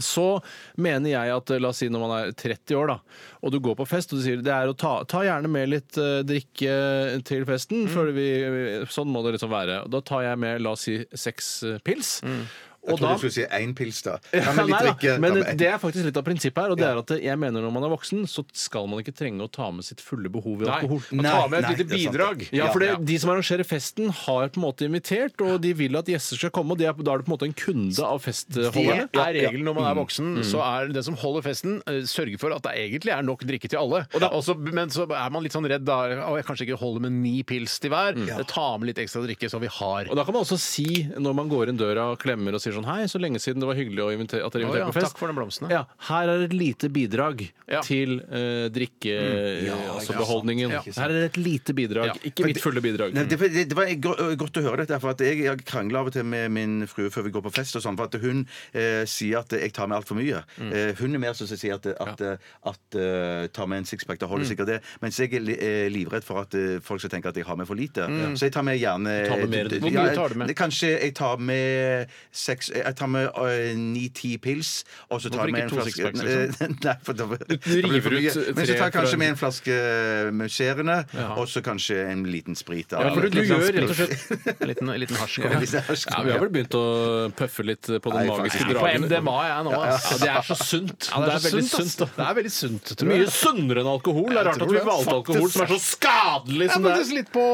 S2: Så mener jeg at eh, la oss si når man er 30 år, da, og du går på fest og du sier det er å ta, ta gjerne med litt eh, drikke til
S3: Mm.
S2: festen, for vi, sånn må det liksom være. Og Da tar jeg med la oss si seks eh, pils.
S3: Mm. Jeg
S2: Og
S3: trodde
S2: da-
S3: du skulle si én pils, da. Ja,
S2: ja,
S3: men litt
S2: nei da,
S3: drikke.
S2: men
S3: ta med.
S2: det er faktisk litt av prinsippet her. Og det er at jeg mener når man er voksen, så skal man ikke trenge å ta med sitt fulle behov i alkohol.
S1: Nei, ta med et
S3: nei,
S1: lite
S3: det er sant,
S1: bidrag.
S2: Ja, for det, De som arrangerer festen, har på en måte invitert, og de vil at gjester skal komme. og de er, Da er du på en måte en kunde av festholderne.
S1: Det er regelen når man er voksen. Så er den som holder festen, eh, sørger for at det egentlig er nok drikke til alle. Og så- men så er man litt sånn redd da. Å, jeg kanskje ikke holder med ni pils til hver. Eh, Ta med litt ekstra drikke, så vi har
S2: Og da kan man også si, når man går inn døra og klemmer og sier sånn Hei, så lenge siden det var hyggelig å invite- at dere
S1: Å
S2: inviterte
S1: ja,
S2: på fest.
S1: takk for den blomsten, ja.
S2: Ja, her er et lite bidrag
S1: Ja. Mm.
S2: til eh, drikke... altså beholdningen.
S1: Ja.
S2: Her er et lite bidrag.
S1: Ja.
S2: Ikke mitt fulle bidrag.
S3: Nei, det, det, det var go- godt å høre dette, for at jeg, jeg krangler av og til med min frue før vi går på fest. og sånn, for at Hun eh, sier at jeg tar med altfor mye. Eh, hun er mer som sier at, at, at eh, ta med en sixpack, da holder sikkert det. Mens jeg er li- eh, livredd for at eh, folk skal tenke at jeg har med for lite. Så jeg tar med gjerne
S2: tar med mer.
S3: d- d-
S2: Hvor mye
S3: ja, jeg-
S1: tar du med?
S3: Kanskje jeg tar med seks Jeg tar med eh, ni-ti pils, og så
S1: Hvorfor
S3: tar jeg med
S1: ikke
S3: en
S1: to
S3: flaske
S1: sixpacks, liksom?
S3: Nei, for da, da blir det
S2: river
S3: for mye.
S2: ut
S3: Men så
S2: tre
S3: tar jeg
S2: fra-
S3: kanskje med en flaske musserende, og så kanskje en liten sprit. da.
S2: Ja, for du, du gjør rett og slett
S1: en liten, en liten hasj.
S3: Ja, hvis det er
S2: Ja,
S3: sånn,
S2: vi har
S3: ja.
S2: vel begynt å pøffe litt på den
S3: Nei,
S2: magiske
S3: faktisk.
S1: På
S2: dragen.
S1: MDMA er jeg nå, ass.
S2: Ja, det er så sunt.
S1: Ja,
S2: det, er
S1: så
S2: veldig
S1: sunt, ass.
S2: sunt.
S1: Det er veldig sunt,
S2: da.
S1: tror
S2: Mye
S1: jeg.
S2: sunnere enn alkohol. Det er rart
S1: tror
S2: at vi
S1: det,
S2: valgte alkohol som er så skadelig
S1: Jeg
S2: som det er.
S1: faktisk litt på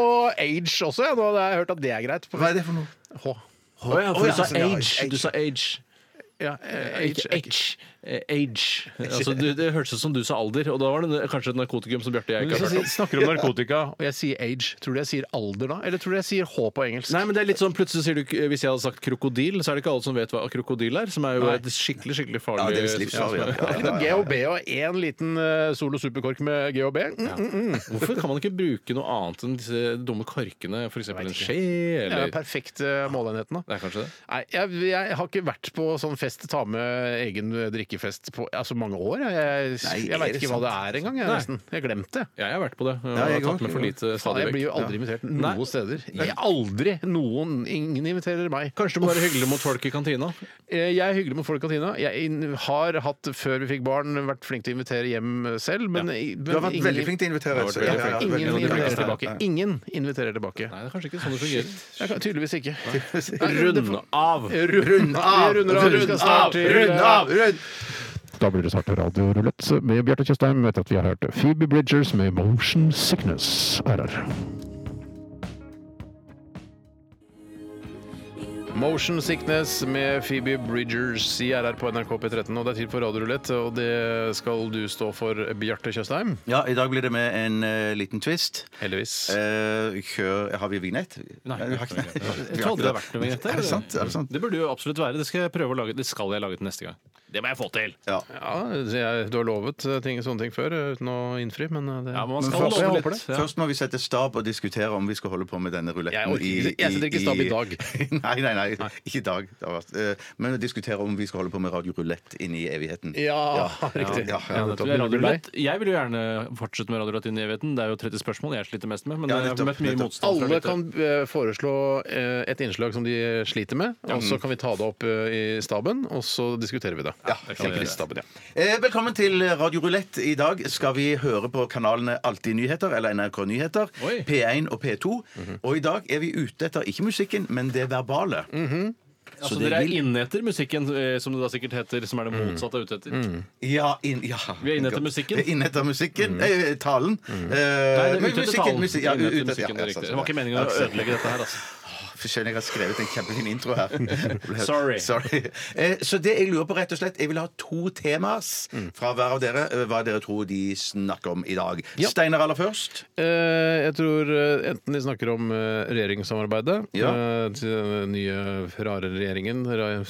S1: age også, jeg. Nå har jeg hørt at det er greit.
S3: Hva er det for noe?
S1: H.
S2: Å ja,
S3: Å
S2: for
S3: ja,
S2: du sa
S3: sånn, ja,
S2: age.
S3: age.
S2: Du sa age.
S1: Ja, eh,
S2: Ikke
S1: age.
S2: H. Eh, Age. Altså, du, det hørtes ut som du sa alder, og da var det kanskje et narkotikum som Bjarte og jeg
S1: Men
S2: ikke
S1: hvis
S2: har
S1: jeg
S2: hørt om.
S1: sier- snakker om narkotika, og jeg sier age, tror du jeg sier alder da? Eller tror du jeg sier H på engelsk?
S2: Nei, men det er litt sånn, plutselig sier du, ikke- Hvis jeg hadde sagt krokodil, så er det ikke alle som vet hva krokodil er. Som er jo et skikkelig skikkelig farlig
S3: Ja, det er visst livsfarlig. Ja, ja, ja, ja.
S1: GHB og én liten eh, Solo Superkork med GHB. Mm, mm, mm.
S2: Hvorfor kan man ikke bruke noe annet enn disse dumme korkene? F.eks. en skje?
S1: Det er
S2: Eller...
S1: perfekt eh, måleenheten, da.
S2: Det er kanskje det.
S1: Nei, jeg, jeg har ikke vært på sånn fest, ta med egen eh, drikkefest, på altså mange år. Jeg, jeg,
S3: Nei,
S1: jeg
S3: er
S1: veit
S3: det
S1: ikke hva det er engang. Jeg,
S2: Nei.
S1: nesten. jeg har glemt det.
S2: Ja, jeg har vært på det. Og
S3: jeg
S2: tatt
S3: går.
S2: med for lite
S1: Faen,
S2: stadig
S1: jeg
S2: vekk.
S1: blir jo aldri invitert noen
S2: Nei.
S1: steder. Jeg, aldri! Noen, ingen inviterer meg.
S2: Kanskje det må være hyggelig mot folk i kantina.
S1: Eh, Jeg er hyggelig mot folk i kantina. Jeg in- har hatt, før vi fikk barn, vært flink til å invitere hjem selv, men,
S3: Du har vært veldig flink til å invitere.
S2: vært
S3: altså.
S2: veldig
S3: Ja, ja,
S2: flink.
S3: ja,
S1: Ingen
S3: veldig
S1: inviterer
S3: flink.
S1: tilbake. Ingen inviterer tilbake.
S2: Nei, det er kanskje ikke sånn det fungerer.
S1: Jeg kan- Tydeligvis ikke.
S2: Runde av!
S1: Rund av! Rund av! Vi skal snart til-
S3: Rund av! Rund!
S9: Da blir det snart radiorulett med Bjarte Tjøstheim etter at vi har hørt Phoebe Bridgers med 'Motion Sickness'. RR.
S1: Motion Sickness med Phoebe Bridgers i RR på NRK P13. Og det er tid for radiorulett, og det skal du stå for, Bjarte Tjøstheim.
S3: Ja, i dag blir det med en eh, liten twist.
S1: Heldigvis.
S3: Eh, kjør, har vi vignett? Nei, vi har ikke det.
S2: Jeg trodde det hadde vært noe vignett der.
S3: Er det sant? Er det sant?
S2: Det burde jo absolutt være. Det skal jeg prøve å lage. Det skal jeg lage til neste gang. Det må jeg få til!
S3: Ja.
S1: Ja, jeg, du har lovet ting, sånne ting før eh, uten å innfri, men eh, det
S2: Ja, men man
S3: Men
S2: skal
S3: først-
S2: love
S1: jeg håper
S2: litt. Ja.
S3: Først må vi sette stab og diskutere om vi skal holde på med denne
S1: Jeg
S3: ruletten
S1: orker ikke- jeg setter ikke stab i dag.
S3: nei, nei, nei, ikke i dag. Det har vært, eh, men å diskutere om vi skal holde på med radio rulett inn i evigheten.
S1: Ja, riktig.
S3: Ja, ja,
S2: Ja,
S3: ja.
S2: det tror jeg, er Radio Roulette. jeg vil jo gjerne fortsette med Radio Roulette inn i evigheten. Det er jo 30 spørsmål jeg sliter mest med, men
S3: Ja,
S2: jeg har
S3: nettopp,
S2: møtt mye
S3: nettopp.
S2: motstand. fra
S1: Alle
S2: lyttere.
S1: kan eh, foreslå eh, et innslag som de sliter med, og så kan vi ta det opp eh, i staben, og så diskuterer vi det. Ja,
S2: det kan vi gjøre.
S1: staben, ja.
S3: Eh, Velkommen til Radio Rulett. I dag skal vi høre på kanalene Alltid nyheter, eller NRK Nyheter,
S2: Oi.
S3: P1 og P2. Og i dag er vi ute etter ikke musikken, men det verbale.
S2: Altså,
S3: det
S2: dere er
S3: vil-
S2: inne etter musikken, eh, som det da sikkert heter, som er det motsatte jeg er ute etter.
S3: Ja, inn, ja.
S2: Vi er inne etter musikken.
S3: Vi er inne etter musikken. Eh, talen. Eh,
S2: Nei, det er ute
S3: men
S2: etter
S3: musikken,
S2: talen.
S3: musikk- ja,
S2: Inne etter
S3: ute- ja,
S2: musikken,
S3: ja,
S2: riktig.
S3: sant,
S2: Det var ikke meningen å
S3: sant.
S2: ødelegge dette her, altså.
S3: Jeg skjønner jeg har skrevet en kjempefin intro her. Ble-
S2: Sorry.
S3: Eh, Så det jeg lurer på, rett og slett Jeg vil ha to temaer
S2: Mm.
S3: fra hver av dere. eh, Hva dere tror de snakker om i dag. Steinar aller først.
S1: Eh, jeg tror eh, enten de snakker om eh, regjeringssamarbeidet,
S3: Ja.
S1: eh, til den nye rare regjeringen, ra-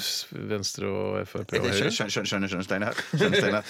S1: Venstre og Frp og
S3: Skjønner,
S1: Høyre,
S3: skjønner, skjønner, skjønner Steinar. Skjønner, Steinar.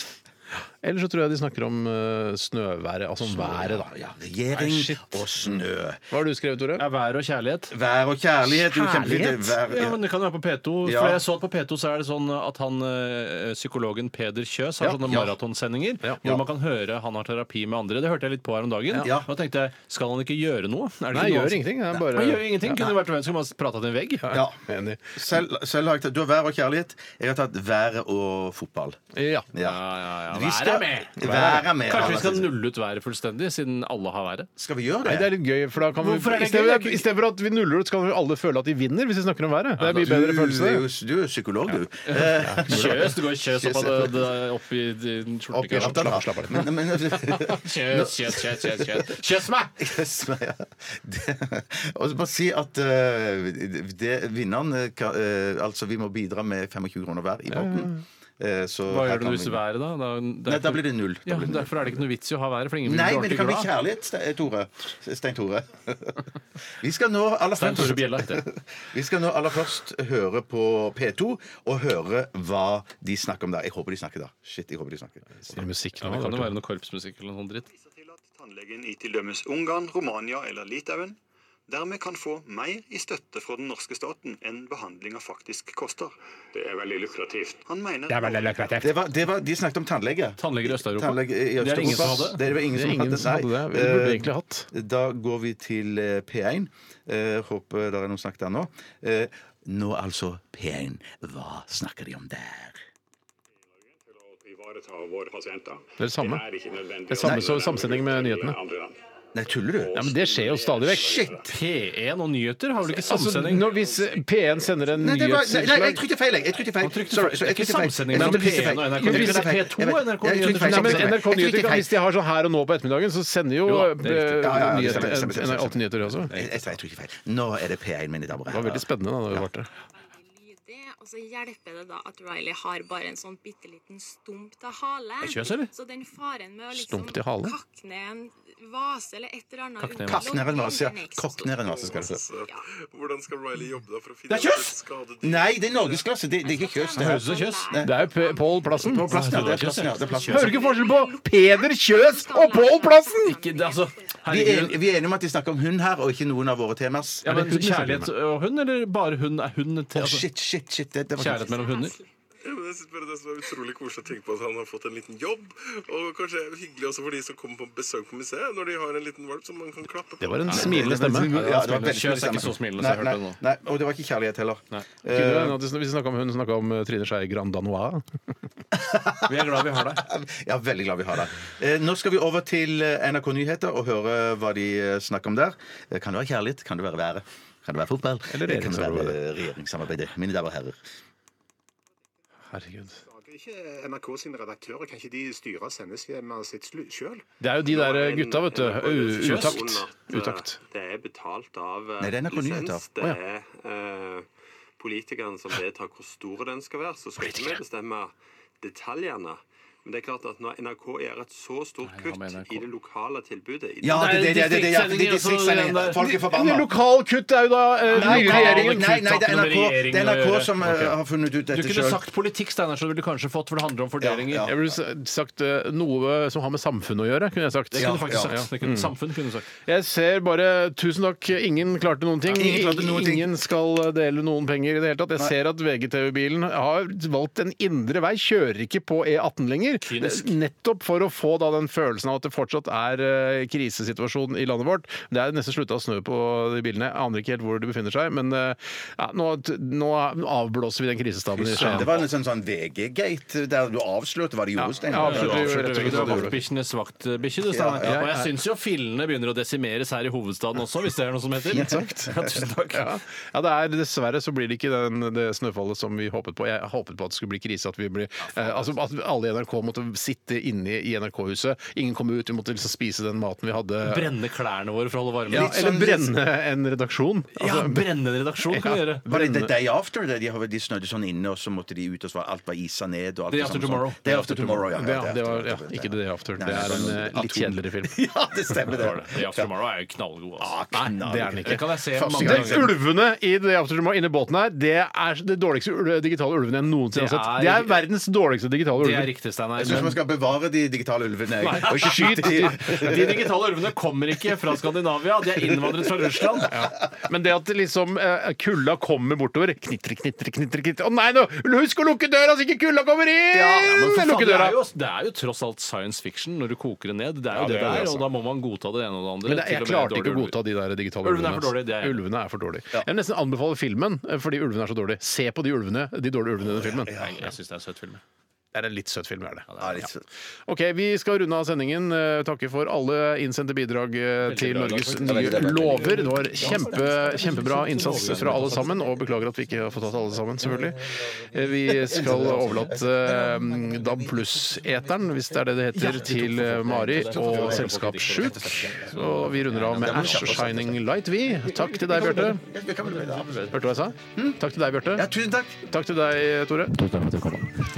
S1: eller så tror jeg de snakker om eh, snøværet, altså om været, da.
S3: Ja, regjering og snø.
S1: Hva har du skrevet, Tore?
S2: Er vær og kjærlighet.
S3: Vær og kjærlighet. jo, kjempefint. eh, Vær,
S2: Ja, men Det kan jo være på P2.
S3: Ja.
S2: For jeg så at på P2 så er det sånn at han eh, psykologen Peder Kjøs har
S1: Ja,
S2: sånne
S3: ja.
S2: maratonsendinger
S1: Ja.
S2: hvor man kan høre han har terapi med andre. Det hørte jeg litt på her om dagen.
S3: Ja.
S2: Da tenkte jeg, skal han ikke gjøre noe?
S1: Nei,
S2: Er det ikke noe
S1: gjør
S2: han-
S1: ingenting. Det er
S2: Han
S1: bare
S2: gjør ingenting. Kunne vært hvem som helst prata til en vegg.
S3: ja.
S1: Enig.
S3: Selv, selv har jeg tatt Du har vær og kjærlighet. Jeg har tatt været og fotball.
S1: Ja.
S3: Ja.
S2: ja, ja.
S3: Vi
S2: Været
S3: skal-
S2: er med.
S3: Været er med.
S2: Kanskje vi skal
S3: Harald.
S2: nulle ut været fullstendig, siden alle har været.
S3: Skal vi gjøre det?
S1: Nei, det er litt gøy, for da kan vi,
S2: Hvorfor er det
S1: i stedet-
S2: gøy?
S1: I stedet for at vi nuller ut, så kan vi alle føle at de vinner hvis vi snakker om været. Det er mye bedre følelse.
S3: Du er jo, du er jo psykolog, du. Eh,
S2: Kjøs, du går kjøs opp, av
S3: Kjøs.
S2: det, det, opp i din
S3: opp i
S2: skjortekøy.
S3: rattet, da. Men- men-
S2: Kjøs, kjøs, kjøs, kjøs, kjøs. Kjøs meg!
S3: Yes, men ja. Det- Og så bare si at eh, det, vinneren eh, kan, eh, Altså, vi må bidra med 25 kroner hver i potten. Eh, så
S2: Hva gjør
S3: her
S2: du
S3: kan
S2: hvis
S3: vi-
S2: været, da? Da,
S3: Nei, da blir det null. Da
S2: Ja,
S3: blir det null.
S2: Derfor er det ikke noe vits i å ha været, for ingen
S3: Nei,
S2: blir
S3: men det
S2: ordentlig
S3: kan bli
S2: glad.
S3: kjærlighet, Ste- Tore. Stein Tore. Vi skal nå aller
S2: Stein Tore
S3: først,
S2: Bjella heter jeg.
S3: vi skal nå aller først høre på P2 og høre hva de snakker om der. Jeg håper de snakker da. Shit, jeg håper de snakker.
S1: Musikk
S2: Ja,
S1: nå.
S2: det kan jo
S1: da.
S2: være noe korpsmusikk eller noe sånt dritt.
S12: viser til at tannlegen i til dømes Ungarn, Romania eller Litauen dermed kan få mer i støtte fra den norske staten enn behandlinga faktisk koster. Det er veldig lukrativt. Han mener
S3: Det var, det var, de snakket om tannlege.
S2: Tannleger i Øst-Europa.
S3: Tannlege i
S2: Det er det ingen som
S3: Øst-Europa.
S2: hadde.
S3: Det er det ingen
S1: Det er
S3: som
S1: ingen
S3: hadde. Eh,
S1: som hadde det. Vi burde egentlig hatt.
S3: Da går vi til eh, P1. Eh, håper det er noen snakk der nå. Eh, nå altså P1. Hva snakker de om der?
S12: ivareta våre pasienter.
S1: Det er det samme.
S12: er ikke nødvendig
S1: Det er samme som samsending med nyhetene.
S3: Nei, tuller du?
S1: Ja, men det skjer jo stadig vekk.
S3: Eh,
S2: P1 og nyheter har vel ikke
S1: Altså,
S2: samsending?
S1: når hvis P1 sender en
S3: Nei, det var, nei, nei, jeg
S1: nyhetsinnslag
S3: trykte feil. jeg. Jeg trykte feil.
S2: trykte
S3: Sorry,
S2: feil.
S3: sorry, jeg
S2: Det er ikke
S3: trykte feil.
S2: samsending
S3: Jeg
S2: mellom
S3: trykte
S2: P1 og
S3: feil.
S2: NRK.
S3: Jeg
S2: Det
S3: trykte
S2: er
S3: feil.
S2: P2
S3: Jeg vet-
S2: NRK.
S3: Jeg trykte feil.
S1: Nei, men
S3: Jeg
S1: NRK
S3: trykte
S1: Nyheter, kan-
S3: feil.
S1: hvis de har sånn her og nå på ettermiddagen, så sender jo
S2: Jo da, det er riktig.
S1: eh,
S3: Ja, ja, det
S1: nyheter-
S3: stemmer, stemmer, stemmer,
S1: eh, Alltid nyheter også. Det
S3: Jeg, jeg, jeg trykte feil. Nå er det P1, mine damer og
S1: var veldig
S3: herrer.
S1: spennende da det varte.
S13: lydig, og så hjelper det da at Riley har bare en sånn bitte liten stump til hale.
S2: Er det kjøs, eller?
S13: Så den faren med å liksom
S1: Stump til hale?
S13: kakke ned en vase eller et eller annet
S2: Kakke ned en
S13: ut-
S3: Kakk ned en vase, ja.
S13: Den er ikke så
S3: Kokk ned en vase, skal det stå.
S13: stor. Ja.
S12: Hvordan skal Riley jobbe da for å
S3: Det
S12: finne
S3: er kjøss! Nei, det er norgesklasse. Det, det er ikke kjøss. Det
S2: høres ut som kjøss.
S3: Nei.
S1: Det er jo P- Pål Plassen.
S3: På plassen, ja. Det er plassen, ja. Det er plassen.
S1: Hører ikke forskjell på Peder Kjøs og Pål Plassen!
S2: Ikke, det, altså,
S3: Vi er,
S2: herregud.
S3: en- vi er enige om at de snakker om hun her, og ikke noen av våre temaer.
S2: Ja, men
S1: hun snakker
S2: kjærlighet og hund, eller bare hund? Er hund til,
S3: Å,
S2: altså,
S3: shit, shit, shit. Det, det var
S2: kjærlighet mellom hunder?
S14: Ja, men jeg synes bare Det som er utrolig koselig å tenke på at han har fått en liten jobb. Og kanskje hyggelig også for de som kommer på besøk på museet, når de har en liten valp som man kan klappe på.
S1: Det var en
S14: Nei,
S1: smilende stemme.
S3: Ja, det var veldig
S1: Kjøs er ikke så smilende som jeg
S3: Nei,
S1: hørte
S3: nei,
S1: nå.
S3: Nei, og det var ikke kjærlighet heller.
S1: Kunne hun- at Eh, Vi snakket om, hun snakka om eh, Trine Skei Grand Danois.
S3: Vi er glad vi har deg. Ja, veldig glad vi har deg. Eh, Nå skal vi over til eh, NRK Nyheter og høre hva de eh, snakker om der. Eh, Kan det være kjærlighet? Kan det være været? Kan det være fotball?
S1: Eller
S3: Eh, Kan det være
S1: regjeringssamarbeid.
S3: eh, regjeringssamarbeidet? Mine damer og herrer.
S1: Herregud.
S15: Lager ikke NRK sine redaktører, kan ikke de styre sendeskjemaet sitt slu- sjøl?
S1: Det er jo de
S15: Nå
S1: der
S15: en-
S1: gutta, vet du.
S15: en-
S1: U-
S15: Kjøs.
S1: Utakt.
S15: Under at,
S1: Utakt.
S16: Det er betalt av eh,
S1: Nei, det er NRK Nyheter.
S16: lisens. Det
S1: Å,
S16: er eh, politikerne som vedtar hvor stor den skal være. Så skal ikke vi bestemme detaljene. Men det er klart at når NRK gjør et så stort kutt i det lokale tilbudet i
S3: Ja, det, det, det, det, det, ja, det, det, distriktssendinger. Folk er forbanna.
S1: Lokalkutt er jo da eh,
S3: Nei,
S1: nye
S3: lokal-
S1: regjeringen.
S3: Nei, nei, det er NRK, det er NRK som eh,
S1: Ok.
S3: har funnet ut
S2: Du
S3: dette
S2: kunne
S3: sjøl.
S2: sagt politikk, Steinar, så ville du kanskje fått, for det handler om fordelinger.
S1: Jeg ville s- sagt eh, noe som har med samfunn å gjøre, kunne jeg sagt.
S2: Det kunne du faktisk sagt. Det kunne,
S1: Mm.
S2: Samfunn kunne du sagt.
S1: Jeg ser bare Tusen takk, ingen klarte noen ting.
S2: Ingen klarte noen ting.
S1: Ingen skal dele noen penger i det hele tatt. Jeg
S2: Nei.
S1: ser at VGTV-bilen har valgt en indre vei, kjører ikke på E18 lenger.
S2: Kynisk.
S1: Det- Nettopp for å få da den følelsen av at det fortsatt er eh, krisesituasjon i landet vårt. Det er nesten slutta å snø på de bilene. Jeg aner ikke helt hvor de befinner seg, men eh, ja, nå, nå avblåser vi den krisestaben i Skien.
S3: Det var en sånn, sånn VG-gate der du avslørte hva de gjorde. Steinar.
S2: Ja, absolutt.
S3: Ja,
S2: Du
S3: rett og
S2: avslørte
S3: slett
S2: hvilke
S3: hva de gjorde.
S2: vaktbikkjenes vaktbikkje, eh, du,
S3: Ja,
S2: Steinar.
S3: ja.
S2: Og jeg syns jo fillene begynner å desimeres her i hovedstaden også, hvis det er noe som heter.
S1: Ja, sagt.
S2: Ja, tusen takk.
S1: Ja. ja, det er dessverre så blir det ikke den, det snøfallet som vi håpet på. Jeg håpet på at det skulle bli krise, at vi ble eh, Altså at alle i NRK måtte sitte inne i NRK-huset. Ingen kom ut, vi måtte liksom spise den maten vi hadde.
S2: Brenne klærne våre for å holde varmen.
S1: ja, eller brenne en redaksjon. Altså,
S2: Ja, brenne en redaksjon kan vi gjøre.
S3: Var det The Day After? Det? De, har- de snødde sånn inne, og så måtte de ut, og så var alt var isa ned. Og alt
S1: Day
S3: det
S1: After
S3: samme sånn.
S1: Tomorrow.
S3: Day After Tomorrow, ja.
S1: Det, ja, det var, ja,
S3: After.
S1: ikke The Day After.
S3: Nei,
S1: Det er en
S3: sånn
S1: eh, litt
S3: atun.
S1: kjedeligere film.
S3: Ja, det stemmer det.
S2: The After Tomorrow er jo knallgod. Altså.
S3: Nei,
S1: Det er den ikke.
S2: Det kan jeg se
S1: Første
S2: mange
S1: gang.
S2: ganger.
S1: Ulvene i The After Tomorrow inni båten her, det er det dårligste ul- digitale ulvene jeg noensinne har
S2: Det
S1: sett.
S2: er-
S1: Det er verdens dårligste digitale
S2: Det
S1: ulver.
S2: er riktig, Steinar.
S3: Jeg syns man skal bevare de digitale ulvene. jeg. Og ikke skyte
S2: de.
S3: de.
S2: De digitale ulvene kommer ikke fra Skandinavia, de er innvandret fra Russland.
S1: Men det at det liksom eh, kulda kommer bortover Knitre, knitre, knitre, knitre Å nei, nå, husk å lukke døra så ikke kulda kommer inn!
S2: Ja, men for faen,
S1: lukke
S2: det,
S1: døra!
S2: er jo, det er jo tross alt science fiction når du koker det ned. Det er jo
S1: Ja,
S2: det
S1: det er
S2: det
S1: det,
S2: er,
S1: altså.
S2: og da må man godta det ene og det andre.
S1: Men det,
S2: til og
S1: jeg
S2: med
S1: klarte ikke å
S2: dårlige
S1: godta de der digitale
S2: Ulvene
S1: ulvene.
S2: er for dårlige, det er jeg.
S1: Ulvene er for dårlige. Jeg vil nesten anbefaler filmen, eh, fordi ulvene er så dårlige. Se på de ulvene, de dårlige ulvene i den filmen.
S2: ulver. Jeg, jeg syns det er en søt film.
S1: Det er en litt søt film, er det.
S3: Ja, litt søtt.
S1: Ok, Vi skal runde av sendingen. Eh, Takke for alle innsendte bidrag eh, til
S2: bra,
S1: Norges
S2: Lars. Veldig
S1: nye
S2: bra.
S1: lover. Det var kjempe, kjempebra innsats fra alle sammen, og beklager at vi ikke har fått tatt alle sammen, selvfølgelig. Eh, Vi skal overlate eh, DAB pluss-eteren, hvis det er det det heter, til eh, Mari og Selskap Sjuk. Og vi runder av med
S2: altså.
S1: Ash og Shining Light, vi. Takk til deg, Bjarte. Hørte du hva jeg sa? Takk til deg, Bjarte.
S3: Ja, tusen takk.
S1: Takk til deg, Tore.